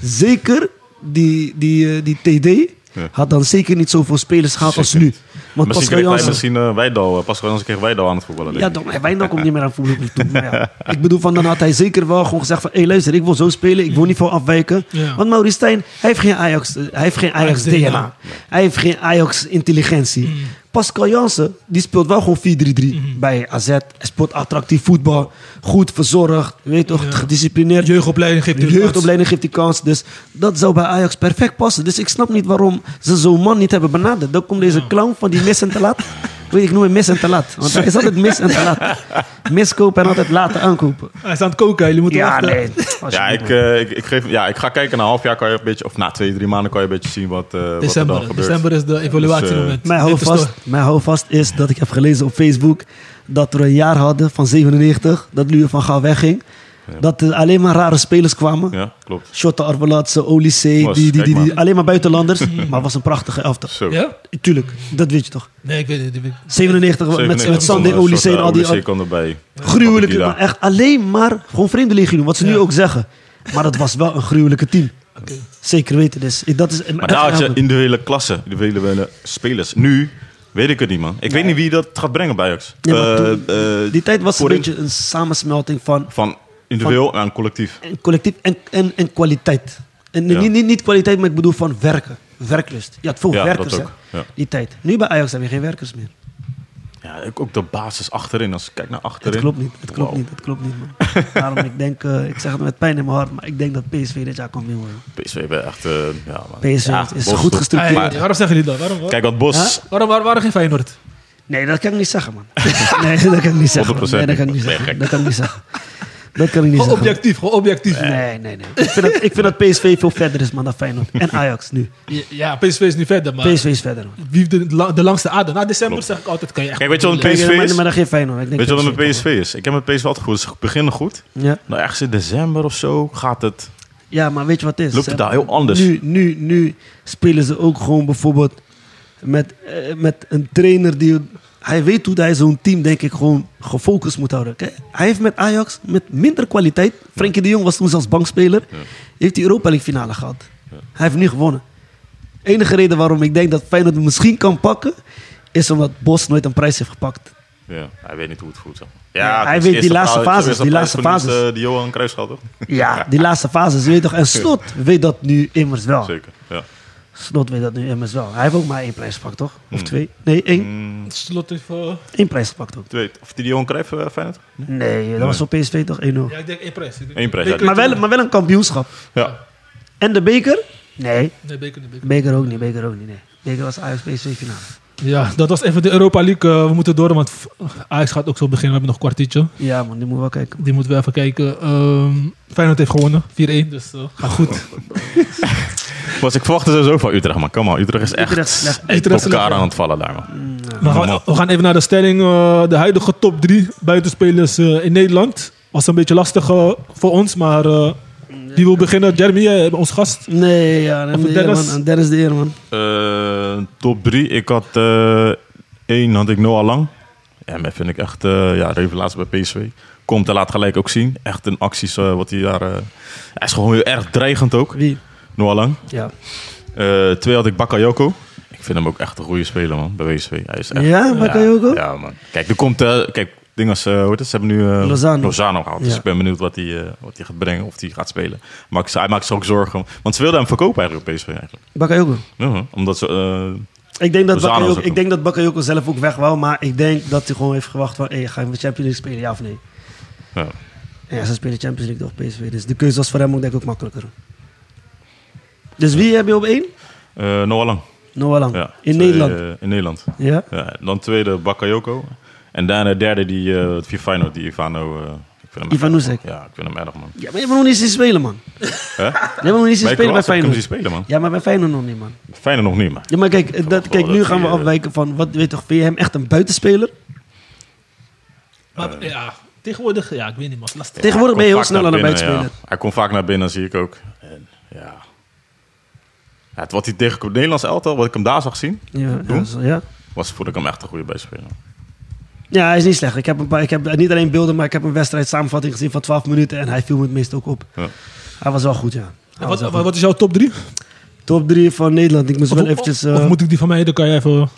Speaker 4: zeker die, die, eh, die TD...
Speaker 3: Ja.
Speaker 4: Had dan zeker niet zoveel spelers gehad als
Speaker 3: Zeker
Speaker 4: nu.
Speaker 3: Misschien
Speaker 4: Want Pascal
Speaker 3: kreeg hij
Speaker 4: Jansen...
Speaker 3: misschien eh, Wijdal. eh, Pascal Jansen kreeg Wijdal aan het voetballen. denk
Speaker 4: Ja,
Speaker 3: ik.
Speaker 4: dan, Wijndal komt niet meer aan voetbal toe. Maar ja. Ik bedoel, van, dan had hij zeker wel gewoon gezegd van... hé, hey, luister, ik wil zo spelen, ik wil niet veel afwijken.
Speaker 2: Ja.
Speaker 4: Want Maurice Stijn, hij heeft geen Ajax, eh, hij heeft geen Ajax
Speaker 2: Ajax
Speaker 4: DNA. Mm. Hij heeft geen Ajax intelligentie. Pascal Jansen, die speelt wel gewoon 4-3-3 bij AZ. Hij speelt attractief voetbal, goed verzorgd, je weet toch, gedisciplineerd.
Speaker 2: Jeugdopleiding geeft
Speaker 4: De
Speaker 2: hij de kans.
Speaker 4: jeugdopleiding geeft die kans. Dus dat zou bij Ajax perfect passen. Dus ik snap niet waarom ze zo'n man niet hebben benaderd. Dan komt deze clown van die mis en te laat. Weet ik noem hem mis en te laat. Want hij is altijd mis en te laat. Miskopen en altijd laten aankopen.
Speaker 2: Hij is aan het koken, jullie moeten
Speaker 4: Ja,
Speaker 2: wachten.
Speaker 4: nee.
Speaker 3: Ja, ik, eh, ik, ik geef, ja, ik ga kijken. Na een half jaar kan je een beetje, of na twee, drie maanden kan je een beetje zien wat, eh, wat er dan
Speaker 2: December,
Speaker 3: gebeurt.
Speaker 2: december is de evaluatiemoment.
Speaker 3: Dus,
Speaker 4: eh, Mijn houvast, mijn houvast is dat ik heb gelezen op Facebook dat we een jaar hadden van 97, dat Luwe van Gaal wegging. Dat er alleen maar rare spelers kwamen.
Speaker 3: Ja, klopt.
Speaker 4: Shotta Arvelatse, Olysee, die,
Speaker 3: Was,
Speaker 4: die, die,
Speaker 3: kijk
Speaker 4: die-
Speaker 3: maar.
Speaker 4: alleen maar buitenlanders. maar het was een prachtige elftal.
Speaker 3: Zo.
Speaker 2: Ja?
Speaker 4: Tuurlijk, dat weet je toch.
Speaker 2: Nee, ik weet het niet.
Speaker 4: 97 met- met,
Speaker 3: 97
Speaker 4: met Sandy,
Speaker 3: kon, eh,
Speaker 4: Olysee en al die
Speaker 3: Olysee
Speaker 4: al-
Speaker 3: kon erbij.
Speaker 4: gruwelijke,
Speaker 3: Bakidila.
Speaker 4: maar echt alleen maar gewoon vreemdeling doen, wat ze nu ook zeggen. Maar dat was wel een gruwelijke team. Zeker weten. Dus ik- dat is
Speaker 3: Maar daar had je individuele klassen, individuele eh, spelers. Nu weet ik het niet, man. Ik weet niet wie dat gaat brengen bij Ajax.
Speaker 4: Ja, maar
Speaker 3: Eh,
Speaker 4: toen-
Speaker 3: eh,
Speaker 4: Die tijd was een
Speaker 3: voorin-
Speaker 4: beetje een samensmelting van
Speaker 3: Van individueel naar collectief.
Speaker 4: en collectief en, en, en kwaliteit. En
Speaker 3: Ja.
Speaker 4: niet, niet, niet kwaliteit, maar ik bedoel van werken. Werklust. Je had veel
Speaker 3: Ja,
Speaker 4: werkers,
Speaker 3: dat
Speaker 4: hè,
Speaker 3: ook. Ja.
Speaker 4: die tijd. Nu bij Ajax heb je geen werkers meer.
Speaker 3: Ja, ook- ook de basis achterin. Als ik kijk naar achterin.
Speaker 4: Het klopt niet, het klopt
Speaker 3: Wauw.
Speaker 4: niet, het klopt niet. Man. Daarom, ik denk, eh, ik zeg het met pijn in mijn hart, maar ik denk dat PSV dit jaar komt winnen. hoor.
Speaker 3: PSV hebben echt... eh, ja, man.
Speaker 4: PSV
Speaker 3: Ja,
Speaker 4: is
Speaker 3: Bos
Speaker 4: goed
Speaker 3: doet-
Speaker 4: gestructureerd.
Speaker 2: Hey, Ah, waarom zeggen jullie dat? Waarom, waarom,
Speaker 3: Kijk wat Bos...
Speaker 2: waarom, waarom geen Feyenoord?
Speaker 4: Nee, dat kan ik niet zeggen, man. Nee, dat kan ik niet zeggen. man.
Speaker 3: 100%
Speaker 4: Nee, dat kan ik niet
Speaker 3: niet.
Speaker 4: zeggen.
Speaker 3: Nee, gek.
Speaker 4: Dat kan ik niet zeggen. Dat kan ik niet
Speaker 2: Gewoon
Speaker 4: zeggen. man.
Speaker 2: objectief, gewoon objectief.
Speaker 4: Nee, nee, nee. Ik vind, dat, ik vind dat PSV veel verder is, man, dan Feyenoord. En Ajax nu.
Speaker 2: Ja, PSV is niet verder, maar
Speaker 4: PSV is verder, man.
Speaker 2: wie heeft de, la- de langste ader? Na december zeg ik altijd, kan je echt...
Speaker 3: Kijk, weet je wat een
Speaker 4: Ik
Speaker 3: PSV
Speaker 4: denk, maar,
Speaker 3: is?
Speaker 4: maar dan geen Feyenoord. Ik denk
Speaker 3: Weet je wat het met
Speaker 4: PSV.
Speaker 3: PSV is? Ik heb met PSV altijd goed. Ze beginnen goed.
Speaker 4: Ja.
Speaker 3: Nou, ergens in december of zo gaat het...
Speaker 4: ja, maar weet je wat het is? Eh,
Speaker 3: Loopt het
Speaker 4: Ze-
Speaker 3: daar heel anders.
Speaker 4: Nu, nu, nu spelen ze ook gewoon bijvoorbeeld met, eh, met een trainer die... Hij weet hoe hij zo'n team, denk ik, gewoon gefocust moet houden. Kijk, hij heeft met Ajax met minder kwaliteit... Frenkie de Jong was toen zelfs bankspeler. Heeft die Europa League finale gehad. Hij heeft nu gewonnen. enige reden waarom ik denk dat Feyenoord het misschien kan pakken... is omdat Bos nooit een prijs heeft gepakt.
Speaker 3: Ja, hij weet niet hoe het voelt. zeg maar.
Speaker 4: Ja,
Speaker 3: het
Speaker 4: hij
Speaker 3: is
Speaker 4: weet
Speaker 3: de
Speaker 4: die
Speaker 3: eerste
Speaker 4: laatste
Speaker 3: prijs-
Speaker 4: fases,
Speaker 3: eerste
Speaker 4: die
Speaker 3: prijs
Speaker 4: laatste
Speaker 3: van Die,
Speaker 4: fases.
Speaker 3: is, eh, die Johan Cruijff gaat, toch?
Speaker 4: Ja, die laatste fase, weet je toch? En Slot weet dat nu immers wel.
Speaker 3: Zeker, ja.
Speaker 4: Slot weet dat nu immers wel. Hij heeft ook maar één prijs gepakt, toch? Of twee? Nee, één.
Speaker 2: Slot heeft, eh,
Speaker 4: Eén prijs gepakt ook.
Speaker 3: Twee, of die Johan Cruijff eh, Feyenoord?
Speaker 4: Nee, dat was op PSV toch 1-0.
Speaker 2: ja, ik denk één prijs. Ik denk-
Speaker 3: Eén prijs, ja.
Speaker 2: Beker-
Speaker 4: Maar, wel, maar wel een kampioenschap.
Speaker 3: Ja.
Speaker 4: En de beker? Nee,
Speaker 2: Nee, beker niet, beker.
Speaker 4: beker ook niet, beker ook niet. Nee. Beker was Ajax PSV finale.
Speaker 2: Ja, dat was even de Europa League. Eh, we moeten door, want v- Ajax gaat ook zo beginnen. We hebben nog een kwartiertje.
Speaker 4: Ja man, die moet wel kijken.
Speaker 2: Die moeten we even kijken. Ehm Feyenoord heeft gewonnen, 4-1. Dus eh, gaat goed.
Speaker 3: Was ik verwachtte sowieso van Utrecht, maar Kom maar, Utrecht is echt
Speaker 4: Utrecht is slecht.
Speaker 3: echt
Speaker 2: Utrecht is
Speaker 3: op elkaar
Speaker 2: slecht,
Speaker 3: aan het vallen daar, man.
Speaker 2: We gaan, we gaan even naar de stelling. eh, de huidige top 3 buitenspelers eh, in Nederland. Was een beetje lastig eh, voor ons, maar eh, die wil beginnen. Jeremy, jij bent ons gast.
Speaker 4: Nee, ja,
Speaker 2: Of
Speaker 4: dan de
Speaker 2: Dennis?
Speaker 4: Dennis? man. Dennis de eer, man.
Speaker 3: Eh, top 3. Ik had eh één had ik Noah Lang. Ja, maar vind ik echt eh ja, revelatie bij PSV. Komt en laat gelijk ook zien. Echt een acties eh, wat hij daar... eh, hij is gewoon heel erg dreigend ook,
Speaker 4: Wie?
Speaker 3: Noah Lang.
Speaker 4: Ja.
Speaker 3: Eh, twee had ik Bakayoko. Ik vind hem ook echt een goede speler, man, bij PSV. Hij is echt,
Speaker 4: Ja, Bakayoko?
Speaker 3: Ja, man. Kijk, er komt... eh, kijk, ding als, eh, hoe heet het? Ze hebben nu eh,
Speaker 4: Lozano.
Speaker 3: gehaald. Dus
Speaker 4: Ja.
Speaker 3: ik ben benieuwd wat hij eh, wat hij gaat brengen. Of hij gaat spelen. Maar ik- hij maakt zich ook zorgen. Want ze wilden hem verkopen eigenlijk, PSV eigenlijk.
Speaker 4: Bakayoko.
Speaker 3: Ja, man. omdat ze... eh,
Speaker 4: Ik denk, dat
Speaker 3: Lozano
Speaker 4: Bakayoko,
Speaker 3: is ook
Speaker 4: ik denk dat Bakayoko zelf ook weg wou, maar ik denk dat hij gewoon heeft gewacht van, hey, ga je met Champions League spelen, ja of nee?
Speaker 3: ja.
Speaker 4: Ja, ze spelen Champions League toch PSV, dus de keuze was voor hem ook denk ik ook makkelijker. Dus wie heb je op één?
Speaker 3: Eh, Noah Lang.
Speaker 4: Noah Lang.
Speaker 3: Ja.
Speaker 4: In
Speaker 3: Twee,
Speaker 4: Nederland.
Speaker 3: eh, in Nederland.
Speaker 4: ja?
Speaker 3: Ja, dan tweede Bakayoko. En daarna de derde die eh via Feyenoord, die Ivano... eh, ik vind hem echt-
Speaker 4: Ivan Oezek.
Speaker 3: Ja, ik vind hem erg, man.
Speaker 4: Ja, maar je hebt nog niet zien spelen, man.
Speaker 3: Hè?
Speaker 4: Je hebt nog niet zien
Speaker 3: Maar ik wil
Speaker 4: spelen
Speaker 3: laatst heb
Speaker 4: bij
Speaker 3: ik hem
Speaker 4: Feyenoord.
Speaker 3: zien spelen, man.
Speaker 4: Ja, maar bij Feyenoord nog niet, man.
Speaker 3: Feyenoord nog niet, maar...
Speaker 4: Ja, maar kijk, dat,
Speaker 3: verwacht
Speaker 4: kijk
Speaker 3: wel
Speaker 4: nu
Speaker 3: dat
Speaker 4: gaan we
Speaker 3: hij, eh,
Speaker 4: afwijken van... Wat, weet toch, vind je hem echt een buitenspeler?
Speaker 2: Maar eh, ja, tegenwoordig, ja, ik weet niet, man. Het is Lastig.
Speaker 4: Tegenwoordig ben je heel
Speaker 3: Komt
Speaker 4: snel
Speaker 3: vaak
Speaker 4: aan een
Speaker 3: naar binnen,
Speaker 4: buitenspeler.
Speaker 3: ja. Hij komt vaak naar binnen, zie ik ook. En, ja. Ja, het, wat hij tegen het Nederlands elftal, wat ik hem daar zag zien,
Speaker 4: Ja, ja,
Speaker 3: Doen?
Speaker 4: zo- ja.
Speaker 3: was vond ik hem echt een goede bijspeler.
Speaker 4: ja, hij is niet slecht. Ik heb, een paar, ik heb niet alleen beelden, maar ik heb een wedstrijd samenvatting gezien van 12 minuten. En hij viel me het meest ook op.
Speaker 3: Ja.
Speaker 4: Hij was wel goed, ja. Hij
Speaker 2: En
Speaker 4: was
Speaker 2: Wat,
Speaker 4: wel
Speaker 2: wat
Speaker 4: goed.
Speaker 2: wat is jouw top 3?
Speaker 4: Top 3 van Nederland. Ik moest
Speaker 2: Of,
Speaker 4: Dus wel
Speaker 2: of-
Speaker 4: eventjes...
Speaker 2: of
Speaker 4: eh,
Speaker 2: moet ik die van mij? Dan kan je even...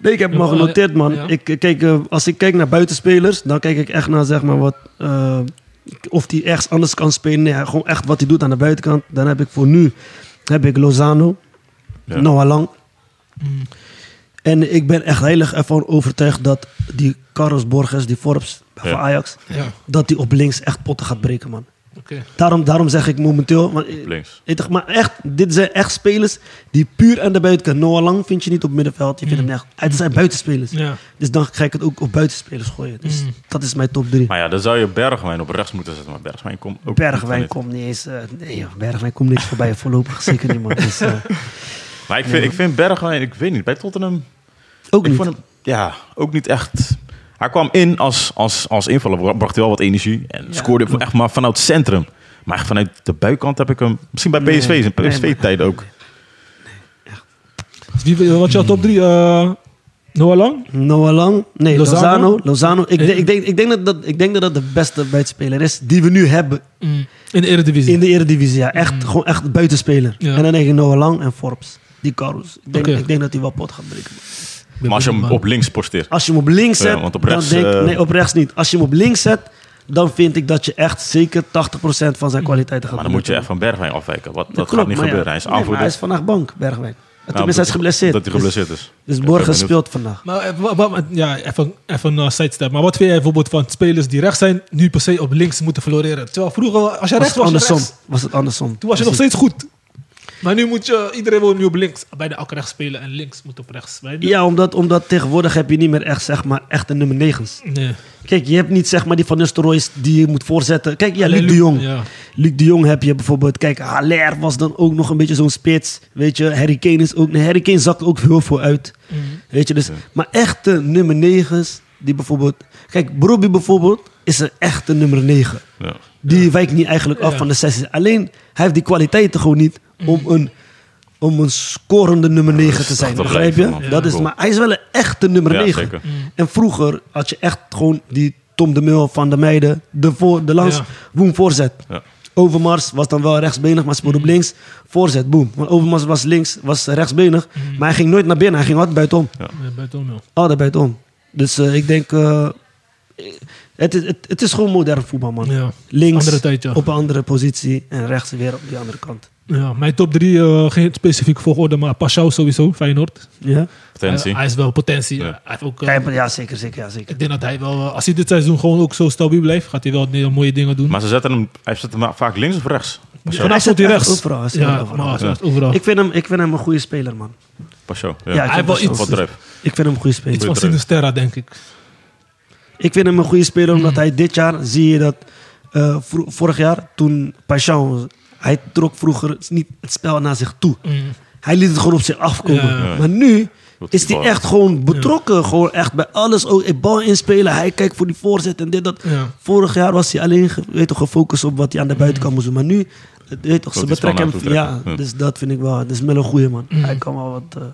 Speaker 4: Nee, ik heb hem al
Speaker 2: Ja, maar-
Speaker 4: genoteerd, man.
Speaker 2: ja.
Speaker 4: Ik, eh, kijk, eh, als ik kijk naar buitenspelers, dan kijk ik echt naar zeg maar wat. eh, of die ergens anders kan spelen. Nee, gewoon echt wat hij doet aan de buitenkant. Dan heb ik voor nu heb ik Lozano,
Speaker 3: Ja.
Speaker 4: Noah Lang.
Speaker 2: Mm.
Speaker 4: En ik ben echt heel erg ervan overtuigd dat die Carlos Borges, die Forbes
Speaker 3: Ja.
Speaker 4: van Ajax,
Speaker 2: Ja,
Speaker 4: dat die op links echt potten gaat breken, man.
Speaker 2: oké.
Speaker 4: Daarom, daarom zeg ik momenteel. Want, eh,
Speaker 3: Links.
Speaker 4: weet toch, maar echt, dit zijn echt spelers die puur aan de buitenkant. Noah Lang vind je niet op middenveld. Je vindt hem echt. Het zijn buitenspelers.
Speaker 2: Mm. Ja. Mm.
Speaker 4: Dus dan ga ik het ook op buitenspelers gooien. Dus dat is mijn top 3.
Speaker 3: Maar ja, dan zou je Bergwijn op rechts moeten zetten. Maar Bergwijn komt ook
Speaker 4: Bergwijn
Speaker 3: niet van dit.
Speaker 4: komt niet eens. eh, nee, joh, Bergwijn komt niks voorbij. Voorlopig zeker niet, man. Dus, eh,
Speaker 3: Maar ik vind, ik vind Bergwijn, ik weet niet, bij Tottenham...
Speaker 4: ook
Speaker 3: Ik
Speaker 4: niet.
Speaker 3: vond hem, ja, ook niet echt... Hij kwam in als, als, als invaller, bra- bracht hij wel wat energie. En scoorde echt maar vanuit het centrum. Maar echt vanuit de buitenkant heb ik hem... Misschien bij PSV,
Speaker 4: Nee,
Speaker 3: in
Speaker 4: nee,
Speaker 3: PSV-tijd ook.
Speaker 2: Dus wie, wat is jouw top 3? eh Noah Lang?
Speaker 4: Noah Lang. Nee,
Speaker 2: Lozano?
Speaker 4: Lozano. Lozano. Ik,
Speaker 2: Eh.
Speaker 4: denk- ik, denk, ik, denk dat dat, ik denk dat dat de beste buitenspeler is die we nu hebben.
Speaker 2: In de Eredivisie.
Speaker 4: In de Eredivisie, ja. Echt, Gewoon echt buitenspeler.
Speaker 2: Mm. Ja.
Speaker 4: En dan denk ik Noah Lang en Forbes. Die Carlos. Ik denk,
Speaker 2: Oké.
Speaker 4: ik denk dat hij wel pot gaat breken.
Speaker 2: Ik ben
Speaker 3: Maar als je hem
Speaker 2: benieuwd,
Speaker 3: op links posteert.
Speaker 4: Als je hem op links
Speaker 3: Ja,
Speaker 4: zet,
Speaker 3: want op
Speaker 4: dan
Speaker 3: rechts,
Speaker 4: denk
Speaker 3: eh,
Speaker 4: Nee, op rechts niet. Als je hem op links zet, dan vind ik dat je echt zeker 80% van
Speaker 2: Mm.
Speaker 4: zijn kwaliteiten gaat
Speaker 3: Maar dan moet je
Speaker 4: benutten.
Speaker 3: echt van Bergwijn afwijken. Wat, dat
Speaker 4: klopt,
Speaker 3: gaat niet
Speaker 4: maar ja.
Speaker 3: gebeuren. Hij is
Speaker 4: Nee, maar
Speaker 3: aanvoerder.
Speaker 4: hij is vandaag bank, Bergwijn.
Speaker 3: Nou,
Speaker 4: Tenminste, hij is geblesseerd.
Speaker 3: Dat hij geblesseerd is.
Speaker 4: Dus, dus
Speaker 3: Ik
Speaker 4: Borges
Speaker 3: ben benieuwd.
Speaker 4: speelt vandaag.
Speaker 2: Maar eh, wa- wa- ja, even, even een sidestep. Maar wat vind jij bijvoorbeeld van spelers die rechts zijn, nu per se op links moeten floreren? Terwijl vroeger, als je
Speaker 4: Was
Speaker 2: rechts
Speaker 4: het
Speaker 2: was, was je
Speaker 4: andersom?
Speaker 2: rechts.
Speaker 4: Was het andersom?
Speaker 2: Toen was je nog
Speaker 4: Precies.
Speaker 2: steeds goed. Maar nu moet je, iedereen wil nu op links. Ah, Bijna elke rechts spelen en links moet op rechts. Weet je?
Speaker 4: Ja, omdat, omdat tegenwoordig heb je niet meer echt, zeg maar, echt een nummer 9's.
Speaker 2: Nee.
Speaker 4: Kijk, je hebt niet zeg maar die Van Nistelrooy's die je moet voorzetten. Kijk, ja,
Speaker 2: Alleen
Speaker 4: Luc de
Speaker 2: Luc-
Speaker 4: Jong.
Speaker 2: ja.
Speaker 4: Luc de Jong heb je bijvoorbeeld. Kijk, Haller was dan ook nog een beetje zo'n spits. Weet je, Harry Kane is ook... Nee, Harry Kane zakt ook heel veel uit. Weet je, dus... Maar echte nummer negens, die bijvoorbeeld... Kijk, Brobbey bijvoorbeeld is een echte nummer 9.
Speaker 3: Ja.
Speaker 4: Die wijkt niet eigenlijk af
Speaker 2: Ja. Mm.
Speaker 4: van de sessies. Alleen, hij heeft die kwaliteiten gewoon niet om een, om een scorende nummer 9 te zijn.
Speaker 3: te
Speaker 4: Begrijp je?
Speaker 3: blijven, man.
Speaker 4: Dat is,
Speaker 3: Cool.
Speaker 4: maar hij is wel een echte nummer
Speaker 3: Ja,
Speaker 4: 9.
Speaker 3: zeker.
Speaker 2: Mm.
Speaker 4: En vroeger had je echt gewoon die Tom de Mul van de meiden, de, voor, de langs,
Speaker 2: Ja.
Speaker 4: boem, voorzet.
Speaker 3: Ja.
Speaker 4: Overmars was dan wel rechtsbenig, maar
Speaker 2: Mm.
Speaker 4: speelde op links. Voorzet, boem. Want Overmars was links, was rechtsbenig.
Speaker 2: Mm.
Speaker 4: Maar hij ging nooit naar binnen, hij ging altijd buitenom.
Speaker 2: Ja, bij Tom, ja.
Speaker 4: Altijd buitenom. Dus eh, ik denk... eh, het, is- het, het is gewoon modern voetbal, man.
Speaker 2: Ja.
Speaker 4: Links
Speaker 2: Andere tijd, ja.
Speaker 4: op een andere positie en rechts weer op die andere kant.
Speaker 2: Ja, mijn top drie, eh, geen specifieke volgorde, maar Pashao sowieso, Feyenoord.
Speaker 4: Ja,
Speaker 3: Potentie.
Speaker 2: Hij, hij is wel potentie.
Speaker 3: Ja.
Speaker 2: Hij heeft ook, eh,
Speaker 4: Kijk, ja zeker, zeker, ja, zeker.
Speaker 2: ik denk dat hij wel, eh, als hij dit seizoen gewoon ook zo stabiel blijft, gaat hij wel heel mooie dingen doen.
Speaker 3: Maar ze zetten hem, hij zet hem vaak links of rechts. Pacho.
Speaker 2: Vandaag
Speaker 4: Hij
Speaker 2: stond
Speaker 4: zit
Speaker 2: hij
Speaker 4: echt
Speaker 2: rechts.
Speaker 4: overal, hij zit
Speaker 2: ja,
Speaker 4: overal.
Speaker 2: maar hij
Speaker 3: Ja.
Speaker 2: zit overal.
Speaker 4: Ik vind, hem, ik vind hem een goede speler, man.
Speaker 3: Pacho. Ja.
Speaker 4: Ja,
Speaker 2: hij heeft
Speaker 4: ik
Speaker 2: wel
Speaker 4: vind
Speaker 2: iets,
Speaker 3: Wat drive.
Speaker 4: Ik vind hem een goede speler.
Speaker 2: iets van
Speaker 3: terug.
Speaker 2: Sinisterra, denk ik.
Speaker 4: Ik vind hem een goede speler
Speaker 2: Mm.
Speaker 4: omdat hij dit jaar zie je dat eh, vro- vorig jaar toen Paixão hij trok vroeger niet het spel naar zich toe.
Speaker 2: Mm.
Speaker 4: Hij liet het gewoon op zich afkomen.
Speaker 2: Ja,
Speaker 3: ja.
Speaker 4: Maar nu
Speaker 3: Goed,
Speaker 4: is hij
Speaker 3: bal.
Speaker 4: echt gewoon betrokken, gewoon echt bij alles. Ook eh, bal inspelen, hij kijkt voor die voorzet en dit dat.
Speaker 2: Ja.
Speaker 4: Vorig jaar was hij alleen ge- weet toch, gefocust op wat hij aan de buitenkant moest doen. Maar nu, het- weet toch, ze
Speaker 3: hij snel
Speaker 4: betrekken hem.
Speaker 3: naartoe
Speaker 4: Ja,
Speaker 3: trekken. Ja.
Speaker 4: dus dat vind ik wel. Dat is wel een goede man. Hij kan wel wat eh,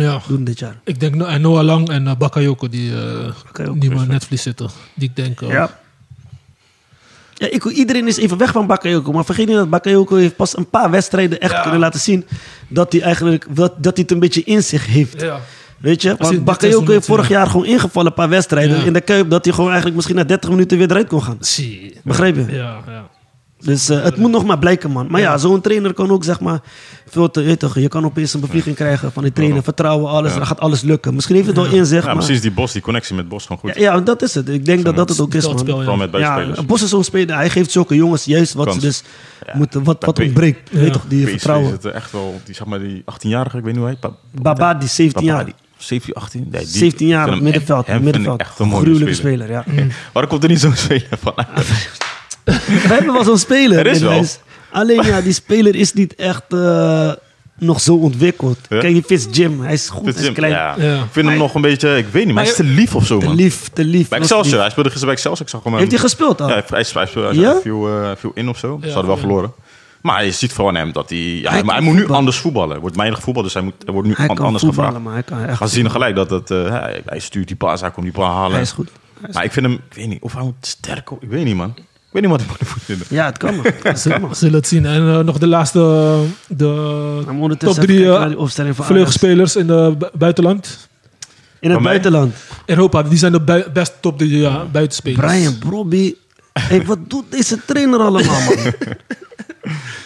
Speaker 2: Ja,
Speaker 4: doen dit jaar.
Speaker 2: ik denk no- en Noah Lang en eh, Bakayoko, die eh,
Speaker 4: Bakayoko,
Speaker 2: die maar netvlies zitten. Die ik denk... eh,
Speaker 4: Ja. ja ik, iedereen is even weg van Bakayoko. Maar vergeet niet dat Bakayoko heeft pas een paar wedstrijden echt kunnen laten zien... dat hij eigenlijk dat, dat hij het een beetje in zich heeft.
Speaker 2: ja.
Speaker 4: Weet je?
Speaker 2: hij
Speaker 4: Want
Speaker 2: dit seizoen
Speaker 4: Bakayoko heeft
Speaker 2: doet,
Speaker 4: vorig
Speaker 2: ja.
Speaker 4: jaar gewoon ingevallen een paar wedstrijden...
Speaker 2: Ja.
Speaker 4: in de Kuip dat hij gewoon eigenlijk misschien na 30 minuten weer eruit kon gaan.
Speaker 2: Zie.
Speaker 4: Begrijp je?
Speaker 2: Ja, ja.
Speaker 4: Dus eh, het moet nog maar blijken, man. Maar ja, zo'n trainer kan ook, zeg maar, veel te weet toch, Je kan opeens een bevlieging krijgen van die trainer. Vertrouwen, alles. Dan gaat alles lukken. Misschien heeft het wel inzicht,
Speaker 3: Ja,
Speaker 4: maar...
Speaker 3: precies. Die Bos, die connectie met Bos gewoon goed.
Speaker 4: Ja, ja, dat is het. Ik denk dat dat het ook is,
Speaker 2: Dat
Speaker 4: man.
Speaker 2: spel, ja.
Speaker 3: Vooral met buitenspelers.
Speaker 4: Ja, Bos is zo'n speler. Hij geeft zulke jongens juist wat
Speaker 3: Kans.
Speaker 4: ze dus moeten, wat, wat
Speaker 3: Bij P-
Speaker 4: ontbreekt.
Speaker 2: Ja.
Speaker 4: Weet toch, die
Speaker 3: PSV
Speaker 4: vertrouwen.
Speaker 3: zitten echt wel, die, zeg maar die 18-jarige, ik weet niet hoe hij... Pa-
Speaker 4: Babadi, 17 jaar.
Speaker 3: Babadi. 17, 18? Nee, die-
Speaker 4: 17
Speaker 3: ik
Speaker 4: jaar,
Speaker 3: vind hem
Speaker 4: middenveld.
Speaker 3: echt- hem vind ik
Speaker 4: middenveld.
Speaker 3: echt een mooie
Speaker 4: Gruwelijke
Speaker 3: speler.
Speaker 4: speler, ja.
Speaker 3: Waarom komt er niet zo'n speler van?
Speaker 4: We hebben wel zo'n speler.
Speaker 3: Er is
Speaker 4: in de
Speaker 3: wel.
Speaker 4: lijst. Alleen ja, die speler is niet echt eh, nog zo ontwikkeld.
Speaker 3: Ja.
Speaker 4: Kijk, die Fitz Jim. Hij is goed, hij is klein.
Speaker 3: Ja.
Speaker 2: Ja.
Speaker 3: Ik vind hem nog een beetje, ik weet niet, maar hij is te lief of zo,
Speaker 4: Te
Speaker 3: man.
Speaker 4: lief, te lief.
Speaker 3: Bij
Speaker 4: nog
Speaker 3: Excelsior,
Speaker 4: lief.
Speaker 3: hij speelde gisteren bij Excelsior. Ik zag hem,
Speaker 4: Heeft hij gespeeld
Speaker 3: Ja,
Speaker 4: al?
Speaker 3: hij, hij, hij, hij, hij
Speaker 4: Ja?
Speaker 3: viel, eh, hij viel in of zo. Ze hadden wel
Speaker 2: ja.
Speaker 3: verloren. Maar je ziet van hem dat hij... ja,
Speaker 4: Hij
Speaker 3: maar hij
Speaker 4: kan
Speaker 3: moet nu
Speaker 4: voetballen.
Speaker 3: anders voetballen. Hij wordt weinig voetbal, dus hij, moet, hij wordt nu
Speaker 4: Hij
Speaker 3: an-
Speaker 4: kan
Speaker 3: anders
Speaker 4: voetballen,
Speaker 3: gevraagd.
Speaker 4: maar hij kan echt
Speaker 3: Maar ze zien gelijk dat het, eh, hij, hij stuurt die paas, hij komt die paas halen.
Speaker 4: Hij is goed. Hij is-
Speaker 3: Maar ik vind hem, ik weet niet, of hij moet sterk... Ik weet niet, man. Ik weet niet wat ik moet vinden.
Speaker 4: Ja, het kan maar. Het kan
Speaker 2: We
Speaker 4: maar.
Speaker 2: zullen het zien. En eh, nog de laatste, eh,
Speaker 4: Maar
Speaker 2: de
Speaker 4: ondertussen
Speaker 2: top
Speaker 4: even
Speaker 2: drie
Speaker 4: kijken
Speaker 2: eh,
Speaker 4: naar die opstelling van
Speaker 2: volledige
Speaker 4: Ajax.
Speaker 2: spelers in het bu- buitenland.
Speaker 4: In het
Speaker 3: Van mij?
Speaker 4: buitenland.
Speaker 2: Europa, die zijn de bui- best top drie ja, buitenspelers.
Speaker 4: Brian Brobby. Hey, wat doet deze trainer allemaal, man?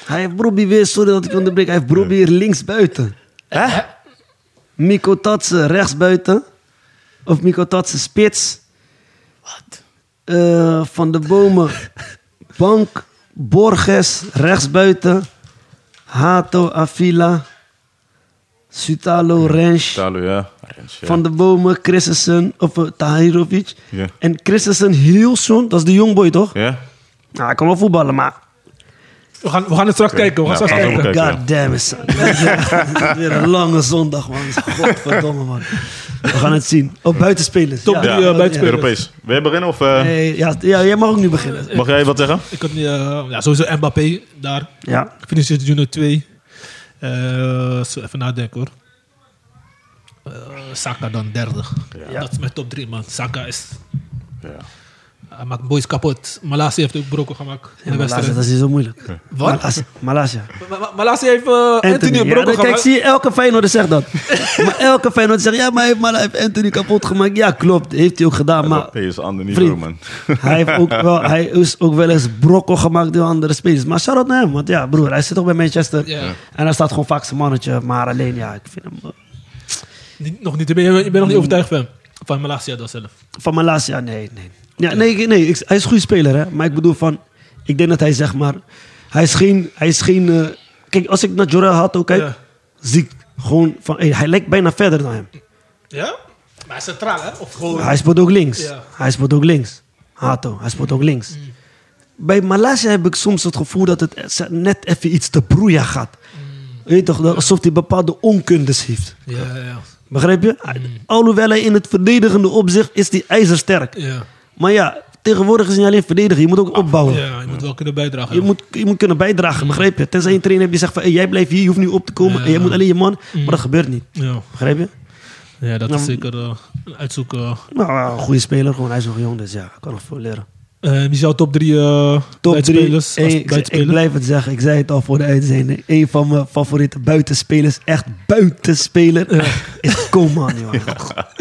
Speaker 4: hij heeft Brobby weer, sorry dat ik onderbreek, hij heeft Brobby hier links buiten.
Speaker 3: Hè?
Speaker 4: Miko Tatsen rechts buiten. Of Miko Tatsen spits. Wat? van de Bomen. Bank. Borges rechts buiten. Hato Avila. Sutalo Rensch.
Speaker 3: Talo, ja. Rens, ja.
Speaker 4: Van de Bomen, Christensen, of eh, Tahirovic.
Speaker 3: Ja.
Speaker 4: En Christensen Hielson, dat is de jongboy toch?
Speaker 3: Ja?
Speaker 4: Nou, hij kan wel voetballen, maar...
Speaker 2: We gaan, we gaan het straks kijken. We gaan
Speaker 3: Ja,
Speaker 2: straks
Speaker 3: we gaan
Speaker 2: kijken.
Speaker 3: kijken, ja.
Speaker 4: God damn it, son. Ja, Weer een lange zondag, man. Godverdomme, man. We gaan het zien. Oh, buitenspelers.
Speaker 2: Top drie, eh,
Speaker 4: Ja.
Speaker 2: buitenspelers.
Speaker 3: Europees. Wil je beginnen of... eh,
Speaker 4: Nee, ja, ja, jij mag ook nu beginnen.
Speaker 3: Mag jij wat zeggen?
Speaker 2: Ik had, eh, ja, sowieso Mbappé daar.
Speaker 4: Ja.
Speaker 2: Vinicius Junior 2. Eh, zo even nadenken hoor. Eh, Saka dan derde. Dat is mijn top 3 man. Saka is
Speaker 3: Ja.
Speaker 2: Hij maakt boys kapot. Malasia heeft ook brokken gemaakt in
Speaker 4: Ja,
Speaker 2: de
Speaker 4: Malaysia,
Speaker 2: wedstrijd.
Speaker 4: dat is niet zo moeilijk.
Speaker 2: Wat?
Speaker 4: Malasia. Malaysia.
Speaker 2: Ma- Ma- Malasia heeft eh, Anthony een
Speaker 4: ja,
Speaker 2: brokken
Speaker 4: dat- kijk,
Speaker 2: gemaakt.
Speaker 4: zie je, elke Feyenoorder zegt dat. maar elke Feyenoorder zegt, ja, maar hij heeft, maar hij heeft Anthony kapot gemaakt. Ja, klopt. Heeft hij ook gedaan, maar...
Speaker 3: Dat is een ander niveau,
Speaker 4: vriend.
Speaker 3: man.
Speaker 4: Hij, heeft ook wel, hij is ook wel eens brokkel gemaakt door andere spelers. Maar shout-out naar hem. Want ja, broer, hij zit toch bij Manchester.
Speaker 2: Ja.
Speaker 4: En hij staat gewoon vaak zijn mannetje. Maar alleen, ja, ik vind hem... eh,
Speaker 2: Niet- Nog niet, ik ben, ik ben nog niet overtuigd van hem. Van Malasia dan zelf.
Speaker 4: Van mijn laatste jaar, nee, nee. Ja, nee, ik- nee ik- hij is een goede speler, hè. Maar ik bedoel van... Ik denk dat hij, zeg maar... Hij is geen... Hij is geen eh, kijk, als ik naar Jorah had ook kijk...
Speaker 2: Ja.
Speaker 4: Zie ik gewoon van... hey, hij lijkt bijna verder dan hem.
Speaker 2: Ja? Maar hij is centraal, hè? Of gewoon...
Speaker 4: Hij speelt ook links.
Speaker 2: Ja. Mm.
Speaker 4: Hij speelt ook links. Hato, hij speelt ook links. Bij Malaysia heb ik soms het gevoel dat het net even iets te broeia gaat.
Speaker 2: Mm.
Speaker 4: Weet je toch, dat- alsof hij bepaalde onkundes heeft.
Speaker 2: Ja, ja, ja.
Speaker 4: Begrijp je?
Speaker 2: Mm.
Speaker 4: Alhoewel hij in het verdedigende opzicht is die ijzersterk.
Speaker 2: ja.
Speaker 4: Maar ja, tegenwoordig is hij niet alleen verdedigen, je moet ook opbouwen.
Speaker 2: Ja, je moet wel kunnen bijdragen.
Speaker 4: Oh. Je moet, je moet kunnen bijdragen, begrijp je? Tenzij je een trainer hebt die zegt van hey, jij blijft hier, je hoeft niet op te komen.
Speaker 2: Ja. Mm.
Speaker 4: en jij moet alleen je man. Maar dat gebeurt niet,
Speaker 2: Ja,
Speaker 4: begrijp je?
Speaker 2: ja dat is
Speaker 4: Nou,
Speaker 2: zeker eh, een uitzoek. eh.
Speaker 4: Nou, een goede speler, gewoon, hij is nog jong, dus ja, kan nog veel leren.
Speaker 2: Eh, wie zou top 3
Speaker 4: Top 3.
Speaker 2: buitenspelers? als
Speaker 4: Ik, ik
Speaker 2: buitenspelers?
Speaker 4: blijf het zeggen, ik zei het al voor de uitzending. Een van mijn favoriete buitenspelers, echt buitenspeler, is Coman, jongen.
Speaker 3: Ja,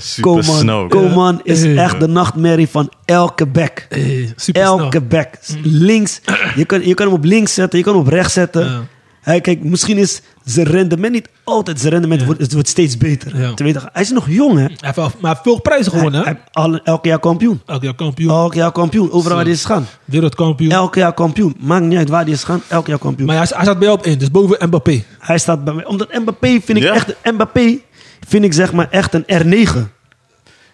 Speaker 3: Super
Speaker 4: Coman,
Speaker 3: snel.
Speaker 4: Coman is
Speaker 2: Ja.
Speaker 4: echt de nachtmerrie van elke back.
Speaker 2: Eh, supersnel.
Speaker 4: Elke back. Links, je kan, je kan hem op links zetten, je kan hem op rechts zetten.
Speaker 2: Ja.
Speaker 4: Hij, kijk, misschien is zijn rendement niet altijd, zijn rendement wordt, het wordt steeds beter.
Speaker 2: Ja.
Speaker 4: Tweede, hij is nog jong, hè?
Speaker 2: Hij heeft al- maar veel prijzen gewonnen,
Speaker 4: Hij,
Speaker 2: hè?
Speaker 4: hij- al- elke jaar kampioen.
Speaker 2: Elk jaar kampioen,
Speaker 4: Elk jaar kampioen, overal waar hij is gaan.
Speaker 2: wereldkampioen.
Speaker 4: Elk jaar kampioen. Maakt niet uit waar hij is gaan. Elk jaar kampioen.
Speaker 2: maar hij, hij zat bij jou op één, dus boven Mbappé.
Speaker 4: Hij staat bij mij. Omdat Mbappé vind ik
Speaker 3: Ja.
Speaker 4: echt... Mbappé vind ik zeg maar echt een R9.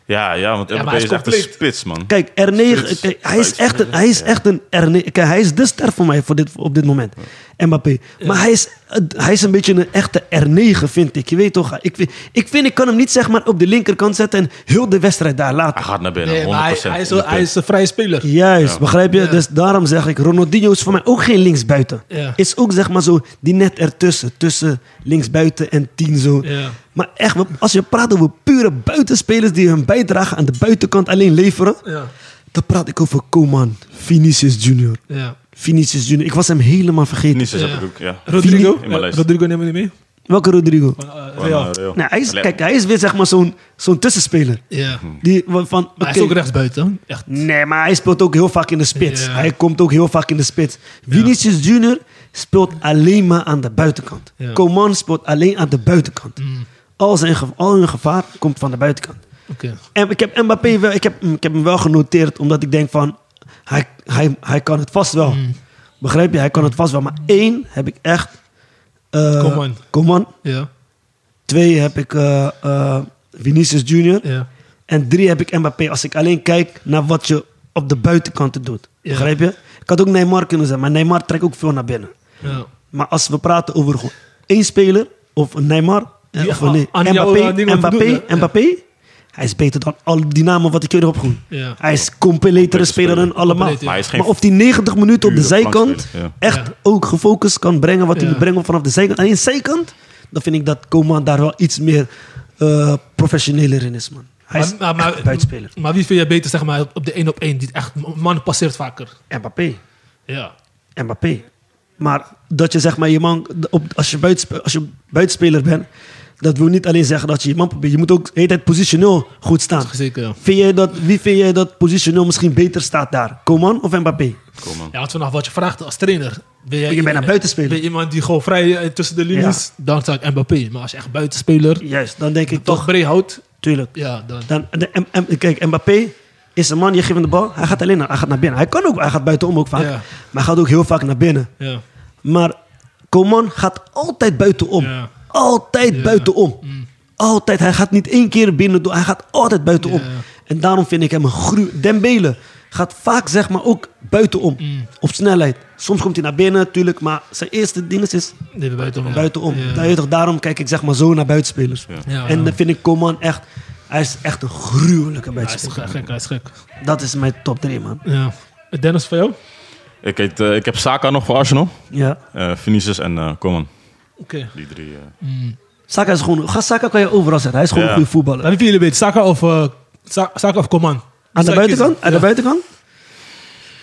Speaker 3: Ja, ja, want
Speaker 2: maar
Speaker 3: Mbappé
Speaker 2: hij is
Speaker 3: is echt een
Speaker 2: compleet.
Speaker 3: spits, man.
Speaker 4: Kijk, R9...
Speaker 3: Spits.
Speaker 4: kijk, hij, is echt een, hij is echt een R9. Kijk, hij is de ster voor mij voor dit, op dit moment. Mbappé. Maar hij is, hij is een beetje een echte R9, vind ik. Je weet toch? Ik vind, ik vind, ik kan hem niet zeg maar op de linkerkant zetten... en heel de wedstrijd daar laten.
Speaker 3: Hij gaat naar binnen, 100%.
Speaker 2: maar hij, hij is,
Speaker 3: in de
Speaker 2: hij
Speaker 3: pit.
Speaker 2: is een vrije speler.
Speaker 4: Juist, begrijp je? Dus daarom zeg ik, Ronaldinho is voor mij ook geen linksbuiten.
Speaker 2: Ja.
Speaker 4: Is ook zeg maar zo, die net ertussen. Tussen linksbuiten en tien zo.
Speaker 2: Ja.
Speaker 4: Maar echt, we- als je praat over pure buitenspelers die hun bijdrage aan de buitenkant alleen leveren.
Speaker 2: Ja,
Speaker 4: Dan praat ik over Coman, Vinicius Junior.
Speaker 2: ja.
Speaker 4: Vinicius Junior, ik was hem helemaal vergeten.
Speaker 3: Nieses
Speaker 2: Ja.
Speaker 3: heb ik ook, ja.
Speaker 2: Rodrigo, Eh,
Speaker 3: In mijn lijst.
Speaker 2: Rodrigo nemen we niet mee.
Speaker 4: Welke Rodrigo?
Speaker 2: Van, eh,
Speaker 3: Van,
Speaker 2: Real.
Speaker 3: eh, Real.
Speaker 4: Nou, hij is,
Speaker 3: Allee,
Speaker 4: kijk, hij is weer zeg maar zo'n zo'n tussenspeler.
Speaker 2: Ja.
Speaker 4: Die wa- van,
Speaker 2: Maar hij
Speaker 4: oké,
Speaker 2: is ook rechtsbuiten. Echt.
Speaker 4: Nee, maar hij speelt ook heel vaak in de spits.
Speaker 2: Ja.
Speaker 4: Hij komt ook heel vaak in de spits. Vinicius Junior speelt alleen maar aan de buitenkant.
Speaker 2: Ja. Mm.
Speaker 4: Coman speelt alleen aan de buitenkant. Al, zijn ge- al hun gevaar komt van de buitenkant.
Speaker 2: Oké.
Speaker 4: En ik heb Mbappé wel, ik heb, mm, ik heb hem wel genoteerd, omdat ik denk van, hij, hij, hij kan het vast wel. Begrijp je? Hij kan het vast wel. Maar één heb ik echt... eh,
Speaker 2: Coman.
Speaker 4: Coman.
Speaker 2: Ja,
Speaker 4: Twee heb ik eh, eh, Vinicius Junior.
Speaker 2: ja.
Speaker 4: En drie heb ik Mbappé. Als ik alleen kijk naar wat je op de buitenkanten doet.
Speaker 2: Ja.
Speaker 4: Begrijp je? Ik had ook Neymar kunnen zijn, maar Neymar trekt ook veel naar binnen.
Speaker 2: ja.
Speaker 4: Maar als we praten over gewoon één speler, of een Neymar, eh,
Speaker 2: Die
Speaker 4: of een nee,
Speaker 2: aan jou,
Speaker 4: Mbappé,
Speaker 2: eh, dingen
Speaker 4: Mbappé,
Speaker 2: voldoen, hè?
Speaker 4: Mbappé, hij is beter dan al die namen wat ik jullie opgoed.
Speaker 2: Ja.
Speaker 4: Hij is completere speler dan allemaal.
Speaker 2: Compleet, ja.
Speaker 3: Maar hij is geen
Speaker 4: Maar of die 90 minuten op
Speaker 3: pure
Speaker 4: de zijkant
Speaker 3: flankspeler, ja.
Speaker 4: echt
Speaker 2: Ja.
Speaker 4: ook gefocust kan brengen wat hij
Speaker 2: Ja.
Speaker 4: moet brengen vanaf de zijkant. Alleen zijkant, dan vind ik dat Coman daar wel iets meer eh, professioneler in is, man. Hij is
Speaker 2: Maar- maar-
Speaker 4: echt een buitenspeler.
Speaker 2: Maar wie vind jij beter, zeg maar, op de 1 op 1? Die echt, man passeert vaker.
Speaker 4: Mbappé.
Speaker 2: Ja.
Speaker 4: Mbappé. Maar dat je zeg maar je man, op, als, je buitenspe- als je buitenspeler bent, dat wil niet alleen zeggen dat je je man probeert. Je moet ook de hele tijd positioneel goed staan.
Speaker 2: Zeker, ja.
Speaker 4: Vind jij dat, wie vind jij dat positioneel misschien beter staat daar? Coman of Mbappé?
Speaker 3: Kom, man.
Speaker 2: Ja, want vanaf wat je vraagt als trainer. Ben jij
Speaker 4: Je bent een buitenspeler.
Speaker 2: Ben je iemand die gewoon vrij eh, tussen de linies, dan zou ik Mbappé. Maar als je echt buitenspeler
Speaker 4: Juist, dan denk ik
Speaker 2: toch
Speaker 4: toch,
Speaker 2: breed houdt,
Speaker 4: tuurlijk.
Speaker 2: ja, dan.
Speaker 4: Dan, de, M- M- kijk, Mbappé is een man, je geeft hem de bal, hij gaat alleen naar, hij gaat naar binnen. Hij kan ook, hij gaat buitenom ook vaak,
Speaker 2: Ja.
Speaker 4: maar hij gaat ook heel vaak naar binnen.
Speaker 2: Ja.
Speaker 4: Maar Coman gaat altijd buitenom.
Speaker 2: Ja.
Speaker 4: Altijd
Speaker 2: Ja. Mm.
Speaker 4: buitenom. Altijd. Hij gaat niet één keer binnen door. Hij gaat altijd buitenom.
Speaker 2: Ja.
Speaker 4: En daarom vind ik hem een gru... Dembele gaat vaak zeg maar ook buitenom.
Speaker 2: Mm.
Speaker 4: Op snelheid. Soms komt hij naar binnen natuurlijk. Maar zijn eerste ding is
Speaker 2: Nee, we buitenom. Ja.
Speaker 4: buitenom.
Speaker 2: Ja.
Speaker 4: Daar, weet je toch, daarom kijk ik zeg maar zo naar buitenspelers.
Speaker 2: Ja,
Speaker 4: en
Speaker 2: ja.
Speaker 4: dan vind ik Coman echt... Hij is echt een gruwelijke
Speaker 2: Hij is
Speaker 4: buitenspeler.
Speaker 2: gek, gek, hij is gek.
Speaker 4: Dat is mijn top 3 man.
Speaker 2: Ja. Dennis, voor jou? Oké.
Speaker 3: Ik, heet, eh, ik heb Saka nog voor Arsenal.
Speaker 4: Ja.
Speaker 3: eh Vinicius en eh Coman. Die drie. eh.
Speaker 4: Saka is gewoon... Saka kan je overal zetten. Hij is gewoon
Speaker 3: Ja.
Speaker 4: een goede voetballer.
Speaker 2: Maar wie vinden jullie beter, Saka of, eh, Sa- Saka of Coman?
Speaker 4: Aan
Speaker 2: zou
Speaker 4: de
Speaker 2: ik
Speaker 4: buitenkant?
Speaker 2: kiezen.
Speaker 4: Aan de
Speaker 2: Ja.
Speaker 4: buitenkant?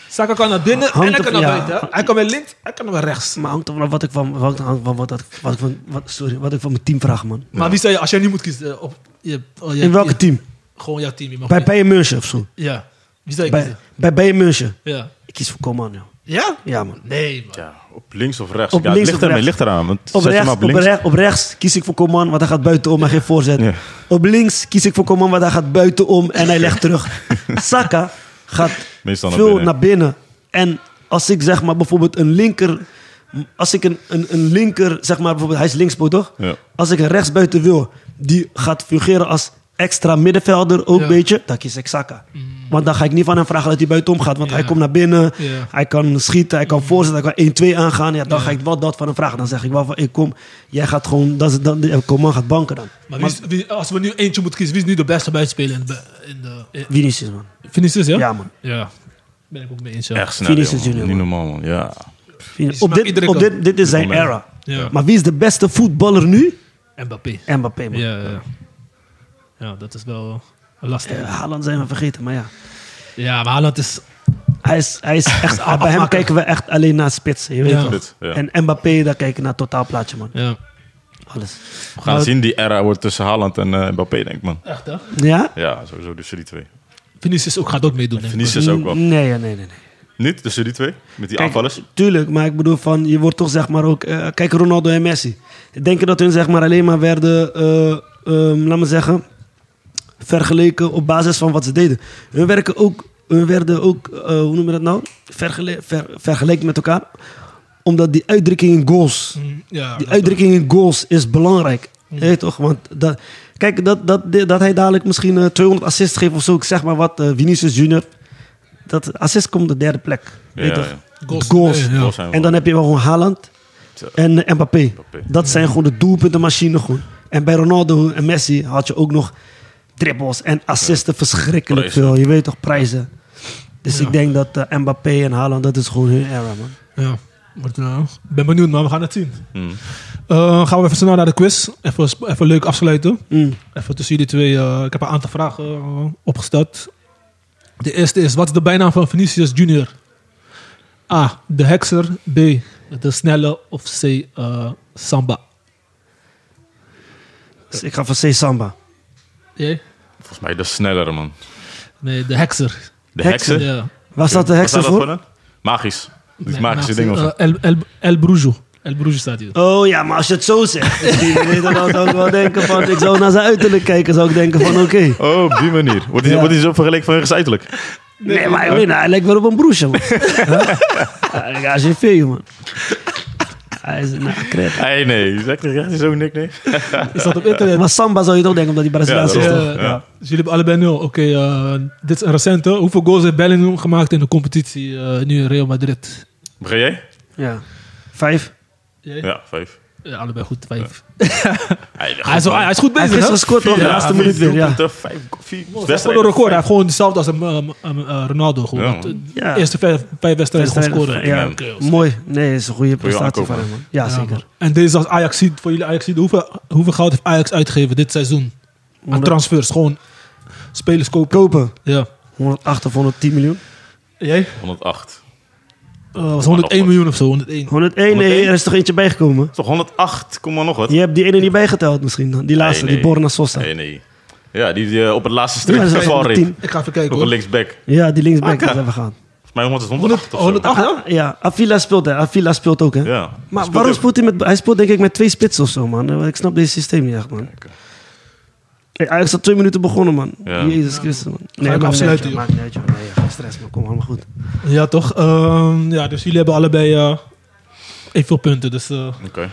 Speaker 2: Saka kan naar binnen
Speaker 4: Hangt
Speaker 2: en hij
Speaker 4: er-
Speaker 2: kan naar
Speaker 4: ja.
Speaker 2: buiten. Hij kan met links, hij kan naar rechts.
Speaker 4: Maar hangt er vanaf wat ik van, wat, hangt van wat, ik- wat, ik van- wat, sorry, wat ik van mijn team vraag, man.
Speaker 2: Maar wie zou je, als jij nu moet kiezen eh, op je, oh, je-
Speaker 4: In welke
Speaker 2: je-
Speaker 4: team?
Speaker 2: Gewoon jouw team. je mag
Speaker 4: Bij
Speaker 2: kiezen.
Speaker 4: Bayern München of zo.
Speaker 2: Ja. Wie zou je
Speaker 4: Bij,
Speaker 2: kiezen?
Speaker 4: bij Bayern München.
Speaker 2: Ja.
Speaker 4: Ik kies voor Coman, joh.
Speaker 2: Ja?
Speaker 4: Ja, man.
Speaker 2: Nee, man.
Speaker 3: Ja, op links of rechts?
Speaker 4: Op
Speaker 3: ja,
Speaker 4: links
Speaker 3: het ligt, ermee,
Speaker 4: of rechts?
Speaker 3: ligt eraan. Want
Speaker 4: Op
Speaker 3: zet je hem
Speaker 4: rechts, op,
Speaker 3: op links.
Speaker 4: rech- op rechts kies ik voor Coman, want hij gaat buitenom en geen voorzet.
Speaker 3: Ja.
Speaker 4: Op links kies ik voor Coman, want hij gaat buitenom en hij legt terug. Saka gaat
Speaker 3: Meestal naar
Speaker 4: veel
Speaker 3: binnen.
Speaker 4: naar binnen. En als ik zeg maar bijvoorbeeld een linker... Als ik een, een, een linker, zeg maar bijvoorbeeld, hij is linkspoot toch?
Speaker 3: Ja.
Speaker 4: Als ik een rechtsbuiten wil, die gaat fungeren als extra middenvelder ook
Speaker 2: Ja. Mm.
Speaker 4: een beetje, dan kies ik Saka. Want dan ga ik niet van hem vragen dat hij buitenom gaat, want
Speaker 2: Ja.
Speaker 4: hij komt naar binnen,
Speaker 2: Ja.
Speaker 4: hij kan schieten, hij kan voorzetten, hij kan 1-2 aangaan. Ja, dan
Speaker 2: Mm. Ja.
Speaker 4: ga ik wel dat van hem vragen. Dan zeg ik wel van, ik kom, jij gaat gewoon, dat is, dan, eh, Coman gaat banken dan.
Speaker 2: Maar wie is- wie- als we nu eentje moeten kiezen, wie is nu de beste buitenspeler in de... In de in,
Speaker 4: Vinicius, man.
Speaker 2: Vinicius, ja?
Speaker 4: Ja, man.
Speaker 2: Ja. Ben ik ook mee eens, ja.
Speaker 3: Echt snel,
Speaker 4: Vinicius
Speaker 3: joh, man.
Speaker 4: Junior,
Speaker 3: Niet
Speaker 4: man.
Speaker 3: normaal, man. Ja.
Speaker 4: Vin-
Speaker 2: smaakt
Speaker 4: Op dit,
Speaker 2: nou, iedere
Speaker 4: op
Speaker 2: kant.
Speaker 4: dit, dit is zijn
Speaker 3: moment.
Speaker 4: era.
Speaker 2: Ja.
Speaker 4: Maar wie is de beste voetballer nu?
Speaker 2: Mbappé.
Speaker 4: Mbappé, man.
Speaker 2: Ja, ja, ja. Ja, dat is wel eh, lastig.
Speaker 4: Eh,
Speaker 2: Ja,
Speaker 4: Haaland zijn we vergeten, maar ja.
Speaker 2: maar Haaland is...
Speaker 4: Hij is, hij is echt, bij hem kijken we echt alleen naar spitsen, je weet
Speaker 2: Ja.
Speaker 4: toch?
Speaker 3: Dit, ja.
Speaker 4: En Mbappé, daar kijken we naar totaalplaatje, man.
Speaker 2: Ja.
Speaker 4: Alles.
Speaker 3: We gaan zien, die era wordt tussen Haaland en eh, Mbappé, denk ik, man.
Speaker 2: Echt, hè?
Speaker 4: Ja?
Speaker 3: Ja, sowieso tussen die twee.
Speaker 2: Vinicius ook, gaat ook meedoen. denk ik.
Speaker 3: Vinicius ook wel.
Speaker 4: Nee, ja, nee, nee. nee.
Speaker 3: Niet tussen die twee? Met die
Speaker 4: Kijk,
Speaker 3: aanvallers?
Speaker 4: Tuurlijk, maar ik bedoel van, je wordt toch zeg maar ook... eh, kijk, Ronaldo en Messi. Denk je dat hun zeg maar alleen maar werden, eh, ehm, laat maar zeggen, vergeleken op basis van wat ze deden. Hun, werken ook, hun werden ook, eh, hoe noem je dat nou, Vergele ver- vergeleken met elkaar. Omdat die uitdrukking in goals...
Speaker 2: Mm, Ja,
Speaker 4: Die
Speaker 2: dat-
Speaker 4: uitdrukking in goals is belangrijk. Je weet toch? Want dat, kijk, dat, dat, dat hij dadelijk misschien eh, 200 assists geeft of zo, ik zeg maar wat, eh, Vinicius Junior. Dat assist komt op de derde plek. Je weet
Speaker 3: Ja,
Speaker 4: toch?
Speaker 3: ja.
Speaker 2: Goals.
Speaker 4: Goals.
Speaker 2: Ja, ja.
Speaker 3: Goals zijn
Speaker 4: En dan heb je wel gewoon Haaland en eh, Mbappé. Dat zijn gewoon de doelpuntenmachine gewoon. En bij Ronaldo en Messi had je ook nog dribbles en assisten verschrikkelijk
Speaker 3: Prijzen.
Speaker 4: veel. Je weet toch, prijzen. Dus
Speaker 2: Ja.
Speaker 4: ik denk dat eh, Mbappé en Haaland, dat is gewoon hun era, man.
Speaker 2: Ja, wordt nou. Ik ben benieuwd, maar we gaan het zien.
Speaker 3: Mm.
Speaker 2: Eh, gaan we even snel naar de quiz. Even, sp- even leuk afsluiten.
Speaker 4: Mm.
Speaker 2: Even tussen jullie twee. eh, ik heb een aantal vragen eh, opgesteld. De eerste is, wat is de bijnaam van Vinicius Junior? A, de hekser. B, de snelle. Of C, eh, Samba.
Speaker 4: Dus ik ga voor C. Samba.
Speaker 2: Jij?
Speaker 3: Volgens mij de snellere, man.
Speaker 2: Nee, de hekser.
Speaker 3: De
Speaker 4: Heksen?
Speaker 3: heksen?
Speaker 2: Ja.
Speaker 4: Waar staat de
Speaker 3: Wat
Speaker 4: hekser
Speaker 3: staat dat
Speaker 4: voor?
Speaker 3: dan? Magisch. Die
Speaker 2: Nee,
Speaker 3: magische dingen of
Speaker 2: eh,
Speaker 3: zo.
Speaker 2: El, El, El Brujo. El Brujo staat hier.
Speaker 4: Oh ja, maar als je het zo zegt. dan zou ik wel denken van... Ik zou naar zijn uiterlijk kijken, zou ik denken van oké.
Speaker 2: Eh,
Speaker 3: Oh, op die manier. Wordt die,
Speaker 4: Ja.
Speaker 3: wordt die zo vergeleken vanwege zijn uiterlijk?
Speaker 4: Nee, maar ik weet niet, hij lijkt wel op een broesje, man. Huh? Ja, je veel, man. Hij is een kret.
Speaker 3: Nee, nee. Je zegt echt zo'n nickname.
Speaker 2: Is dat op internet?
Speaker 4: Maar Samba zou je toch denken, omdat hij Braziliaans
Speaker 3: Ja,
Speaker 4: is.
Speaker 3: dat
Speaker 4: toch?
Speaker 3: is
Speaker 2: Ja.
Speaker 3: toch? Ja.
Speaker 2: Dus jullie hebben allebei nul. Oké, eh, dit is een recente. Hoeveel goals heeft Bellingham gemaakt in de competitie eh, nu in Real Madrid?
Speaker 3: Begin jij?
Speaker 4: Ja. Vijf.
Speaker 3: Ja, vijf.
Speaker 2: Ja, allebei goed, vijf.
Speaker 3: Hij
Speaker 2: Hij, is, hij is goed
Speaker 4: Hij heeft
Speaker 2: bezig,
Speaker 4: gisteren
Speaker 2: hè?
Speaker 4: gescoord, toch? De laatste minuut weer, ja.
Speaker 3: eh, Vijf, vier,
Speaker 2: Hij heeft gewoon een record. Hij heeft gewoon hetzelfde als een, um, um, eh, Ronaldo. Gewoon.
Speaker 3: Ja,
Speaker 2: Want, eh, de
Speaker 4: Ja.
Speaker 2: eerste vijf, vijf wedstrijden gewoon scoren.
Speaker 4: Ja,
Speaker 3: Oké,
Speaker 4: mooi. Nee, is een goede prestatie
Speaker 3: aankoop,
Speaker 4: van
Speaker 3: man.
Speaker 4: hem, man. Ja,
Speaker 2: Ja,
Speaker 4: zeker.
Speaker 2: man. En deze als Ajax ziet, voor jullie Ajax ziet, hoeveel, hoeveel geld heeft Ajax uitgegeven dit seizoen? Aan
Speaker 4: Honderd-
Speaker 2: transfers, gewoon spelers kopen.
Speaker 4: Kopen.
Speaker 2: Ja.
Speaker 4: 108 of 110 miljoen.
Speaker 2: Jij? Eh,
Speaker 3: 108.
Speaker 2: was 101 miljoen of zo, 101.
Speaker 4: 101, nee, er is toch eentje bijgekomen?
Speaker 3: Is toch 108, kom maar nog wat.
Speaker 4: Je hebt die ene niet bijgeteld misschien dan. Die laatste,
Speaker 3: Nee, nee.
Speaker 4: die Borna Sosa.
Speaker 3: Nee, nee. Ja, die, die, eh, op het laatste
Speaker 4: Ja,
Speaker 3: stuk
Speaker 4: dat is
Speaker 3: van
Speaker 4: wel
Speaker 3: Riep.
Speaker 4: tien.
Speaker 2: Ik ga even kijken
Speaker 3: Op een
Speaker 2: hoor.
Speaker 3: linksback.
Speaker 4: Ja, die linksback
Speaker 3: Akka.
Speaker 4: is even gaan.
Speaker 3: Volgens mij 100 is 108 of zo.
Speaker 2: 108, hè?
Speaker 4: Ja, Avila speelt hè. Avila speelt ook hè.
Speaker 3: Ja.
Speaker 4: Maar
Speaker 3: Speelt
Speaker 4: waarom
Speaker 3: ook.
Speaker 4: speelt hij met... Hij speelt denk ik met twee spitsen of zo man. Ik snap deze systeem niet echt man. Hey, Ajax had twee minuten begonnen man.
Speaker 3: Ja.
Speaker 4: Jezus Christus man. Nee,
Speaker 2: hem
Speaker 4: maakt niet uit,
Speaker 2: afsluiten,
Speaker 4: joh.
Speaker 2: joh.
Speaker 4: Maakt niet uit joh. Nee, geen stress man. Kom allemaal goed.
Speaker 2: Ja, toch? Ehm, ja, dus jullie hebben allebei eh evenveel punten. Dus eh,
Speaker 3: Oké.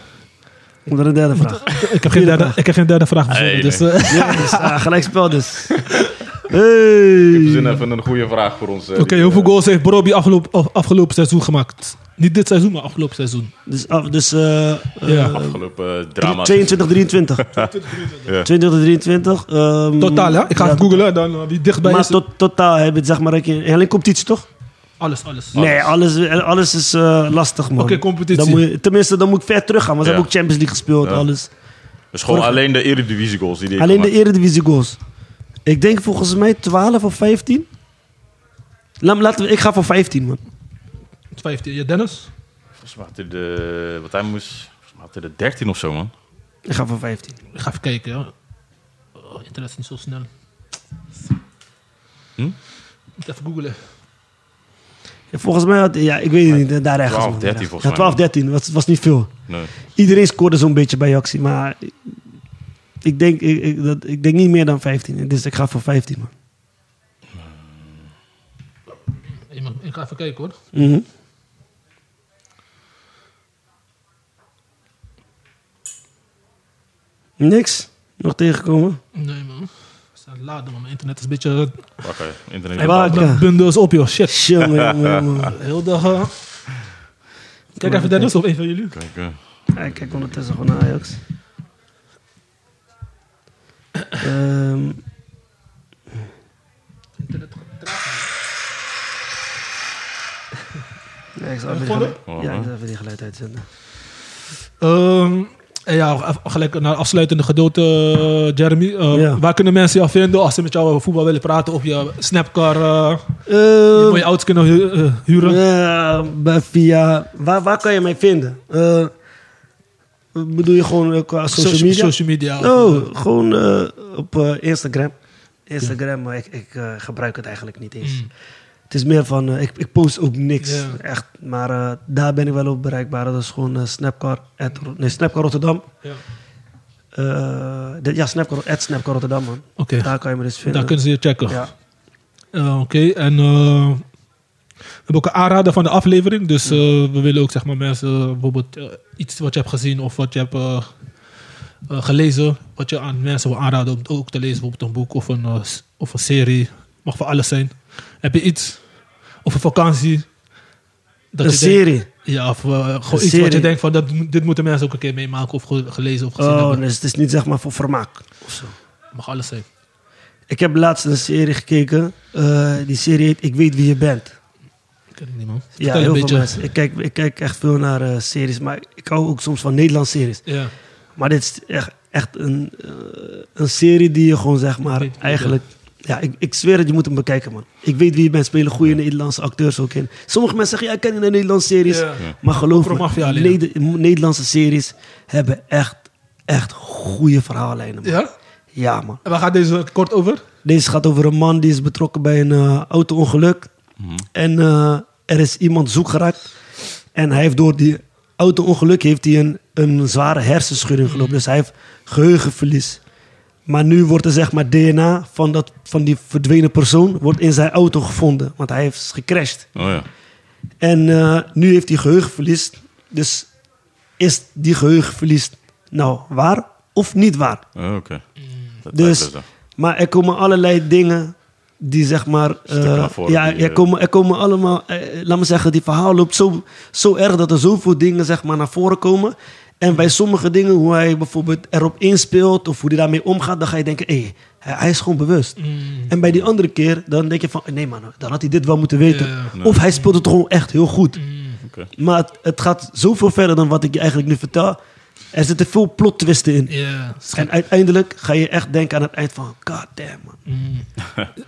Speaker 4: Onder de derde vraag.
Speaker 2: ik, heb geen derde, ik heb geen derde vraag verzonnen.
Speaker 3: Nee,
Speaker 2: dus,
Speaker 3: nee.
Speaker 2: eh,
Speaker 4: Ja, dus, ah, gelijk spel dus.
Speaker 3: We
Speaker 4: Hey.
Speaker 3: zin even een goede vraag voor ons. eh,
Speaker 2: Oké,
Speaker 3: die,
Speaker 2: hoeveel
Speaker 3: eh,
Speaker 2: goals heeft Brobbey afgelopen, af- afgelopen seizoen gemaakt? Niet dit seizoen, maar afgelopen seizoen.
Speaker 4: Dus, af, dus eh, eh,
Speaker 2: Ja.
Speaker 3: Afgelopen eh, drama.
Speaker 4: 22, 23. 22, 23. ehm,
Speaker 2: Totaal, hè? Ik ga
Speaker 4: ja,
Speaker 2: even googlen, dan eh, wie dichtbij
Speaker 4: Maar
Speaker 2: is.
Speaker 4: tot, totaal heb je het zeg maar... dat je- Alleen competitie toch?
Speaker 2: Alles, alles.
Speaker 4: Nee, alles, alles is eh, lastig, man.
Speaker 2: Oké, competitie.
Speaker 4: Dan moet je- tenminste, dan moet ik ver teruggaan, want ze
Speaker 3: Ja.
Speaker 4: hebben ook Champions League gespeeld,
Speaker 3: Ja.
Speaker 4: alles.
Speaker 3: Dus gewoon alleen de Eredivisie goals die die
Speaker 4: Alleen de Eredivisie goals. Ik denk volgens mij 12 of 15. Laat- Laten we, ik ga voor 15, man.
Speaker 2: 15. Ja, Dennis?
Speaker 3: Volgens mij had hij de... Wat hij moest... Volgens mij had hij de 13 of zo, man.
Speaker 4: Ik ga voor 15.
Speaker 5: Ik ga even kijken, ja. Oh, internet is niet zo snel.
Speaker 3: Hm?
Speaker 2: Moet even googlen.
Speaker 4: Ja, volgens mij had ja, ik weet het niet, eh, daar ergens.
Speaker 3: 12, 13
Speaker 4: man, daar ergens.
Speaker 3: volgens
Speaker 4: Ja,
Speaker 3: mij,
Speaker 4: 12, 13, dat was niet veel.
Speaker 3: Nee.
Speaker 4: Iedereen scoorde zo'n beetje bij Jaxi, maar ik denk, ik, ik- dat, ik denk niet meer dan 15. Dus ik ga voor 15, man.
Speaker 5: Hey, man, ik ga even kijken hoor.
Speaker 4: Mhm. Niks. Nog tegenkomen.
Speaker 5: Nee man. Het is aan het laden, man. Mijn internet is een beetje
Speaker 2: eh,
Speaker 3: Wakker. Internet.
Speaker 4: Hey, waar- Ja.
Speaker 2: Bundels op, joh. Shit.
Speaker 4: Jongen, jongen, jongen.
Speaker 2: Heel dag. eh. Kijk even Dennis of een van jullie.
Speaker 3: Kijk, eh,
Speaker 4: Ja, ik kijk ondertussen gewoon naar Ajax. Ehm,
Speaker 5: internet gaat traag.
Speaker 4: ja, ik zal even die
Speaker 2: Volgende?
Speaker 4: geluid- ja, ik zal even die geluid uitzenden.
Speaker 2: Ehm, en ja, af- gelijk naar afsluitende gedote, eh, Jeremy. Eh,
Speaker 4: Ja.
Speaker 2: Waar kunnen mensen jou vinden als ze met jou over voetbal willen praten? Of je snapcar, eh
Speaker 4: Ehm,
Speaker 2: mooie auto's kunnen hu- eh, huren?
Speaker 4: Ja, bij- via... Waar, waar kan je mij vinden? Eh, bedoel je gewoon eh, qua social,
Speaker 2: Soci-
Speaker 4: media?
Speaker 2: Social media.
Speaker 4: Oh, gewoon eh, op eh, Instagram. Instagram, maar ik, ik eh, gebruik het eigenlijk niet eens.
Speaker 2: Mm.
Speaker 4: Het is meer van, eh, ik, ik post ook niks,
Speaker 2: Ja.
Speaker 4: echt. Maar eh, daar ben ik wel op bereikbaar. Dat is gewoon eh, Snapcar, at Ro- nee, Snapcar Rotterdam.
Speaker 2: Ja.
Speaker 4: Eh, dit- ja, Snapcar, at Snapcar Rotterdam, man.
Speaker 2: Oké,
Speaker 4: Daar kan je me dus vinden.
Speaker 2: daar kunnen ze je checken.
Speaker 4: Ja.
Speaker 2: Eh, Oké, en eh, we hebben ook een aanrader van de aflevering. Dus eh, we willen ook zeg maar, mensen eh, bijvoorbeeld eh, iets wat je hebt gezien of wat je hebt eh, eh, gelezen. Wat je aan mensen wil aanraden om het ook te lezen. Bijvoorbeeld een boek of een, eh, s- of een serie. Mag voor alles zijn. Heb je iets? Of een vakantie? Dat
Speaker 4: Een
Speaker 2: je denkt-
Speaker 4: serie.
Speaker 2: ja, of eh, gewoon
Speaker 4: Een
Speaker 2: iets wat je
Speaker 4: serie.
Speaker 2: denkt van dat, dit moeten mensen ook een keer meemaken of ge- gelezen of gezien
Speaker 4: Oh,
Speaker 2: hebben.
Speaker 4: dus het is niet zeg maar voor vermaak of zo.
Speaker 2: Mag alles zijn.
Speaker 4: Ik heb laatst een serie gekeken. Eh, die serie heet Ik weet wie je bent.
Speaker 2: Dat ken ik niet man. Vertel
Speaker 4: Ja,
Speaker 2: een
Speaker 4: heel
Speaker 2: beetje.
Speaker 4: veel mensen. Ik kijk, ik kijk echt veel naar eh, series. Maar ik hou ook soms van Nederlandse series.
Speaker 2: Ja.
Speaker 4: Maar dit is echt, echt een, eh, een serie die je gewoon zeg maar
Speaker 2: Weet wie je
Speaker 4: eigenlijk... Ja, ik, ik zweer het, je moet hem bekijken man. Ik weet wie je bent, spelen goede Nederlandse acteurs ook in. Sommige mensen zeggen, ja ik ken niet Nederlandse series.
Speaker 2: Ja.
Speaker 4: Maar geloof
Speaker 2: Voor
Speaker 4: me,
Speaker 2: maffia alleen.
Speaker 4: Neder- Nederlandse series hebben echt, echt goede verhaallijnen. Man.
Speaker 2: ja?
Speaker 4: ja man.
Speaker 2: En waar gaat deze kort over?
Speaker 4: Deze gaat over een man die is betrokken bij een eh, auto-ongeluk. En eh, er is iemand zoek geraakt. En hij heeft door die auto-ongeluk heeft hij een, een zware hersenschudding gelopen. Dus hij heeft geheugenverlies. Maar nu wordt er zeg maar DNA van, dat, van die verdwenen persoon wordt in zijn auto gevonden. Want hij heeft gecrashed.
Speaker 3: Oh ja.
Speaker 4: En eh, nu heeft hij geheugenverlies. Dus is die geheugenverlies nou waar of niet waar?
Speaker 3: Oh, Oké. Dat
Speaker 4: Dus,
Speaker 3: lijkt wel zo.
Speaker 4: maar er komen allerlei dingen die zeg maar...
Speaker 3: Stukken
Speaker 4: eh,
Speaker 3: naar voren
Speaker 4: ja,
Speaker 3: die,
Speaker 4: er
Speaker 3: eh,
Speaker 4: komen, er komen allemaal... eh, laat me zeggen, die verhaal loopt zo, zo erg dat er zoveel dingen zeg maar naar voren komen. En bij sommige dingen, hoe hij bijvoorbeeld erop inspeelt of hoe hij daarmee omgaat, dan ga je denken, hé, hij, hij is gewoon bewust.
Speaker 2: Mm.
Speaker 4: En bij die andere keer, dan denk je van, nee man, dan had hij dit wel moeten weten.
Speaker 2: Ja. Mm.
Speaker 4: Of hij speelt het gewoon echt heel goed.
Speaker 3: Oké.
Speaker 4: Maar het, het gaat zoveel verder dan wat ik je eigenlijk nu vertel. Er zitten veel plot twisten in.
Speaker 2: Ja.
Speaker 4: En uiteindelijk ga je echt denken aan het eind van... God damn, man.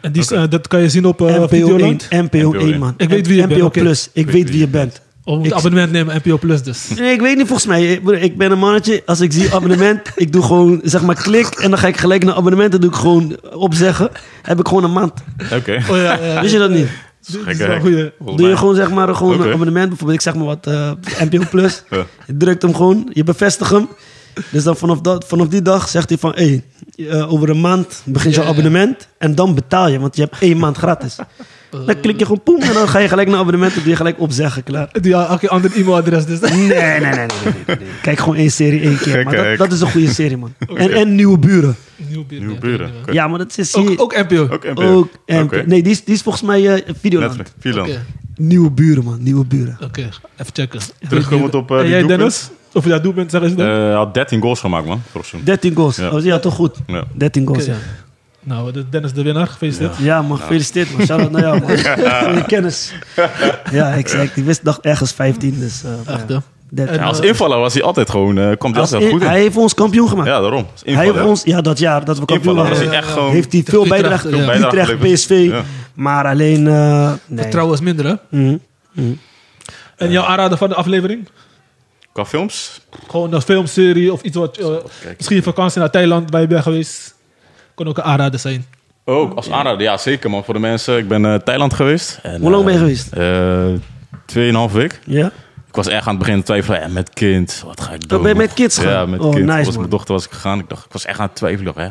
Speaker 2: En die, eh, dat kan je zien op eh
Speaker 4: NPO 1,
Speaker 2: Videoland.
Speaker 4: NPO 1,
Speaker 3: één.
Speaker 4: man.
Speaker 2: Ik weet wie je
Speaker 4: NPO
Speaker 2: bent, oké.
Speaker 4: Plus, ik, weet, wie je bent.
Speaker 2: Oh, we
Speaker 4: Ik-
Speaker 2: moeten abonnement nemen, NPO Plus dus.
Speaker 4: Nee, ik weet niet, volgens mij. Ik bedoel, Ik ben een mannetje, als ik zie abonnement... ik doe gewoon, zeg maar, klik... en dan ga ik gelijk naar abonnementen, doe ik gewoon opzeggen. Heb ik gewoon een maand.
Speaker 3: Oké.
Speaker 2: Oh ja, ja.
Speaker 4: Wist je dat niet?
Speaker 2: Dit
Speaker 3: Gekke
Speaker 2: is wel
Speaker 3: hack.
Speaker 2: een goeie.
Speaker 3: Volgens
Speaker 4: Doe je
Speaker 3: mij.
Speaker 4: gewoon, zeg maar, gewoon een
Speaker 3: Oké.
Speaker 4: abonnement. Bijvoorbeeld, ik zeg maar wat, eh, NPO Plus.
Speaker 3: Ja.
Speaker 4: Je drukt hem gewoon, je bevestigt hem. Dus dan vanaf, dat, vanaf die dag zegt hij van... Hey, eh, over een maand begint
Speaker 2: Ja,
Speaker 4: jouw
Speaker 2: ja.
Speaker 4: abonnement... en dan betaal je, want je hebt één maand gratis. Dan klik je gewoon poem en dan ga je gelijk naar abonnement... en doe je gelijk opzeggen, klaar.
Speaker 2: Die had elke ander e-mailadres dus.
Speaker 4: Nee, nee, nee, nee, nee, nee, nee, nee. Kijk gewoon één serie één keer. Maar
Speaker 3: Gekke
Speaker 4: dat,
Speaker 3: hek.
Speaker 4: dat is een goede serie, man. En, en Nieuwe Buren.
Speaker 2: Nieuw buren.
Speaker 3: Nieuwe
Speaker 2: ja,
Speaker 3: buren.
Speaker 2: ja.
Speaker 3: Oké.
Speaker 4: Ja, maar dat is... zie
Speaker 2: Ook,
Speaker 4: je-
Speaker 2: ook NPO.
Speaker 3: Ook NPO.
Speaker 4: ook en-
Speaker 3: Oké.
Speaker 4: Nee, die is, die is volgens mij eh Videoland.
Speaker 3: Netflix. Vierland.
Speaker 2: Oké,
Speaker 4: Nieuwe Buren, man. Nieuwe Buren.
Speaker 2: Oké, even checken.
Speaker 3: Terugkomend op eh
Speaker 2: en
Speaker 3: die
Speaker 2: jij
Speaker 3: doelpunt.
Speaker 2: Dennis? Of je dat doet bent, zeg eens dan.
Speaker 3: Eh, had 13 goals gemaakt, man. Vorig seizoen.
Speaker 4: 13 goals.
Speaker 3: Ja.
Speaker 4: Oh, ja, toch goed.
Speaker 3: Ja.
Speaker 4: 13 goals,
Speaker 2: Oké.
Speaker 4: ja.
Speaker 2: Nou, dat is Dennis de winnaar, gefeliciteerd.
Speaker 4: Ja,
Speaker 3: Nou.
Speaker 4: man, gefeliciteerd, man. Shout-out naar jou, man. Voor je kennis. Ja, ik, zei, ik wist dacht ergens 15, dus... eh, maar
Speaker 2: Echt,
Speaker 4: ja.
Speaker 2: hè?
Speaker 4: Dat-
Speaker 3: Ja, als
Speaker 2: eh,
Speaker 3: invaller was hij altijd gewoon... eh kwam hij
Speaker 4: Als
Speaker 3: altijd
Speaker 4: in-
Speaker 3: goed in.
Speaker 4: hij heeft ons kampioen gemaakt.
Speaker 3: Ja, daarom. Als
Speaker 4: hij
Speaker 3: invaller.
Speaker 4: heeft ons, ja, dat jaar dat we kampioen
Speaker 3: Invaller was
Speaker 4: waren, eh,
Speaker 3: hij echt gewoon...
Speaker 4: heeft hij veel
Speaker 2: Utrecht,
Speaker 4: bijdrage.
Speaker 2: ja.
Speaker 4: Utrecht,
Speaker 3: Bijdrage
Speaker 4: PSV.
Speaker 3: geleverd.
Speaker 4: Maar alleen... eh, nee.
Speaker 2: Vertrouwen is minder, hè?
Speaker 4: Mhm. Mhm.
Speaker 2: En jouw aanrader van de aflevering?
Speaker 3: Qua films?
Speaker 2: Gewoon een filmserie of iets wat... eh, misschien vakantie naar Thailand bij je bent geweest. Kon ook een aanrader zijn.
Speaker 3: Ook, als aanrader. Ja, zeker man. Voor de mensen. Ik ben eh Thailand geweest. En,
Speaker 4: Hoe lang
Speaker 3: eh,
Speaker 4: ben je geweest?
Speaker 3: eh, Tweeënhalf week.
Speaker 4: Ja?
Speaker 3: Ik was echt aan het begin te twijfelen. Ja, met kind. Wat ga ik doen?
Speaker 4: ben je met kids
Speaker 3: Ja,
Speaker 4: gegaan?
Speaker 3: met
Speaker 4: Oh,
Speaker 3: kind.
Speaker 4: nice,
Speaker 3: was
Speaker 4: man.
Speaker 3: mijn dochter was ik gegaan. Ik dacht, ik was echt aan het twijfelen. Hè.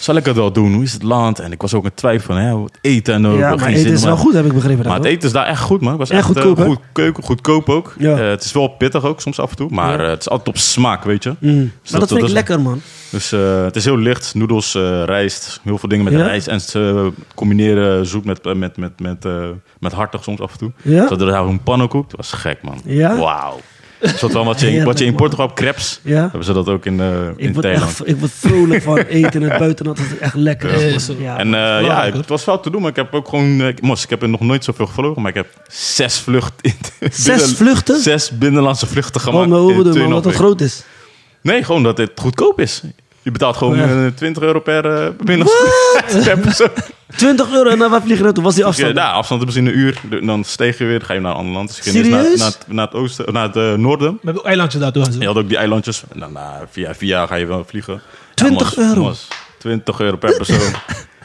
Speaker 3: Zal ik het wel doen? Hoe is het land? En ik was ook in twijfel. van, Hè, hoe het eten en ook. Nog
Speaker 4: ja, maar
Speaker 3: geen
Speaker 4: eten
Speaker 3: zin,
Speaker 4: is wel
Speaker 3: maar-
Speaker 4: goed, heb ik begrepen.
Speaker 3: Maar het
Speaker 4: dan,
Speaker 3: eten is daar echt goed, man. Het was
Speaker 4: En
Speaker 3: echt
Speaker 4: goedkoop,
Speaker 3: eh,
Speaker 4: hè?
Speaker 3: goed, keuken, goedkoop ook.
Speaker 4: Ja.
Speaker 3: Eh, het is wel pittig ook, soms af en toe. Maar eh, het is altijd op smaak, weet je. Dus
Speaker 4: hoor. Mhm. Maar dat
Speaker 3: dat
Speaker 4: vind ik
Speaker 3: is-
Speaker 4: lekker, man.
Speaker 3: Dus eh, het is heel licht. Noedels, eh, rijst, heel veel dingen met
Speaker 4: Ja?
Speaker 3: rijst. En ze eh, combineren zoet met, met, met, met, eh, met hartig soms af en toe.
Speaker 4: Ja?
Speaker 3: Ze hadden daar een pannenkoek. Dat was gek, man.
Speaker 4: Ja?
Speaker 3: Wauw. Dat is wat dan wat je, in- wat je in
Speaker 4: Heerlijk,
Speaker 3: Portugal hebt, crepes.
Speaker 4: Ja?
Speaker 3: Hebben ze dat ook in, eh, in
Speaker 4: Ik word,
Speaker 3: Thailand.
Speaker 4: echt, ik word vrolijk van eten in het buitenland. Dat is echt lekker.
Speaker 2: Ja,
Speaker 4: man.
Speaker 2: is zo.
Speaker 4: Ja,
Speaker 3: En eh,
Speaker 2: wel
Speaker 3: ja,
Speaker 2: leuk, hoor.
Speaker 3: het was wel te doen, maar ik heb ook gewoon... eh, ik, mos, ik heb er nog nooit zoveel gevlogen, maar ik heb zes vluchten... in- binnen-
Speaker 4: vluchten?
Speaker 3: Zes binnenlandse vluchten
Speaker 4: Oh,
Speaker 3: gemaakt.
Speaker 4: maar
Speaker 3: in
Speaker 4: hoe bedoel je, man?
Speaker 3: 2,5
Speaker 4: Wat dat
Speaker 3: week.
Speaker 4: groot is.
Speaker 3: Nee, gewoon dat dit goedkoop is. Je betaalt gewoon
Speaker 4: Ja.
Speaker 3: eh, 20 euro per eh, binnenlandse per persoon.
Speaker 4: 20 euro en naar waar vliegen we naartoe? Was die
Speaker 3: Ja, nou,
Speaker 4: afstand?
Speaker 3: daar, afstand is misschien een uur. Dan steeg je weer, dan ga je naar een ander land. Dus je ging eerst Naar,
Speaker 4: Serieus?
Speaker 3: naar, het- naar het oosten, naar het eh, noorden.
Speaker 2: We hebben ook eilandjes daar doen.
Speaker 3: Je had ook die eilandjes. En dan na via, via ga je wel vliegen.
Speaker 4: 20 euro?
Speaker 3: 20 euro per persoon.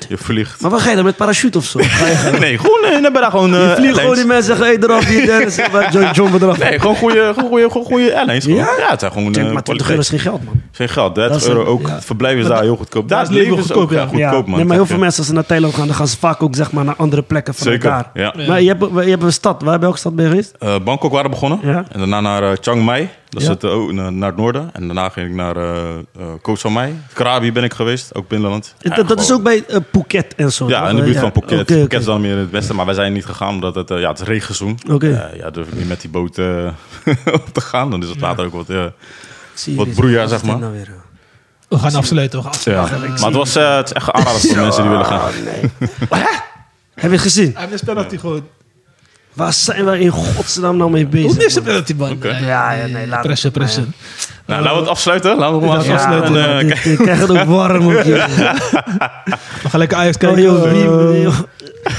Speaker 3: je vliegt.
Speaker 4: Maar waar ga je dan? Met parachute of zo? Ga je gaan?
Speaker 3: Nee, gewoon, eh, dan ben je gewoon... eh,
Speaker 4: Je vliegt gewoon
Speaker 3: airlines.
Speaker 4: die mensen zeggen, hey, eraf, hier, Dennis. maar John, John eraf.
Speaker 3: Nee, gewoon goede, gewoon goede, gewoon goede airlines. gewoon. Ja? het zijn gewoon...
Speaker 4: Ik denk,
Speaker 3: eh,
Speaker 4: maar 20
Speaker 3: kwaliteit.
Speaker 4: euro is geen geld, man.
Speaker 3: Geen geld,
Speaker 4: Dat
Speaker 3: 30
Speaker 4: is een-
Speaker 3: euro ook.
Speaker 4: ja.
Speaker 3: Het verblijf is daar heel goedkoop. Daar is het
Speaker 2: is
Speaker 3: leven
Speaker 2: leven
Speaker 3: is ook
Speaker 2: goedkoop,
Speaker 3: ja,
Speaker 2: ja.
Speaker 3: goedkoop, man. eh,
Speaker 4: Nee, maar heel veel
Speaker 3: Zeker.
Speaker 4: mensen als ze naar Thailand gaan, dan gaan ze vaak ook zeg maar, naar andere plekken van
Speaker 3: Zeker,
Speaker 4: elkaar.
Speaker 3: ja.
Speaker 4: Maar je hebt, je hebt een stad. Waar, welke stad ben je geweest?
Speaker 3: Eh, Bangkok waren we begonnen.
Speaker 4: Ja.
Speaker 3: En daarna naar eh, Chiang Mai. Dat
Speaker 4: Ja.
Speaker 3: zit eh, ook na- naar het noorden. En daarna ging ik naar eh eh, Koh Samui. Krabi ben ik geweest, ook binnenland. Ja,
Speaker 4: dat, dat is
Speaker 3: gewoon-
Speaker 4: ook bij eh, Phuket en zo.
Speaker 3: Ja,
Speaker 4: toch?
Speaker 3: in de buurt
Speaker 4: Ja.
Speaker 3: van Phuket.
Speaker 4: Oké, oké.
Speaker 3: Phuket is dan meer in het westen, maar wij zijn niet gegaan omdat het, eh, ja, het is regenseizoen.
Speaker 4: Oké.
Speaker 3: Eh, ja, durf ik niet met die boot eh, op te gaan. Dan is het water ook wat... eh,
Speaker 4: Zie je
Speaker 3: Wat
Speaker 4: dit?
Speaker 3: broeia,
Speaker 4: is
Speaker 3: zeg
Speaker 4: dit
Speaker 3: maar.
Speaker 4: nou weer,
Speaker 2: We
Speaker 4: joh?
Speaker 2: gaan afsluiten. We gaan afsluiten.
Speaker 3: ja. Maar het, was, eh, het is echt een aanrader voor de mensen die willen gaan. Nou,
Speaker 4: Heb je het gezien?
Speaker 2: Hij mist penalty gewoon.
Speaker 4: Waar zijn wij in godsnaam nou mee bezig?
Speaker 2: Hoe mist de
Speaker 4: man?
Speaker 2: penalty, man?
Speaker 3: Oké.
Speaker 2: Nee,
Speaker 4: Ja, ja, nee, laat
Speaker 2: Pressen,
Speaker 4: het maar,
Speaker 2: pressen.
Speaker 3: Nou, laten we het afsluiten. Laten we het
Speaker 2: Ja,
Speaker 3: afsluiten.
Speaker 2: ja,
Speaker 3: En, eh,
Speaker 4: dit- dit- Ik krijg het ook warm. Ook, joh.
Speaker 2: We gaan lekker Ajax
Speaker 4: Oh,
Speaker 2: kijken.
Speaker 4: joh, wie-
Speaker 2: Eh,
Speaker 4: joh.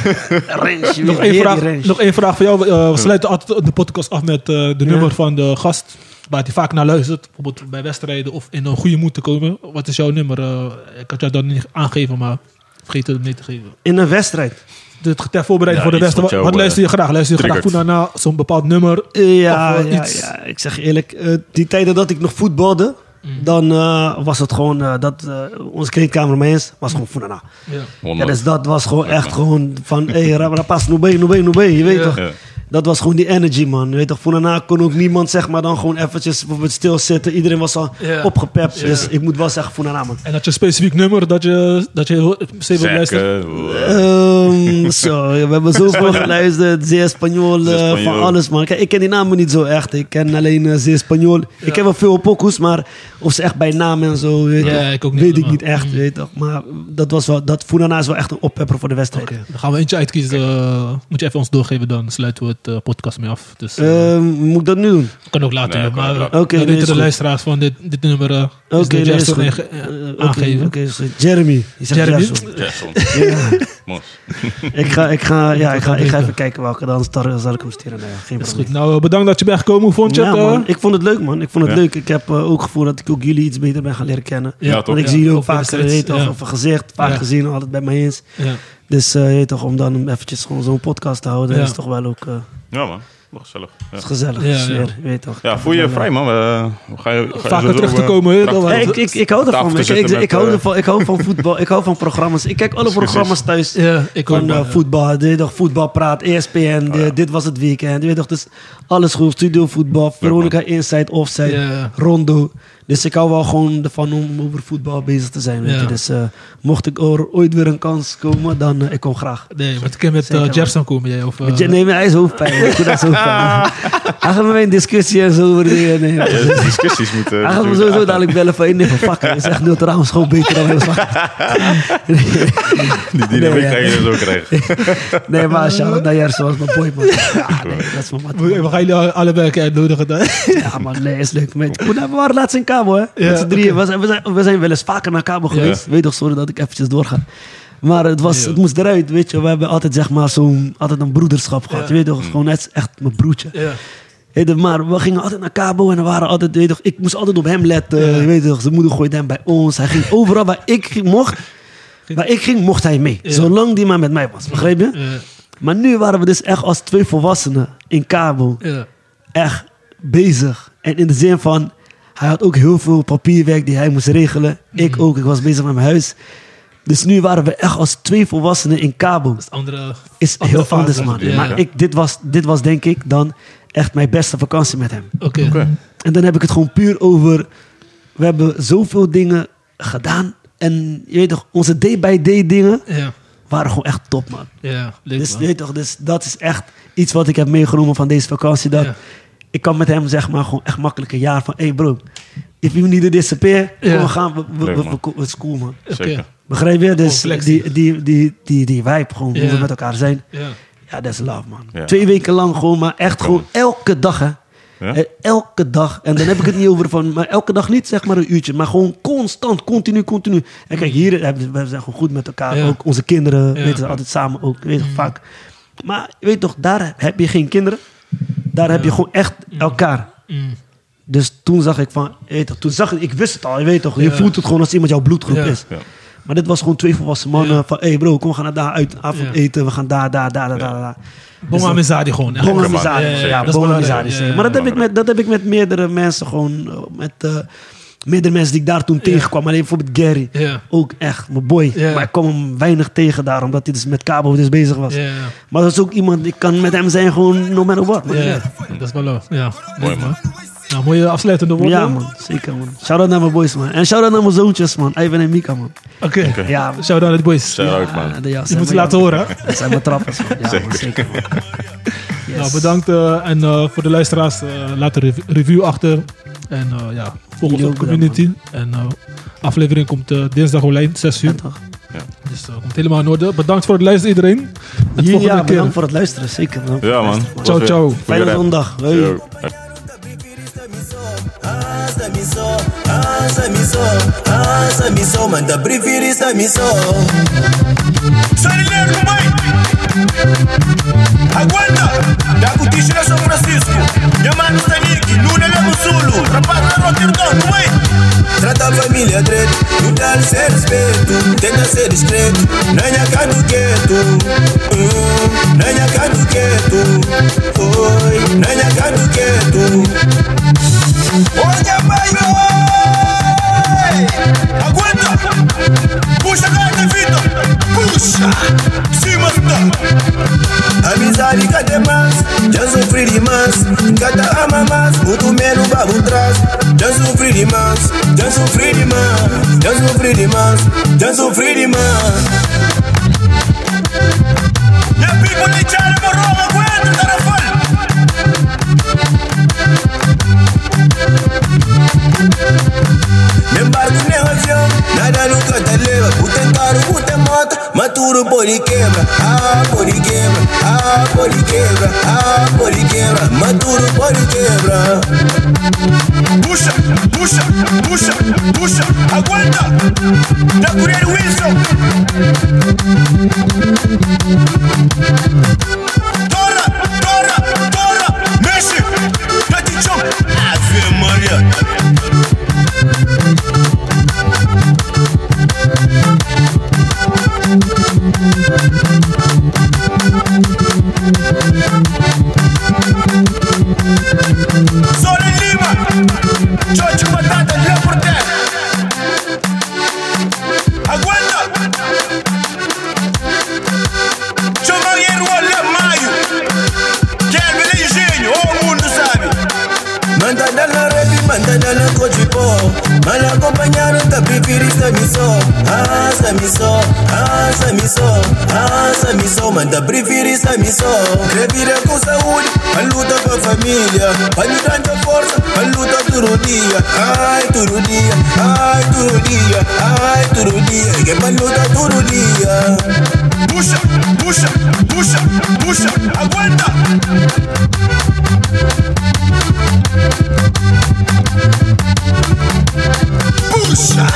Speaker 4: Range, weer-
Speaker 2: nog,
Speaker 4: weer
Speaker 2: één
Speaker 4: die
Speaker 2: vraag,
Speaker 4: range.
Speaker 2: nog één vraag voor jou. Eh, we sluiten altijd de podcast af met eh, de nummer van de gast. Waar hij vaak naar luistert. Bijvoorbeeld bij wedstrijden of in een goede moed te komen. Wat is jouw nummer? Eh, ik had jou dan niet aangeven, maar vergeet het mee te geven.
Speaker 4: In een wedstrijd.
Speaker 2: Dus ter voorbereiding
Speaker 3: Ja,
Speaker 2: voor de
Speaker 3: iets
Speaker 2: wedstrijd.
Speaker 3: wat
Speaker 2: Wat,
Speaker 3: jou,
Speaker 2: wat
Speaker 3: eh,
Speaker 2: luister je graag? Luister je graag
Speaker 3: triggert.
Speaker 2: Poena na zo'n bepaald nummer?
Speaker 4: Eh, ja,
Speaker 2: Of wel
Speaker 4: ja,
Speaker 2: iets.
Speaker 4: ja, ik zeg je eerlijk, eh, die tijden dat ik nog voetbalde,
Speaker 2: Mm.
Speaker 4: dan eh, was het gewoon eh, dat eh, onze kleedkamermens was gewoon Funana.
Speaker 2: Ja.
Speaker 4: Ja,
Speaker 3: honderd.
Speaker 4: dus dat was gewoon echt gewoon van, hé, hey, rap- rapas, noebe, noebe, noebe, je weet
Speaker 2: Ja.
Speaker 4: toch?
Speaker 3: Ja.
Speaker 4: Dat was gewoon die energy, man. Je weet toch, Funana kon ook niemand, zeg maar, dan gewoon eventjes bijvoorbeeld stilzitten. Iedereen was al
Speaker 2: Ja.
Speaker 4: opgepept,
Speaker 2: Ja.
Speaker 4: dus ik moet wel zeggen Funana, man.
Speaker 2: En dat je een specifiek nummer dat je, dat je heel- zeker
Speaker 3: Zeker. eh,
Speaker 2: luistert.
Speaker 4: Ehm, zo, we hebben zoveel geluisterd. Zeer Spanjool,
Speaker 3: Zeer
Speaker 4: eh, van
Speaker 3: Spanjool.
Speaker 4: alles, man. Kijk, ik ken die namen niet zo echt. Ik ken alleen eh, Zeer Spanjool. Ik heb wel veel pokoes, maar of ze echt bij naam en zo, weet,
Speaker 2: Ja,
Speaker 4: toch,
Speaker 2: ik ook niet
Speaker 4: weet ik
Speaker 2: helemaal.
Speaker 4: niet echt. Weet toch. Maar dat was wel, dat Funana is wel echt een oppepper voor de wedstrijd.
Speaker 2: Oké, dan gaan we eentje uitkiezen. eh, moet je even ons doorgeven, dan sluiten we het eh, podcast mee af. Dus eh,
Speaker 4: Ehm, moet ik dat nu doen?
Speaker 2: kan ook later.
Speaker 3: nee,
Speaker 2: joh,
Speaker 3: kan
Speaker 2: maar
Speaker 3: ook
Speaker 2: eh,
Speaker 3: later.
Speaker 2: dan
Speaker 4: Oké, nee,
Speaker 2: weten
Speaker 4: is
Speaker 2: de
Speaker 4: goed.
Speaker 2: luisteraas van dit, dit nummer. eh, is
Speaker 4: Oké,
Speaker 2: de
Speaker 4: nee, is
Speaker 2: Jester
Speaker 4: goed.
Speaker 2: negen- eh,
Speaker 4: Eh, oké,
Speaker 2: aangeven.
Speaker 4: Oké, is goed. Jeremy. Je zegt
Speaker 2: Jeremy?
Speaker 4: Jeremy.
Speaker 3: Jackson. Mos.
Speaker 4: Ik ga, ik ga, ja, ik ga, ik ga
Speaker 2: weten.
Speaker 4: even kijken welke, dan zal zal ik hem sturen. Nee, geen
Speaker 2: Is
Speaker 4: probleem.
Speaker 2: goed. Nou, eh, bedankt dat je bent gekomen. Hoe vond je
Speaker 4: Ja,
Speaker 2: het? eh?
Speaker 4: man. Ik vond het leuk, man. Ik vond het
Speaker 3: Ja.
Speaker 4: leuk. Ik heb eh, ook gevoel dat ik ook jullie iets beter ben gaan leren kennen.
Speaker 2: Ja,
Speaker 3: Ja, toch?
Speaker 4: Want ik
Speaker 2: Ja,
Speaker 4: zie jullie ook
Speaker 2: over de
Speaker 4: vaker,
Speaker 2: steeds,
Speaker 4: heet, toch,
Speaker 2: ja.
Speaker 4: of gezegd, vaak
Speaker 2: Ja.
Speaker 4: gezien, altijd bij mij eens.
Speaker 2: ja.
Speaker 4: Dus eh, heet toch, om dan eventjes gewoon zo'n podcast te houden,
Speaker 2: Ja.
Speaker 4: is toch wel ook eh,
Speaker 3: Ja, man. Wel Gezellig. Ja.
Speaker 4: is gezellig.
Speaker 2: Ja,
Speaker 4: Dus,
Speaker 2: ja.
Speaker 4: eh, Weet toch.
Speaker 3: Ja, voel je vrij, man. We, we gaan je, ga je
Speaker 2: Vaker
Speaker 3: zo
Speaker 2: terug te
Speaker 3: eh,
Speaker 2: komen, hè?
Speaker 3: prachtig-
Speaker 2: Dat
Speaker 4: Ja,
Speaker 2: was-
Speaker 4: ik, ik, ik hou
Speaker 3: tafel
Speaker 4: ervan.
Speaker 3: te
Speaker 4: man. Ik, ik,
Speaker 3: zitten
Speaker 4: ik,
Speaker 3: met,
Speaker 4: hou
Speaker 3: eh,
Speaker 4: ervan ik hou van voetbal. Ik hou van programma's. Ik kijk alle
Speaker 3: Discussies.
Speaker 4: programma's thuis.
Speaker 2: Ja, Oh, ik ook,
Speaker 4: Van eh,
Speaker 2: man.
Speaker 4: voetbal, E dit, toch, voetbalpraat, ESPN, dit- dit was het weekend. Je Weet toch, dus alles goed. Studio voetbal, Veronica Inside, Offside,
Speaker 2: Ja.
Speaker 4: Rondo. Dus ik hou wel gewoon ervan om over voetbal bezig te zijn. Weet
Speaker 2: Ja.
Speaker 4: je. Dus eh, mocht ik er ooit weer een kans komen, dan eh, ik kom graag.
Speaker 2: Nee, maar het kan met
Speaker 4: Zeker,
Speaker 2: eh,
Speaker 4: man.
Speaker 2: Jefferson komen jij. Of, eh,
Speaker 4: Met je- nee, maar hij is hoofdpijn. Ik doe dat is hoofdpijn. Hij gaat met mij in discussie en zo over dingen. Nee,
Speaker 3: Ja, de Eh, discussies moeten...
Speaker 4: hij gaat me
Speaker 3: moeten
Speaker 4: sowieso
Speaker 3: aangaan.
Speaker 4: dadelijk bellen van... Nee, fuck, hij is echt nul trouwens gewoon beter dan heel
Speaker 3: Die dynamiek
Speaker 4: Nee,
Speaker 3: ga
Speaker 4: ja.
Speaker 3: je dus ook krijgen.
Speaker 4: Nee, maar shout-out naar Jersen was mijn boy, man. Ja, nee, dat is mijn mat.
Speaker 2: we, we gaan jullie allebei een keer uitnodigen. dan.
Speaker 4: Ja, man, nee, is leuk. Met, Goed, nou, we waren laatst in Cabo, hè?
Speaker 2: Ja,
Speaker 4: met z'n drieën. We, zijn, we, zijn, we zijn wel eens vaker naar Cabo geweest. Weet toch, sorry dat ik eventjes doorga. Maar het, was, het moest eruit, weet je. We hebben altijd, zeg maar, zo'n, altijd een broederschap gehad. Je weet toch, gewoon net echt mijn broertje.
Speaker 2: Ja.
Speaker 4: Weet je, maar we gingen altijd naar Cabo en we waren altijd, weet je, toch, ik moest altijd op hem letten.
Speaker 2: Ja.
Speaker 4: Je weet toch, zijn moeder gooide hem bij ons. Hij ging overal waar ik ging- mocht, waar ik ging, mocht hij mee.
Speaker 2: Ja.
Speaker 4: Zolang die maar met mij was, begrijp je?
Speaker 2: Ja.
Speaker 4: Maar nu waren we dus echt als twee volwassenen in Cabo
Speaker 2: Ja.
Speaker 4: echt bezig. En in de zin van, hij had ook heel veel papierwerk die hij moest regelen. Ik
Speaker 2: Mhm.
Speaker 4: ook, ik was bezig met mijn huis. Dus nu waren we echt als twee volwassenen in Cabo.
Speaker 2: Dat is andere...
Speaker 4: Is
Speaker 2: andere
Speaker 4: heel
Speaker 2: fase.
Speaker 4: anders, man.
Speaker 2: Ja.
Speaker 4: Maar ik, dit, was, dit was denk ik dan echt mijn beste vakantie met hem.
Speaker 2: Oké.
Speaker 4: En dan heb ik het gewoon puur over. We hebben zoveel dingen gedaan. En je weet toch, onze day-by-day dingen
Speaker 2: Ja.
Speaker 4: waren gewoon echt top, man.
Speaker 2: Ja, leuk
Speaker 4: Dus, je
Speaker 2: man.
Speaker 4: weet toch, dus dat is echt iets wat ik heb meegenomen van deze vakantie. Dat
Speaker 2: Ja.
Speaker 4: Ik kan met hem zeg maar gewoon echt makkelijk een jaar van... Hé hey bro, if you need to disappear, kom,
Speaker 2: Ja.
Speaker 4: we gaan. We, we,
Speaker 3: Leuk,
Speaker 4: we,
Speaker 3: man.
Speaker 4: we, we- het is cool man.
Speaker 2: Oké.
Speaker 3: Zeker.
Speaker 4: Begrijp je? Dus
Speaker 2: Gewoon
Speaker 4: die,
Speaker 2: flexie.
Speaker 4: die, die, die, die, vibe gewoon, hoe
Speaker 2: Ja.
Speaker 4: we met elkaar zijn.
Speaker 2: Ja.
Speaker 4: Ja, dat is love man.
Speaker 3: Ja.
Speaker 4: Twee weken lang gewoon, maar echt gewoon elke dag hè.
Speaker 3: Ja?
Speaker 4: Eh, Elke dag. En dan heb ik het niet over van... Maar elke dag niet zeg maar een uurtje. Maar gewoon constant, continu, continu. En kijk, hier hebben we we zijn gewoon goed met elkaar.
Speaker 2: Ja.
Speaker 4: Ook onze kinderen
Speaker 2: Ja. Mm.
Speaker 4: weten we altijd samen ook. Weet je, vaak. Maar je weet toch, daar heb je geen kinderen. Daar heb je gewoon echt elkaar.
Speaker 2: Mm.
Speaker 4: Dus toen zag ik van... je Weet toch, toen zag ik... Ik wist het al, je weet toch. Je
Speaker 2: Ja.
Speaker 4: voelt het gewoon als iemand jouw bloedgroep
Speaker 2: Ja.
Speaker 4: is.
Speaker 3: Ja.
Speaker 4: Maar dit was gewoon twee volwassen mannen.
Speaker 2: Ja.
Speaker 4: Van, hé hey bro, kom, we gaan naar daar uit. Avond
Speaker 2: Ja.
Speaker 4: eten. We gaan daar, daar, daar, daar, daar, daar. Dus
Speaker 2: Bonga
Speaker 4: dat-
Speaker 2: Mizadi gewoon. echt.
Speaker 4: Bonga
Speaker 3: Lekker, man.
Speaker 4: Mizari.
Speaker 2: Ja, ja,
Speaker 4: Ja,
Speaker 2: ja, dat is
Speaker 4: Bonga
Speaker 2: belangrijk.
Speaker 4: Mizari,
Speaker 2: Ja,
Speaker 4: zeker.
Speaker 2: ja,
Speaker 4: Maar dat heb, ik met, dat heb ik met meerdere mensen gewoon... eh, Met eh, meerdere mensen die ik daar toen tegenkwam. Alleen bijvoorbeeld Gary.
Speaker 2: Ja.
Speaker 4: Ook echt, mijn boy.
Speaker 2: Ja.
Speaker 4: Maar ik kwam hem weinig tegen daar. Omdat hij dus met Cabo dus bezig was.
Speaker 2: Ja, ja.
Speaker 4: Maar dat is ook iemand... Ik kan met hem zijn gewoon no matter what. man.
Speaker 2: Ja, dat is wel leuk. Ja.
Speaker 3: Mooi, man.
Speaker 2: Nou, mooie afsluitende woorden.
Speaker 4: Ja man, zeker man. Shout-out naar mijn boys man. En shout-out naar mijn zoontjes man. Ivan en Mika man.
Speaker 2: Oké.
Speaker 4: Ja, man.
Speaker 2: Shout out to the boys.
Speaker 3: Shout out, man.
Speaker 4: Ja, ja,
Speaker 2: Je
Speaker 4: zijn
Speaker 2: moet ze
Speaker 4: mijn-
Speaker 2: laten horen. hè?
Speaker 4: Dat zijn mijn trappers man. Ja,
Speaker 3: Zeker.
Speaker 4: man, zeker man. Yes.
Speaker 2: Nou, bedankt eh, en eh, voor de luisteraars. eh, laat een rev- review achter. En eh, ja, volg onze
Speaker 4: Jullie ook
Speaker 2: community. En eh, aflevering komt eh, dinsdag online, 6 uur.
Speaker 4: Ja, toch?
Speaker 2: Dus eh, komt helemaal in orde. Bedankt voor het luisteren iedereen. Tot
Speaker 4: Ja,
Speaker 2: volgende keer.
Speaker 4: bedankt voor het luisteren. Zeker man.
Speaker 3: Ja, man.
Speaker 2: Ciao, ciao.
Speaker 4: Fijne zondag. Hoi.
Speaker 3: Yo.
Speaker 6: Manda preferir esta missão.
Speaker 7: Sarilero, mamãe! Aguanta! Da Cutícula São Francisco! Yamano Taniki, Nuna Lamusulu, Rapaz da Rotterdam, mamãe!
Speaker 6: Trata a família direito, não dá ser respeito, tenta ser discreto, é nem a canto quieto, hum, nem a canto quieto, oi, é nem a canto quieto.
Speaker 7: Olha,
Speaker 6: é,
Speaker 7: mãe! Aguanta! Puxa a carne, Vitor! Puxa! Cima, Vitor!
Speaker 6: Amizade cada mais, já sofri demais, cada ama mais, muito menos babo traz. Já sofri demais, já sofri demais, já sofri demais, já sofri demais.
Speaker 7: E a pico de Charlie Morrova, aguenta, tá Tarafalho!
Speaker 6: Nem barco, nem avião, nada nunca te leva. O tem caro, o tem mata, maturo por quebra. Ah, por quebra, ah, por quebra, ah, por quebra, maturo por quebra.
Speaker 7: Puxa, puxa, puxa, puxa, aguenta! Da Coreia Wilson! Torra, torra, torra, mexe! Da Tichon! Ave Maria! Zona Lima! Jorge Batata, Lê por terra! Aguenta! Jogador Olha Maio! oh, Kelvin é engenho, o mundo sabe!
Speaker 6: Mandada na rap, mandada na coach pó. Mal acompanharam, tá preferista missão. Ah, essa missão, ah, essa missão, ah, essa missão, manda preferista missão. Revira com saúde, a luta com a família. Olha tanta força, a luta todo dia. Ai, todo dia, ai, todo dia, ai, todo dia. Que é pra luta todo dia.
Speaker 7: Puxa, puxa, puxa, puxa, aguenta! Puxa!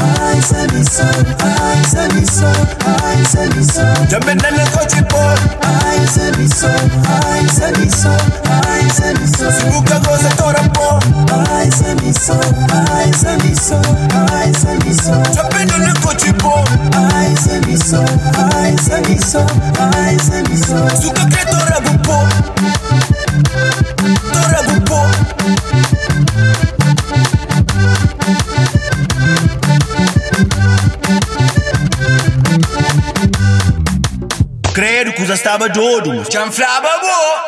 Speaker 7: Ai, Samiso, ai, Samiso, ai, Samiso.
Speaker 6: Jamendana kochi boy
Speaker 7: Ai, Samiso, ai, Samiso, ai, Samiso.
Speaker 6: Buka goza tora po
Speaker 7: Ai, Samiso, ai, Samiso, ai, Samiso.
Speaker 6: Jamendana kochi boy
Speaker 7: Ai, Samiso, ai, Samiso, ai, Samiso.
Speaker 6: Suka kre tora bupo Tora bupo Credo que já estava de ouro. Chanflava boa.